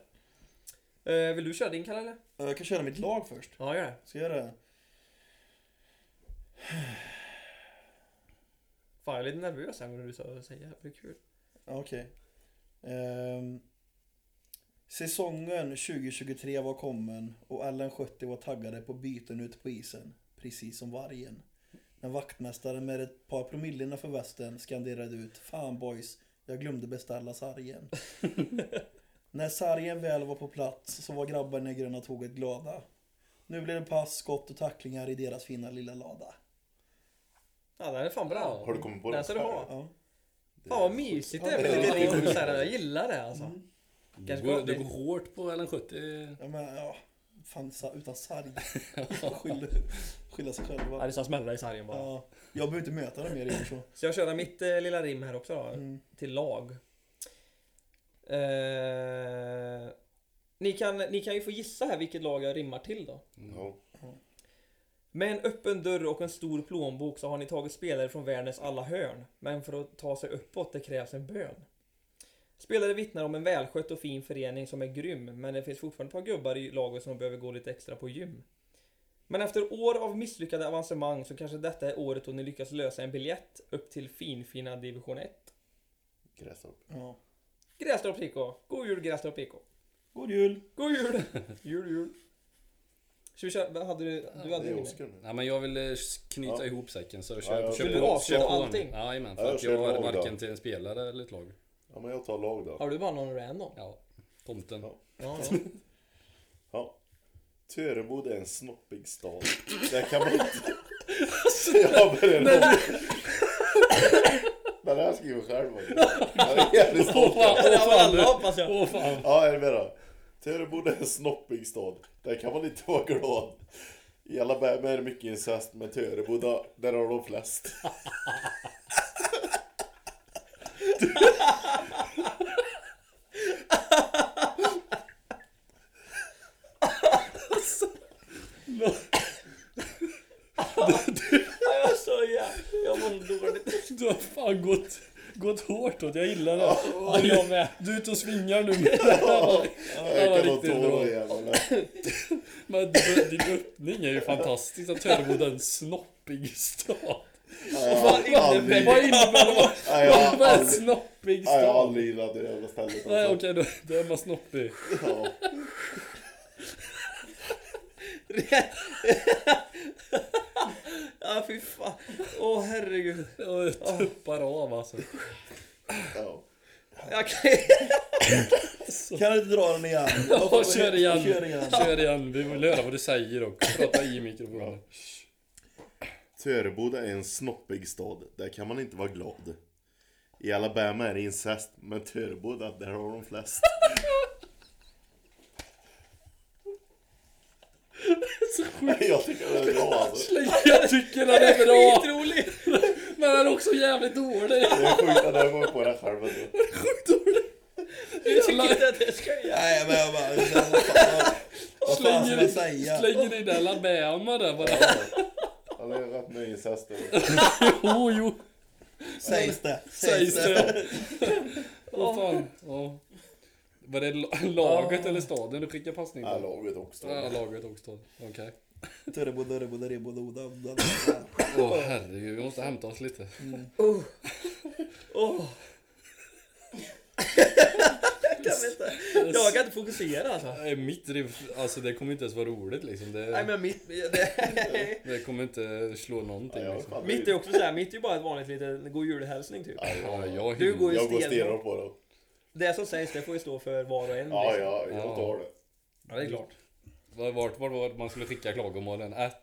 [SPEAKER 4] Eh, vill du köra din Kalle eller?
[SPEAKER 1] Eh, Jag kan köra mitt lag först.
[SPEAKER 4] Ja, gör det.
[SPEAKER 1] Ska jag göra det?
[SPEAKER 4] Fan, jag är lite nervös här när du sa- säger det. här. Det blir kul.
[SPEAKER 1] Okej. Ehm, säsongen 2023 var kommen och Allen 70 var taggade på byten ut på isen, precis som vargen. Men vaktmästaren med ett par promillorna för västen skanderade ut Fan boys, jag glömde beställa sargen. När sargen väl var på plats så var grabbarna i gröna tåget glada. Nu blev det pass, skott och tacklingar i deras fina lilla lada.
[SPEAKER 4] Ja, den är fan bra.
[SPEAKER 3] Har du kommit på
[SPEAKER 4] Den
[SPEAKER 3] det?
[SPEAKER 4] ska du ha.
[SPEAKER 1] Ja.
[SPEAKER 4] Fan vad mysigt det
[SPEAKER 1] Ja,
[SPEAKER 4] är.
[SPEAKER 1] det
[SPEAKER 4] med
[SPEAKER 1] är
[SPEAKER 4] lite
[SPEAKER 1] lite-
[SPEAKER 4] ihop så här. Jag gillar det alltså.
[SPEAKER 5] Du
[SPEAKER 4] Kanske
[SPEAKER 5] går,
[SPEAKER 4] gott.
[SPEAKER 5] du går hårt på LN70.
[SPEAKER 1] Ja men ja, fan sa- utan sarg. Skylla, skylla sig
[SPEAKER 7] Ja,
[SPEAKER 1] själva.
[SPEAKER 7] det ska smälla i sargen bara.
[SPEAKER 1] Ja, jag behöver inte möta dem mer i så.
[SPEAKER 4] Så jag kör mitt eh, lilla rim här också då,
[SPEAKER 1] Mm.
[SPEAKER 4] till lag. Eh, ni, kan, ni kan ju få gissa här vilket lag jag rimmar till då.
[SPEAKER 3] Ja.
[SPEAKER 4] Med en öppen dörr och en stor plånbok så har ni tagit spelare från världens alla hörn. Men för att ta sig uppåt det krävs en bön. Spelare vittnar om en välskött och fin förening som är grym, men det finns fortfarande ett par gubbar i laget som behöver gå lite extra på gym. Men efter år av misslyckade avancemang så kanske detta är året då ni lyckas lösa en biljett upp till finfina division 1.
[SPEAKER 3] Grästorp.
[SPEAKER 1] Ja.
[SPEAKER 4] Grästorp IK! God jul Grästorp IK!
[SPEAKER 1] God jul!
[SPEAKER 4] God jul! jul jul! Ska vi köra, vad hade du? Du
[SPEAKER 3] Det
[SPEAKER 4] hade
[SPEAKER 3] är
[SPEAKER 4] ingen
[SPEAKER 3] Oskar nu.
[SPEAKER 5] Nej men jag vill eh, knyta
[SPEAKER 3] Ja.
[SPEAKER 5] ihop säcken så
[SPEAKER 3] Ja,
[SPEAKER 5] kör,
[SPEAKER 3] jag
[SPEAKER 5] kör
[SPEAKER 3] vill
[SPEAKER 4] du
[SPEAKER 5] på.
[SPEAKER 4] avsluta
[SPEAKER 5] kör på
[SPEAKER 4] allting?
[SPEAKER 5] en. Jajamän,
[SPEAKER 3] Ja,
[SPEAKER 5] för att
[SPEAKER 3] kör
[SPEAKER 5] jag har
[SPEAKER 3] lag då.
[SPEAKER 5] varken till en spelare eller ett lag.
[SPEAKER 3] Ja men jag tar lag då.
[SPEAKER 4] Har du bara någon random?
[SPEAKER 5] Ja, tomten.
[SPEAKER 3] Ja.
[SPEAKER 4] Ja, ja.
[SPEAKER 3] Ja. Töreboda är en snoppig stad. Där kan man inte...
[SPEAKER 4] Alltså,
[SPEAKER 3] Så jag börjar om. Den här skriver jag själv faktiskt. Den är jävligt stolt.
[SPEAKER 4] Det har väl alla hoppas jag!
[SPEAKER 3] Ja, är du med då? Töreboda är en snoppig stad. Där kan man inte vara glad. I Alabama är det mycket incest, men Töreboda, där har de flest.
[SPEAKER 4] Jag är så jävla... Jag mår dåligt.
[SPEAKER 7] Du har fan gått, gått hårt åt, jag gillar det. Ja, jag med. Du är ute och svingar nu. Men,
[SPEAKER 3] Jag
[SPEAKER 7] var
[SPEAKER 3] kan
[SPEAKER 7] riktigt
[SPEAKER 3] inte
[SPEAKER 7] bra.
[SPEAKER 3] tåla jävlarna.
[SPEAKER 7] men din- din öppning är ju fantastisk. Att Töreboda är en snoppig stad.
[SPEAKER 3] Nej, jag har aldrig-
[SPEAKER 7] Vad innebär det? Alltså,
[SPEAKER 3] nej, jag har
[SPEAKER 7] Vad är en
[SPEAKER 3] aldrig-
[SPEAKER 7] snoppig
[SPEAKER 3] nej, jag har
[SPEAKER 7] stad?
[SPEAKER 3] aldrig gillat det jävla stället.
[SPEAKER 7] Nej
[SPEAKER 3] alltså.
[SPEAKER 7] okej, då, då är man snoppig.
[SPEAKER 3] Ja.
[SPEAKER 4] Ja fy fan. Åh herregud.
[SPEAKER 7] Jag tuppar av alltså.
[SPEAKER 3] Ja.
[SPEAKER 4] Jag kan...
[SPEAKER 1] Kan du inte dra den igen? Jag får-
[SPEAKER 7] kör igen.
[SPEAKER 1] Kör igen.
[SPEAKER 7] Kör igen, vi vill höra vad du säger och prata i mikrofonen.
[SPEAKER 3] Töreboda är en snoppig stad, där kan man inte vara glad. I Alabama är det incest, men Töreboda, där har de flest. Jag tycker det är bra alltså.
[SPEAKER 7] Jag tycker den är bra!
[SPEAKER 4] Otroligt!
[SPEAKER 7] Men den är också jävligt dålig!
[SPEAKER 3] Det är sjukt att jag kommer på det själv alltså. ändå.
[SPEAKER 4] Jag tycker inte att jag ska göra.
[SPEAKER 1] Nej men jag bara, jag känner, vad fan- vad fan ska
[SPEAKER 7] Slänger
[SPEAKER 1] jag
[SPEAKER 7] i,
[SPEAKER 1] säga?
[SPEAKER 7] slänger in Alabama där bara.
[SPEAKER 3] Han är rätt med incest. då.
[SPEAKER 7] Jo, jo,
[SPEAKER 1] Sägs det?
[SPEAKER 7] sägs det. Åh fan. Ja. Var det la- laget eller staden du skickade passning
[SPEAKER 3] Ja,
[SPEAKER 7] till?
[SPEAKER 3] laget också.
[SPEAKER 5] Ja, laget också. Okej.
[SPEAKER 1] Törebo, dörrebo, dörrebo, doda, doda.
[SPEAKER 5] Åh herregud, vi måste hämta oss lite.
[SPEAKER 4] Åh. Jag kan inte. Jag kan inte fokusera alltså.
[SPEAKER 5] Nej, mitt riff, alltså det kommer inte ens vara roligt liksom.
[SPEAKER 4] Nej
[SPEAKER 5] Det,
[SPEAKER 4] men mitt... Det,
[SPEAKER 5] det kommer inte slå någonting
[SPEAKER 3] Ja, jag, är
[SPEAKER 5] liksom.
[SPEAKER 3] fan
[SPEAKER 4] mitt är också såhär, mitt är ju bara ett vanligt litet god julhälsning typ.
[SPEAKER 5] Ja, jag
[SPEAKER 4] Du går ju
[SPEAKER 3] jag går
[SPEAKER 4] stenhårt.
[SPEAKER 3] stenhårt på det.
[SPEAKER 4] Det som sägs det får ju stå för var och en.
[SPEAKER 3] Ja,
[SPEAKER 4] liksom.
[SPEAKER 3] ja, jag tar det.
[SPEAKER 4] ja, det är klart.
[SPEAKER 5] Var, vart var var man skulle skicka klagomålen? Att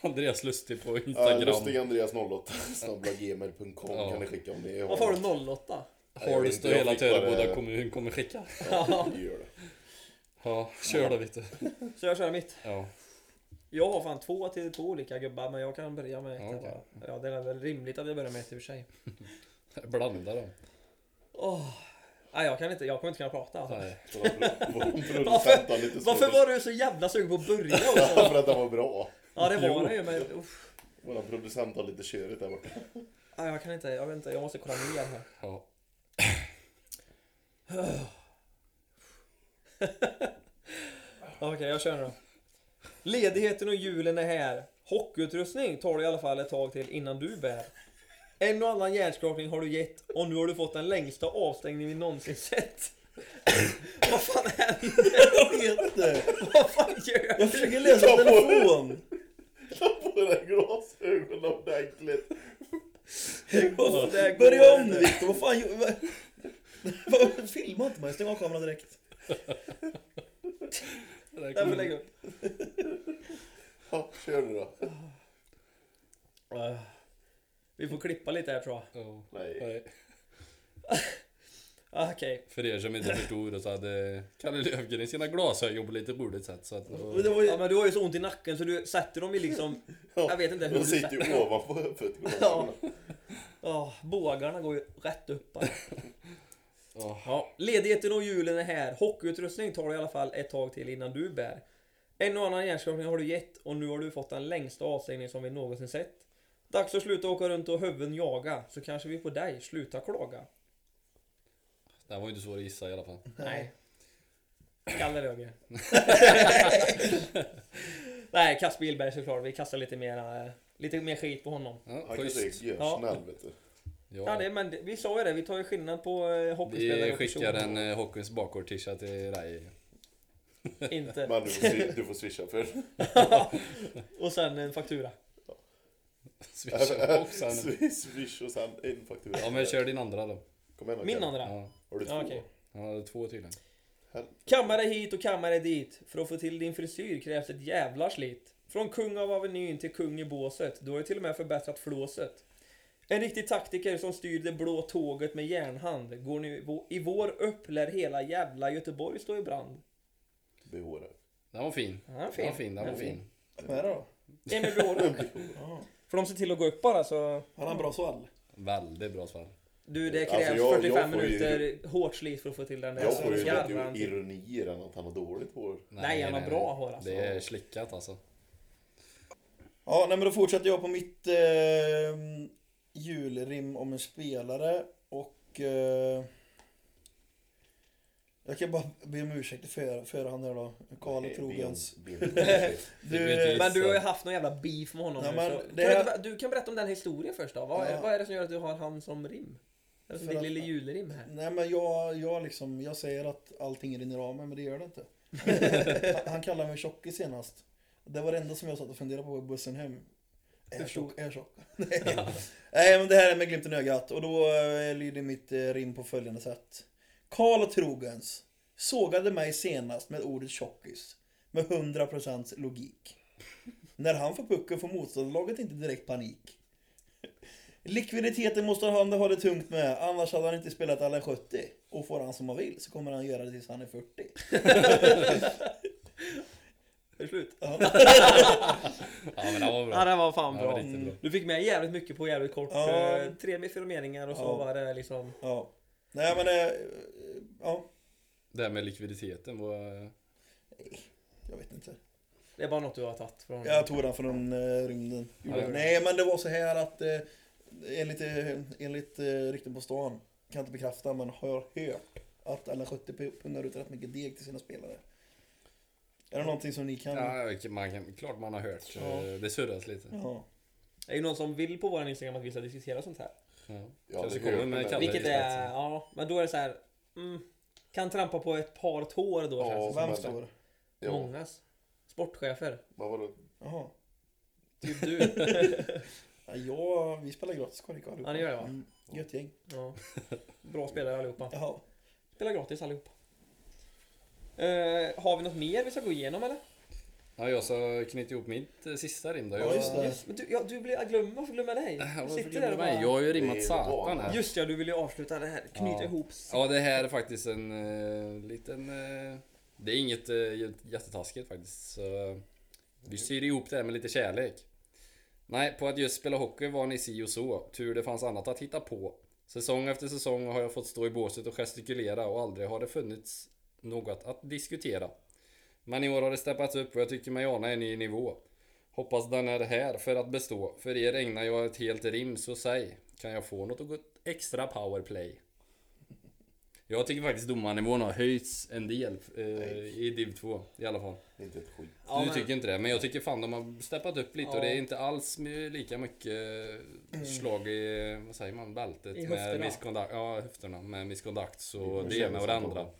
[SPEAKER 5] Andreas Lustig på
[SPEAKER 3] Ja,
[SPEAKER 5] Instagram.
[SPEAKER 3] Lustig Eh, Andreas 08 snabbla gmail.com
[SPEAKER 5] Ja.
[SPEAKER 3] kan ni skicka om ni har
[SPEAKER 4] Varför har du 08?
[SPEAKER 5] Holst och
[SPEAKER 3] Jag
[SPEAKER 5] hela
[SPEAKER 3] fick bara-
[SPEAKER 5] Töreboda kommun kommer skicka.
[SPEAKER 3] något? Gör det.
[SPEAKER 5] Ja, kör då Vitte.
[SPEAKER 4] Så jag kör mitt.
[SPEAKER 5] Ja.
[SPEAKER 4] Jag har fan två till två olika gubbar men jag kan börja med ett.
[SPEAKER 5] Ja,
[SPEAKER 4] här
[SPEAKER 5] okej.
[SPEAKER 4] bara. Ja, det är väl rimligt att jag börjar med ett i och för sig.
[SPEAKER 5] Blanda då.
[SPEAKER 4] Åh. Nej, jag kan inte, jag kommer inte kunna prata alltså.
[SPEAKER 5] Nej.
[SPEAKER 3] Så de pro- de
[SPEAKER 4] Varför-
[SPEAKER 3] producentar lite
[SPEAKER 4] Varför
[SPEAKER 3] svårt.
[SPEAKER 4] var du så jävla sugen på att börja också?
[SPEAKER 3] För att den var bra.
[SPEAKER 4] Ja det var det ju men uff.
[SPEAKER 3] Vår producent har lite körigt där borta.
[SPEAKER 4] Nej, jag kan inte, jag vet inte, jag måste kolla ner här.
[SPEAKER 5] Ja.
[SPEAKER 4] Okej, jag kör nu då. Ledigheten och julen är här. Hockeyutrustning tar det i alla fall ett tag till innan du bär. En och annan hjärnskakning har du gett och nu har du fått den längsta avstängning vi någonsin sett. Vad fan händer?
[SPEAKER 1] Jag vet inte.
[SPEAKER 4] Vad fan gör
[SPEAKER 1] Jag försöker läsa telefon.
[SPEAKER 3] Ta på dig glasögonen ordentligt.
[SPEAKER 4] jag? Det här går
[SPEAKER 1] Börja om
[SPEAKER 4] inte.
[SPEAKER 1] nu Viktor, vad fan gör- vad- vad- Filma inte mig, stäng av kameran direkt.
[SPEAKER 4] Nej, men lägg upp.
[SPEAKER 3] Ja, kör nu då.
[SPEAKER 4] Ah. Vi får klippa lite här tror jag.
[SPEAKER 5] Ja.
[SPEAKER 3] Nej.
[SPEAKER 5] Nej.
[SPEAKER 4] Ah, Okej.
[SPEAKER 5] För er som inte förstod så hade Kalle Löfgren sina glasögon på lite roligt sätt. Så att,
[SPEAKER 1] Men det var ju-
[SPEAKER 4] Ja, men du har ju så ont i nacken så du sätter dem i liksom... Jag vet inte hur
[SPEAKER 3] De
[SPEAKER 4] du
[SPEAKER 3] sitter
[SPEAKER 4] sätter
[SPEAKER 3] ju ovanpå huvudet.
[SPEAKER 4] Ja. Ja, bågarna går ju rätt upp här. Ja, ledigheten och julen är här. Hockeyutrustning tar det i alla fall ett tag till innan du bär. En och annan hjärnskakning har du gett och nu har du fått den längsta avstängning som vi någonsin sett. Dags att sluta åka runt och huvuden jaga, så kanske vi på dig slutar klaga.
[SPEAKER 5] Det här var ju inte svårt att gissa i alla fall.
[SPEAKER 4] Nej. Kalle Löfgren. Nej, Kasper Gillberg såklart. Vi kastar lite mer, eh, lite mer skit på honom.
[SPEAKER 5] Ja,
[SPEAKER 3] Han kan
[SPEAKER 5] schysst.
[SPEAKER 3] säga görsnäll vet du.
[SPEAKER 4] Ja,
[SPEAKER 5] Ja.
[SPEAKER 4] det, men det, vi sa ju det, vi tar ju skillnad på eh, hockeyspelare
[SPEAKER 5] Vi
[SPEAKER 4] och
[SPEAKER 5] skickar
[SPEAKER 4] personer.
[SPEAKER 5] en eh, Hockeyns bakgård-tisha till dig.
[SPEAKER 4] Inte.
[SPEAKER 3] Men du får, swi- du får swisha för den.
[SPEAKER 4] och sen en faktura.
[SPEAKER 5] Swisha också.
[SPEAKER 3] Swi- Swish och sen en faktura.
[SPEAKER 5] Ja men kör din andra då.
[SPEAKER 3] Kom igen då,
[SPEAKER 4] Min
[SPEAKER 3] Kalle.
[SPEAKER 4] andra.
[SPEAKER 5] Ja,
[SPEAKER 3] Har du två?
[SPEAKER 4] Ja, okej.
[SPEAKER 5] ja två tydligen.
[SPEAKER 4] Kammare hit och kammare dit. För att få till din frisyr krävs ett jävla slit. Från kung av Avenyn till kung i båset. Du har ju till och med förbättrat flåset. En riktig taktiker som styr det blå tåget med järnhand. Går nu i vår upp lär hela jävla Göteborg stå i brand.
[SPEAKER 3] BH där.
[SPEAKER 5] Den var fin.
[SPEAKER 4] Den var
[SPEAKER 5] Den var
[SPEAKER 4] fin.
[SPEAKER 5] fin, den var
[SPEAKER 4] Den är
[SPEAKER 5] fin.
[SPEAKER 1] Vad är det då?
[SPEAKER 4] Emil Bråra. För de ser till att gå upp bara så...
[SPEAKER 1] Har han bra svall?
[SPEAKER 5] Väldigt bra svar.
[SPEAKER 4] Du, det
[SPEAKER 3] Alltså,
[SPEAKER 4] krävs
[SPEAKER 3] jag- jag
[SPEAKER 4] 45
[SPEAKER 3] får ju-
[SPEAKER 4] minuter hårt slit för att få till den där.
[SPEAKER 3] Jag får ju
[SPEAKER 4] Jävlar.
[SPEAKER 3] lite ironi i den att han har dåligt hår.
[SPEAKER 4] Nej, han har bra hår, alltså.
[SPEAKER 5] Det är slickat alltså.
[SPEAKER 1] Ja, nej, men då fortsätter jag på mitt eh, julrim om en spelare och eh, jag kan bara be om ursäkt i för, förhand här då. Karl
[SPEAKER 3] Be-
[SPEAKER 1] Trogens.
[SPEAKER 3] be om- be om ursäkt.
[SPEAKER 5] Det blir
[SPEAKER 1] Du,
[SPEAKER 5] ett
[SPEAKER 4] Eh, Men du har ju haft någon jävla beef med honom
[SPEAKER 1] Ja,
[SPEAKER 4] nu,
[SPEAKER 1] men
[SPEAKER 4] så...
[SPEAKER 1] det
[SPEAKER 4] kan du,
[SPEAKER 1] här-
[SPEAKER 4] inte, ber- du kan berätta om den historien först då. Vad,
[SPEAKER 1] Ja.
[SPEAKER 4] är, vad är det som gör att du har han som rim? Eller som
[SPEAKER 1] För
[SPEAKER 4] ditt
[SPEAKER 1] att-
[SPEAKER 4] lille julrim här.
[SPEAKER 1] nej men jag, jag liksom, jag säger att allting rinner av mig men det gör det inte. Han- Han kallade mig tjockis senast. Det var det enda som jag satt och funderade på i bussen hem. Är jag tjock? Är jag tjock? Nej. Nej men det här är med glimten i ögat och då eh, lyder mitt eh, rim på följande sätt. Karl Trogens sågade mig senast med ordet tjockis med 100% logik. När han får pucken får motståndarlaget inte direkt panik. Likviditeten måste han ha det tungt med, annars hade han inte spelat alla 70. Och får han som han vill så kommer han göra det tills han är 40.
[SPEAKER 4] Är det slut?
[SPEAKER 5] Ja men den var
[SPEAKER 4] Ja,
[SPEAKER 5] bra.
[SPEAKER 4] det var fan
[SPEAKER 5] Den
[SPEAKER 4] bra.
[SPEAKER 5] var riktigt bra.
[SPEAKER 4] Du fick med jävligt mycket på jävligt kort.
[SPEAKER 1] Ja.
[SPEAKER 4] eh, Tre, med fyra meningar och så
[SPEAKER 1] Ja.
[SPEAKER 4] var det liksom...
[SPEAKER 1] Ja. Nej men, eh, ja,
[SPEAKER 5] Det här med likviditeten var...
[SPEAKER 1] jag vet inte.
[SPEAKER 4] Det är bara något du har tagit från...
[SPEAKER 1] Jag tog den från eh, rymden.
[SPEAKER 5] Ja, ja.
[SPEAKER 1] Nej men det var så här att eh, enligt, eh, enligt eh, rykten på stan, kan inte bekräfta men har hört att alla 70 pungar ut rätt mycket deg till sina spelare. Är det någonting som ni kan?
[SPEAKER 5] Ja, man kan, klart man har hört. eh,
[SPEAKER 1] Ja. Mm.
[SPEAKER 5] Det surras lite.
[SPEAKER 1] Ja.
[SPEAKER 4] Det är ju någon som vill på våran Instagram att vi ska diskutera sånt här.
[SPEAKER 5] Ja.
[SPEAKER 3] Jag har
[SPEAKER 5] Kanske
[SPEAKER 3] aldrig
[SPEAKER 5] kommer
[SPEAKER 3] hört
[SPEAKER 5] med
[SPEAKER 3] den
[SPEAKER 5] Kalle.
[SPEAKER 3] där.
[SPEAKER 4] Vilket
[SPEAKER 5] det är
[SPEAKER 4] är...
[SPEAKER 5] rätt.
[SPEAKER 4] Ja, men då är det så här... Mm, kan trampa på ett par tår då
[SPEAKER 3] Ja.
[SPEAKER 4] känns
[SPEAKER 3] Mm.
[SPEAKER 4] det
[SPEAKER 1] Vem
[SPEAKER 3] men-
[SPEAKER 1] står?
[SPEAKER 4] som.
[SPEAKER 3] Ja,
[SPEAKER 4] Mångas. Sportchefer.
[SPEAKER 3] vad var det?
[SPEAKER 1] Jaha.
[SPEAKER 4] Typ du.
[SPEAKER 1] Ja, jag, vi spelar gratis KDK allihopa.
[SPEAKER 4] Ja, det gör det, va?
[SPEAKER 1] Mm, gött gäng.
[SPEAKER 4] Ja. Bra spelare allihopa.
[SPEAKER 1] Jaha.
[SPEAKER 4] Spelar gratis allihopa. Eh, har vi något mer vi ska gå igenom eller?
[SPEAKER 5] Ja, jag ska knyta ihop mitt eh, sista rim då.
[SPEAKER 1] Ja,
[SPEAKER 5] Jag,
[SPEAKER 1] just det.
[SPEAKER 4] Just, men du, ja, du blir, jag glömmer, varför glömmer jag dig?
[SPEAKER 5] Ja,
[SPEAKER 4] Du
[SPEAKER 5] varför
[SPEAKER 4] sitter
[SPEAKER 5] glömde
[SPEAKER 4] där
[SPEAKER 5] du
[SPEAKER 4] och bara...
[SPEAKER 5] mig? Jag har ju
[SPEAKER 3] Det
[SPEAKER 5] rimmat
[SPEAKER 3] är
[SPEAKER 5] satan
[SPEAKER 3] van.
[SPEAKER 5] här.
[SPEAKER 4] Just ja, du vill ju avsluta det här, knyta
[SPEAKER 5] Ja.
[SPEAKER 4] ihop.
[SPEAKER 5] Ja, det här är faktiskt en eh, liten... Eh, det är inget eh, jä- jättetaskigt faktiskt. Så, eh, vi syr ihop det här med lite kärlek. Nej, på att just spela hockey var ni si och så. Tur det fanns annat att hitta på. Säsong efter säsong har jag fått stå i båset och gestikulera och aldrig har det funnits något att diskutera. Men i år har det steppats upp och jag tycker mig ana en ny nivå. Hoppas den är här för att bestå. För er ägnar jag ett helt rim, så säg. Kan jag få något extra powerplay? Jag tycker faktiskt domarnivån har höjts en del eh, i div 2 i alla fall.
[SPEAKER 3] Inte ett skit.
[SPEAKER 4] Ja,
[SPEAKER 5] du
[SPEAKER 4] men-
[SPEAKER 5] tycker inte det, men jag tycker fan de har steppat upp lite
[SPEAKER 4] Ja.
[SPEAKER 5] och det är inte alls my- lika mycket eh, slag i, vad säger man, bältet?
[SPEAKER 4] I
[SPEAKER 5] med
[SPEAKER 4] höfterna.
[SPEAKER 5] misconduct, Ja, höfterna. Med misconduct så
[SPEAKER 3] Det
[SPEAKER 5] det ena och det
[SPEAKER 3] känns
[SPEAKER 5] andra.
[SPEAKER 3] som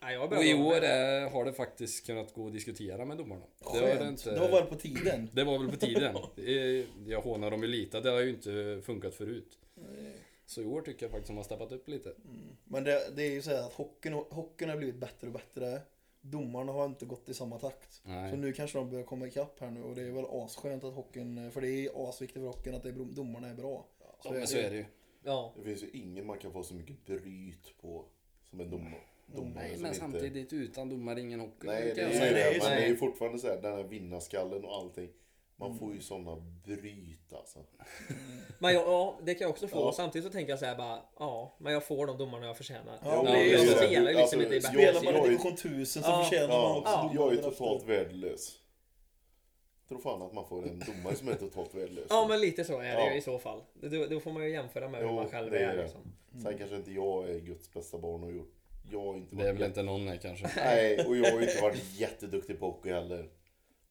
[SPEAKER 4] Ja, jag
[SPEAKER 5] Och i
[SPEAKER 4] börjar-
[SPEAKER 5] år eh, har det faktiskt kunnat gå att diskutera med domarna. Det har det,
[SPEAKER 1] Skönt.
[SPEAKER 5] inte,
[SPEAKER 1] Då var det på tiden.
[SPEAKER 5] det var väl på tiden. Eh, Jag hånar dem ju lite, det har ju inte funkat förut. Så i år tycker jag faktiskt de har steppat upp lite.
[SPEAKER 1] Mm. Men det, det är ju så här att hockeyn, hockeyn har blivit bättre och bättre. Domarna har inte gått i samma takt.
[SPEAKER 5] Nej.
[SPEAKER 1] Så nu kanske de börjar komma ikapp här nu och det är väl asskönt att hockeyn, för det är asviktigt för hockeyn att det är, domarna är bra.
[SPEAKER 5] Ja, men så är det ju.
[SPEAKER 4] Ja.
[SPEAKER 3] Det finns ju ingen man kan få så mycket bryt på som en dom- domare.
[SPEAKER 5] Nej,
[SPEAKER 3] som
[SPEAKER 5] men
[SPEAKER 3] inte-
[SPEAKER 5] samtidigt utan domare ingen hockey.
[SPEAKER 3] Nej, det
[SPEAKER 5] kan jag
[SPEAKER 3] är
[SPEAKER 5] säga.
[SPEAKER 3] ju
[SPEAKER 1] Nej,
[SPEAKER 3] det.
[SPEAKER 1] det är
[SPEAKER 3] Men
[SPEAKER 1] så.
[SPEAKER 3] det är ju fortfarande så här, den här vinnarskallen och allting. Man får ju sådana bryt alltså.
[SPEAKER 4] Men jag, ja, det kan jag också få.
[SPEAKER 3] Ja.
[SPEAKER 4] Samtidigt så tänker jag så här bara, ja, men jag får de domarna jag förtjänar.
[SPEAKER 1] Ja,
[SPEAKER 4] jag
[SPEAKER 1] det är ju
[SPEAKER 4] jag
[SPEAKER 1] så.
[SPEAKER 4] spelar ju
[SPEAKER 3] Alltså,
[SPEAKER 4] liksom inte i
[SPEAKER 3] jag-
[SPEAKER 4] bättre
[SPEAKER 1] Spelar
[SPEAKER 4] sida.
[SPEAKER 1] man i
[SPEAKER 3] är-
[SPEAKER 1] division 1000 så
[SPEAKER 4] Ja.
[SPEAKER 1] förtjänar man
[SPEAKER 3] Ja,
[SPEAKER 1] också domare
[SPEAKER 3] Jag är ju
[SPEAKER 1] därefter.
[SPEAKER 3] totalt värdelös. Tror fan att man får en domare som är totalt värdelös.
[SPEAKER 4] Ja, men lite så är det
[SPEAKER 3] Ja.
[SPEAKER 4] ju i så fall. Då, då får man ju jämföra med hur
[SPEAKER 3] Jo,
[SPEAKER 4] man själv
[SPEAKER 3] det är
[SPEAKER 4] är.
[SPEAKER 3] det.
[SPEAKER 4] Liksom.
[SPEAKER 3] Sen kanske inte jag är Guds bästa barn och gjort. Jag har inte
[SPEAKER 5] Det är
[SPEAKER 3] varit
[SPEAKER 5] väl inte någon här kanske.
[SPEAKER 3] Nej, och jag har ju inte varit jätteduktig på hockey heller.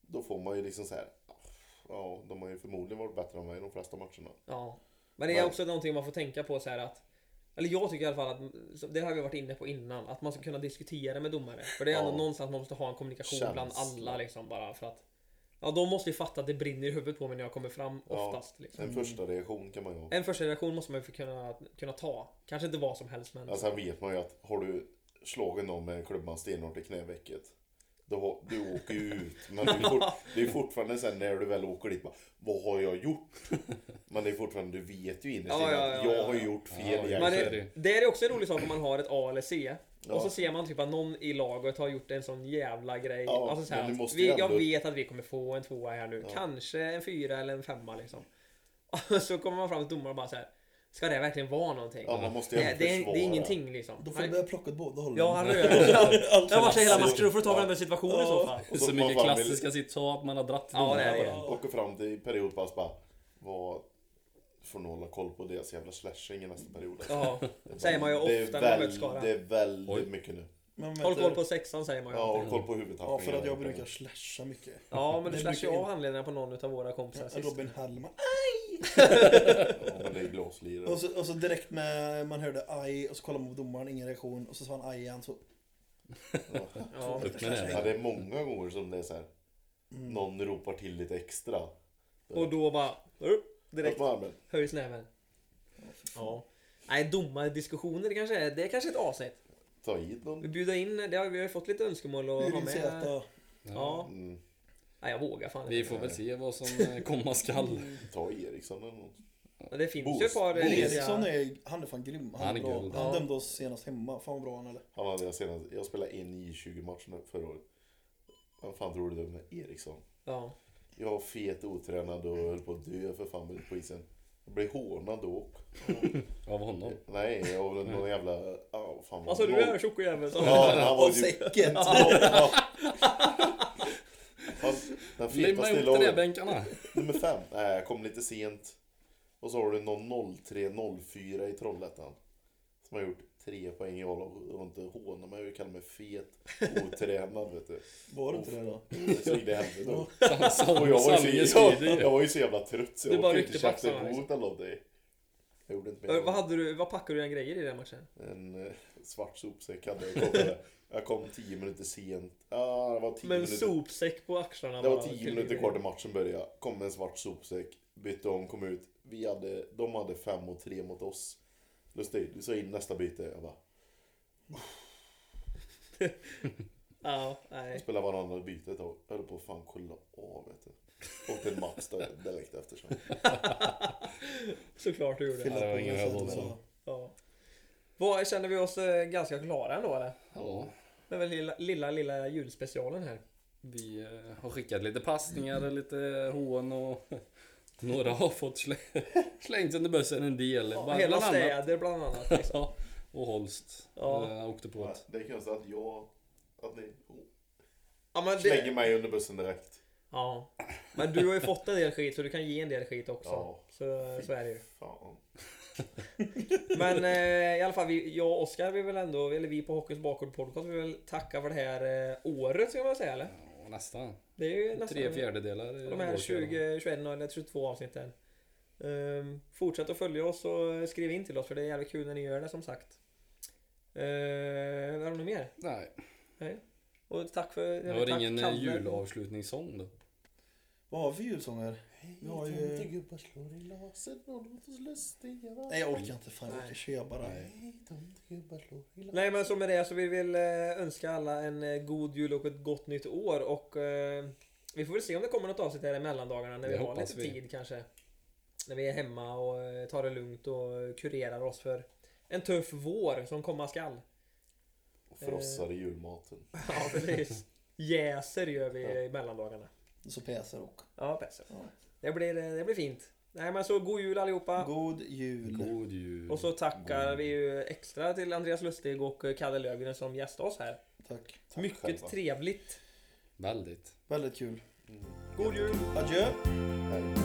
[SPEAKER 3] Då får man ju liksom så här. Ja, de har ju förmodligen varit bättre än mig i de flesta matcherna.
[SPEAKER 4] Ja. Men det är
[SPEAKER 3] Men-
[SPEAKER 4] också någonting man får tänka på så här att eller jag tycker i alla fall att, så det har vi varit inne på innan, att man ska kunna diskutera med domare. För det är
[SPEAKER 3] Ja.
[SPEAKER 4] ändå någonstans man måste ha en kommunikation bland
[SPEAKER 3] Känsla.
[SPEAKER 4] alla liksom bara för att Ja, de måste ju fatta att det brinner i huvudet på mig när jag kommer fram
[SPEAKER 3] Ja.
[SPEAKER 4] oftast. Liksom.
[SPEAKER 3] En första reaktion kan man ju ha.
[SPEAKER 4] En första reaktion måste man ju få kunna, kunna ta. Kanske inte vad som helst men...
[SPEAKER 3] Ja, sen Alltså, vet man ju att har du slagit någon med klubban stenhårt i knävecket. Då, har- du åker ju ut. Men det är, fort, det är fortfarande sen när du väl åker dit. Bara, Vad har jag gjort? Men det är fortfarande, du vet ju innerst
[SPEAKER 4] Ja,
[SPEAKER 3] inne
[SPEAKER 4] ja,
[SPEAKER 3] att
[SPEAKER 4] ja,
[SPEAKER 3] jag
[SPEAKER 4] ja,
[SPEAKER 3] har
[SPEAKER 4] ja.
[SPEAKER 3] gjort fel.
[SPEAKER 5] Ja,
[SPEAKER 3] Ja,
[SPEAKER 4] Men
[SPEAKER 5] så
[SPEAKER 4] det,
[SPEAKER 5] är det ju.
[SPEAKER 4] det är också en rolig sak om man har ett A eller C.
[SPEAKER 3] Ja.
[SPEAKER 4] Och så ser man typ att någon i laget har gjort en sån jävla grej.
[SPEAKER 3] Ja,
[SPEAKER 4] alltså så
[SPEAKER 3] men
[SPEAKER 4] här,
[SPEAKER 3] du
[SPEAKER 4] att
[SPEAKER 3] måste ju
[SPEAKER 4] vi,
[SPEAKER 3] ändå-
[SPEAKER 4] Jag vet att vi kommer få en tvåa här nu. Kanske en fyra eller en femma liksom. Och så kommer man fram till domaren och bara så här. Ska det verkligen vara någonting?
[SPEAKER 3] ja, man måste ju
[SPEAKER 4] det,
[SPEAKER 3] ändå
[SPEAKER 4] det, är,
[SPEAKER 3] försvara.
[SPEAKER 4] det är ingenting liksom.
[SPEAKER 1] Då får du
[SPEAKER 4] Han-
[SPEAKER 1] börja plocka åt båda hållen.
[SPEAKER 4] Ja, han rör Jag varsar hela
[SPEAKER 3] klassiskt.
[SPEAKER 4] matchen. Då får du ta varenda situation i så fall.
[SPEAKER 3] Och
[SPEAKER 5] Så
[SPEAKER 3] man
[SPEAKER 5] mycket
[SPEAKER 3] bara vill-
[SPEAKER 5] klassiska citat man har dratt till
[SPEAKER 4] Ja,
[SPEAKER 5] domarna
[SPEAKER 4] det är
[SPEAKER 5] på
[SPEAKER 4] det.
[SPEAKER 5] den.
[SPEAKER 3] Åker fram till periodpass bara. Vad får nog hålla koll på deras jävla slashing i nästa period. alltså.
[SPEAKER 4] Ja, säger man ju
[SPEAKER 3] Det är
[SPEAKER 4] ofta när man möter
[SPEAKER 3] väl-
[SPEAKER 4] Skara.
[SPEAKER 3] Det är väldigt
[SPEAKER 5] Oj.
[SPEAKER 3] mycket nu.
[SPEAKER 1] Men
[SPEAKER 4] Håll
[SPEAKER 1] vänta.
[SPEAKER 4] koll på sexan säger man ju.
[SPEAKER 3] Ja,
[SPEAKER 4] alltid.
[SPEAKER 3] och koll på huvudtappningar.
[SPEAKER 1] Ja, för att jag brukar slasha mycket.
[SPEAKER 4] Ja, men du
[SPEAKER 1] Det
[SPEAKER 4] slashar ju
[SPEAKER 1] brukar
[SPEAKER 4] av handledarna på någon av våra kompisar sist.
[SPEAKER 1] Robin Hellman.
[SPEAKER 3] Ja, men det är glaslirare.
[SPEAKER 1] Och så, och så direkt med man hörde aj och så kollade man på domaren, ingen reaktion. Och så sa han aj igen så...
[SPEAKER 4] Ja.
[SPEAKER 5] Upp med den.
[SPEAKER 3] Ja, det är många gånger som det är så här.
[SPEAKER 1] Mm.
[SPEAKER 3] Någon ropar till lite extra.
[SPEAKER 4] Och då bara... Direkt
[SPEAKER 3] Upp med armen.
[SPEAKER 4] höjs näven. Ja. Nej, dommardiskussioner kanske är, det är kanske ett avsnitt.
[SPEAKER 3] Ta hit
[SPEAKER 4] Vi
[SPEAKER 3] någon.
[SPEAKER 4] bjuder in, det har, vi har ju fått lite önskemål att ha
[SPEAKER 1] Urin
[SPEAKER 4] med.
[SPEAKER 1] Z.
[SPEAKER 4] Ja.
[SPEAKER 3] Mm.
[SPEAKER 4] Nej, jag vågar fan
[SPEAKER 5] Vi
[SPEAKER 4] inte.
[SPEAKER 5] får väl se vad som eh, komma skall.
[SPEAKER 3] Ta Eriksson eller något.
[SPEAKER 4] Men Det finns
[SPEAKER 3] Boos.
[SPEAKER 4] ju ett par
[SPEAKER 1] Men Eriksson
[SPEAKER 4] resiga...
[SPEAKER 1] är, han är fan grym. Han,
[SPEAKER 5] Han är
[SPEAKER 1] är
[SPEAKER 5] guld.
[SPEAKER 1] bra. han
[SPEAKER 4] Ja.
[SPEAKER 1] dömde oss senast hemma. Fan vad bra han är.
[SPEAKER 3] Han hade jag senast. Jag spelade en J20-match nu förra året. Vad fan tror du det med Eriksson?
[SPEAKER 4] Ja.
[SPEAKER 3] Jag var fet, otränad och höll på att dö för fan på isen. Jag blev hånad då också.
[SPEAKER 5] Av honom.
[SPEAKER 3] Nej, jag var väl någon jävla... ja, vad fan,
[SPEAKER 4] Alltså du
[SPEAKER 3] noll-
[SPEAKER 4] är tjock och jävel. så-
[SPEAKER 3] Ja, han var
[SPEAKER 1] Av
[SPEAKER 3] ju...
[SPEAKER 1] säcken!
[SPEAKER 3] Ja. Han- Den
[SPEAKER 5] Limma
[SPEAKER 3] fetaste i
[SPEAKER 5] ihop de där
[SPEAKER 3] laget.
[SPEAKER 5] bänkarna.
[SPEAKER 3] Nummer fem. Nej, jag kom lite sent. Och så har du någon 03-04 i Trollhättan. Som har gjort tre poäng i A-lag och inte hånar mig och kallar mig fet, otränad vet du.
[SPEAKER 1] Var det inte det då?
[SPEAKER 3] Det så in i helvete.
[SPEAKER 5] Sam-
[SPEAKER 3] Och jag var, ju
[SPEAKER 5] sanningen
[SPEAKER 3] så,
[SPEAKER 5] skrider
[SPEAKER 3] jag,
[SPEAKER 5] ju.
[SPEAKER 3] jag var ju så jävla trött så
[SPEAKER 4] Du
[SPEAKER 3] jag
[SPEAKER 4] bara
[SPEAKER 3] orkade inte
[SPEAKER 4] ryckte på
[SPEAKER 3] tjafsa
[SPEAKER 4] axlarna,
[SPEAKER 3] emot alla av dig. Jag gjorde inte mer.
[SPEAKER 4] Vad hade du, vad packade du dina grejer i den matchen?
[SPEAKER 3] En eh, svart sopsäck hade jag. Kom där. jag kom 10 minuter sent. Ah, det var 10
[SPEAKER 4] Med en
[SPEAKER 3] minuter.
[SPEAKER 4] sopsäck på axlarna
[SPEAKER 3] Det var
[SPEAKER 4] bara
[SPEAKER 3] 10
[SPEAKER 4] till-
[SPEAKER 3] minuter kvar till matchen började. Kom en svart sopsäck. Bytte om, kom ut. Vi hade, de hade 5 och 3 mot oss. Lustig, du sa in nästa byte. Jag bara,
[SPEAKER 4] Ja, nej.
[SPEAKER 3] spelade varandra byte ett tag. Jag höll på att fan kolla av vet du. Åkte en match där direkt efter sen.
[SPEAKER 4] Såklart du gjorde.
[SPEAKER 1] Fylla
[SPEAKER 4] det.
[SPEAKER 5] det var
[SPEAKER 1] på
[SPEAKER 5] ingen
[SPEAKER 1] med
[SPEAKER 5] ögon
[SPEAKER 1] sötma.
[SPEAKER 5] så.
[SPEAKER 4] Ja. Vad, känner vi oss eh, ganska klara ändå eller?
[SPEAKER 5] Ja,
[SPEAKER 4] Med väl lilla, lilla, lilla julspecialen här.
[SPEAKER 5] vi eh, har skickat lite passningar och lite hån och några har fått slä- slängt under bussen en del.
[SPEAKER 4] Ja,
[SPEAKER 5] Bara
[SPEAKER 4] hela
[SPEAKER 5] bland annat.
[SPEAKER 4] städer bland annat. Liksom.
[SPEAKER 5] Ja, och Holst.
[SPEAKER 4] Ja.
[SPEAKER 5] eh, Åkte på ett.
[SPEAKER 3] Det är konstigt att jag, att ni oh,
[SPEAKER 4] Ja, men
[SPEAKER 3] slänger
[SPEAKER 4] det,
[SPEAKER 3] mig under bussen direkt.
[SPEAKER 4] ja. Men du har ju fått en del skit så du kan ge en del skit också.
[SPEAKER 3] Ja.
[SPEAKER 4] Så, så är det ju.
[SPEAKER 3] Fan.
[SPEAKER 4] Men eh, i alla fall, vi, jag och Oskar vill väl ändå, eller vi på Hockeyns bakgård podcast vill väl tacka för det här eh, året ska man väl säga eller?
[SPEAKER 5] Ja, nästan.
[SPEAKER 4] Det är ju nästan
[SPEAKER 5] Tre fjärdedelar. är
[SPEAKER 4] de här
[SPEAKER 5] vår
[SPEAKER 4] 20, 21 eller 32 avsnitten. Ehm, fortsätt att följa oss och skriv in till oss för det är jävligt kul när ni gör det som sagt. Uh, är det något mer?
[SPEAKER 5] Nej,
[SPEAKER 4] Och tack för...
[SPEAKER 5] det var
[SPEAKER 4] tack,
[SPEAKER 5] ingen eh,
[SPEAKER 4] Kalle.
[SPEAKER 5] julavslutningssång då.
[SPEAKER 1] Vad har vi för julsånger? Vi har ju...
[SPEAKER 3] gubbar slår i laser och låt oss lustiga vara.
[SPEAKER 1] Nej jag orkar inte, fan jag orkar köra bara.
[SPEAKER 3] Hej, tomte gubbar slår i laser.
[SPEAKER 4] Nej men så med det så vi vill eh, önska alla en eh, god jul och ett gott nytt år och eh, vi får väl se om det kommer något avsnitt här i mellandagarna när
[SPEAKER 5] Det
[SPEAKER 4] vi har
[SPEAKER 5] hoppas
[SPEAKER 4] lite
[SPEAKER 5] vi.
[SPEAKER 4] tid kanske. När vi är hemma och eh, tar det lugnt och eh, kurerar oss för en tuff vår som komma skall.
[SPEAKER 3] Och frossar i julmaten.
[SPEAKER 4] Ja precis. Jäser gör vi i mellandagarna.
[SPEAKER 1] Och så pjäser och.
[SPEAKER 4] Ja precis. Det blir, eh, det blir fint. Nej men så god jul allihopa.
[SPEAKER 1] God jul.
[SPEAKER 5] God jul.
[SPEAKER 4] Och så tackar vi ju extra till Andreas Lustig och eh, Kalle Löfgren som gästade oss här.
[SPEAKER 1] Tack.
[SPEAKER 4] Mycket
[SPEAKER 3] själva.
[SPEAKER 4] trevligt.
[SPEAKER 5] Väldigt.
[SPEAKER 3] Mm.
[SPEAKER 1] Väldigt kul.
[SPEAKER 4] God jul!
[SPEAKER 1] Adjö.
[SPEAKER 3] Hej.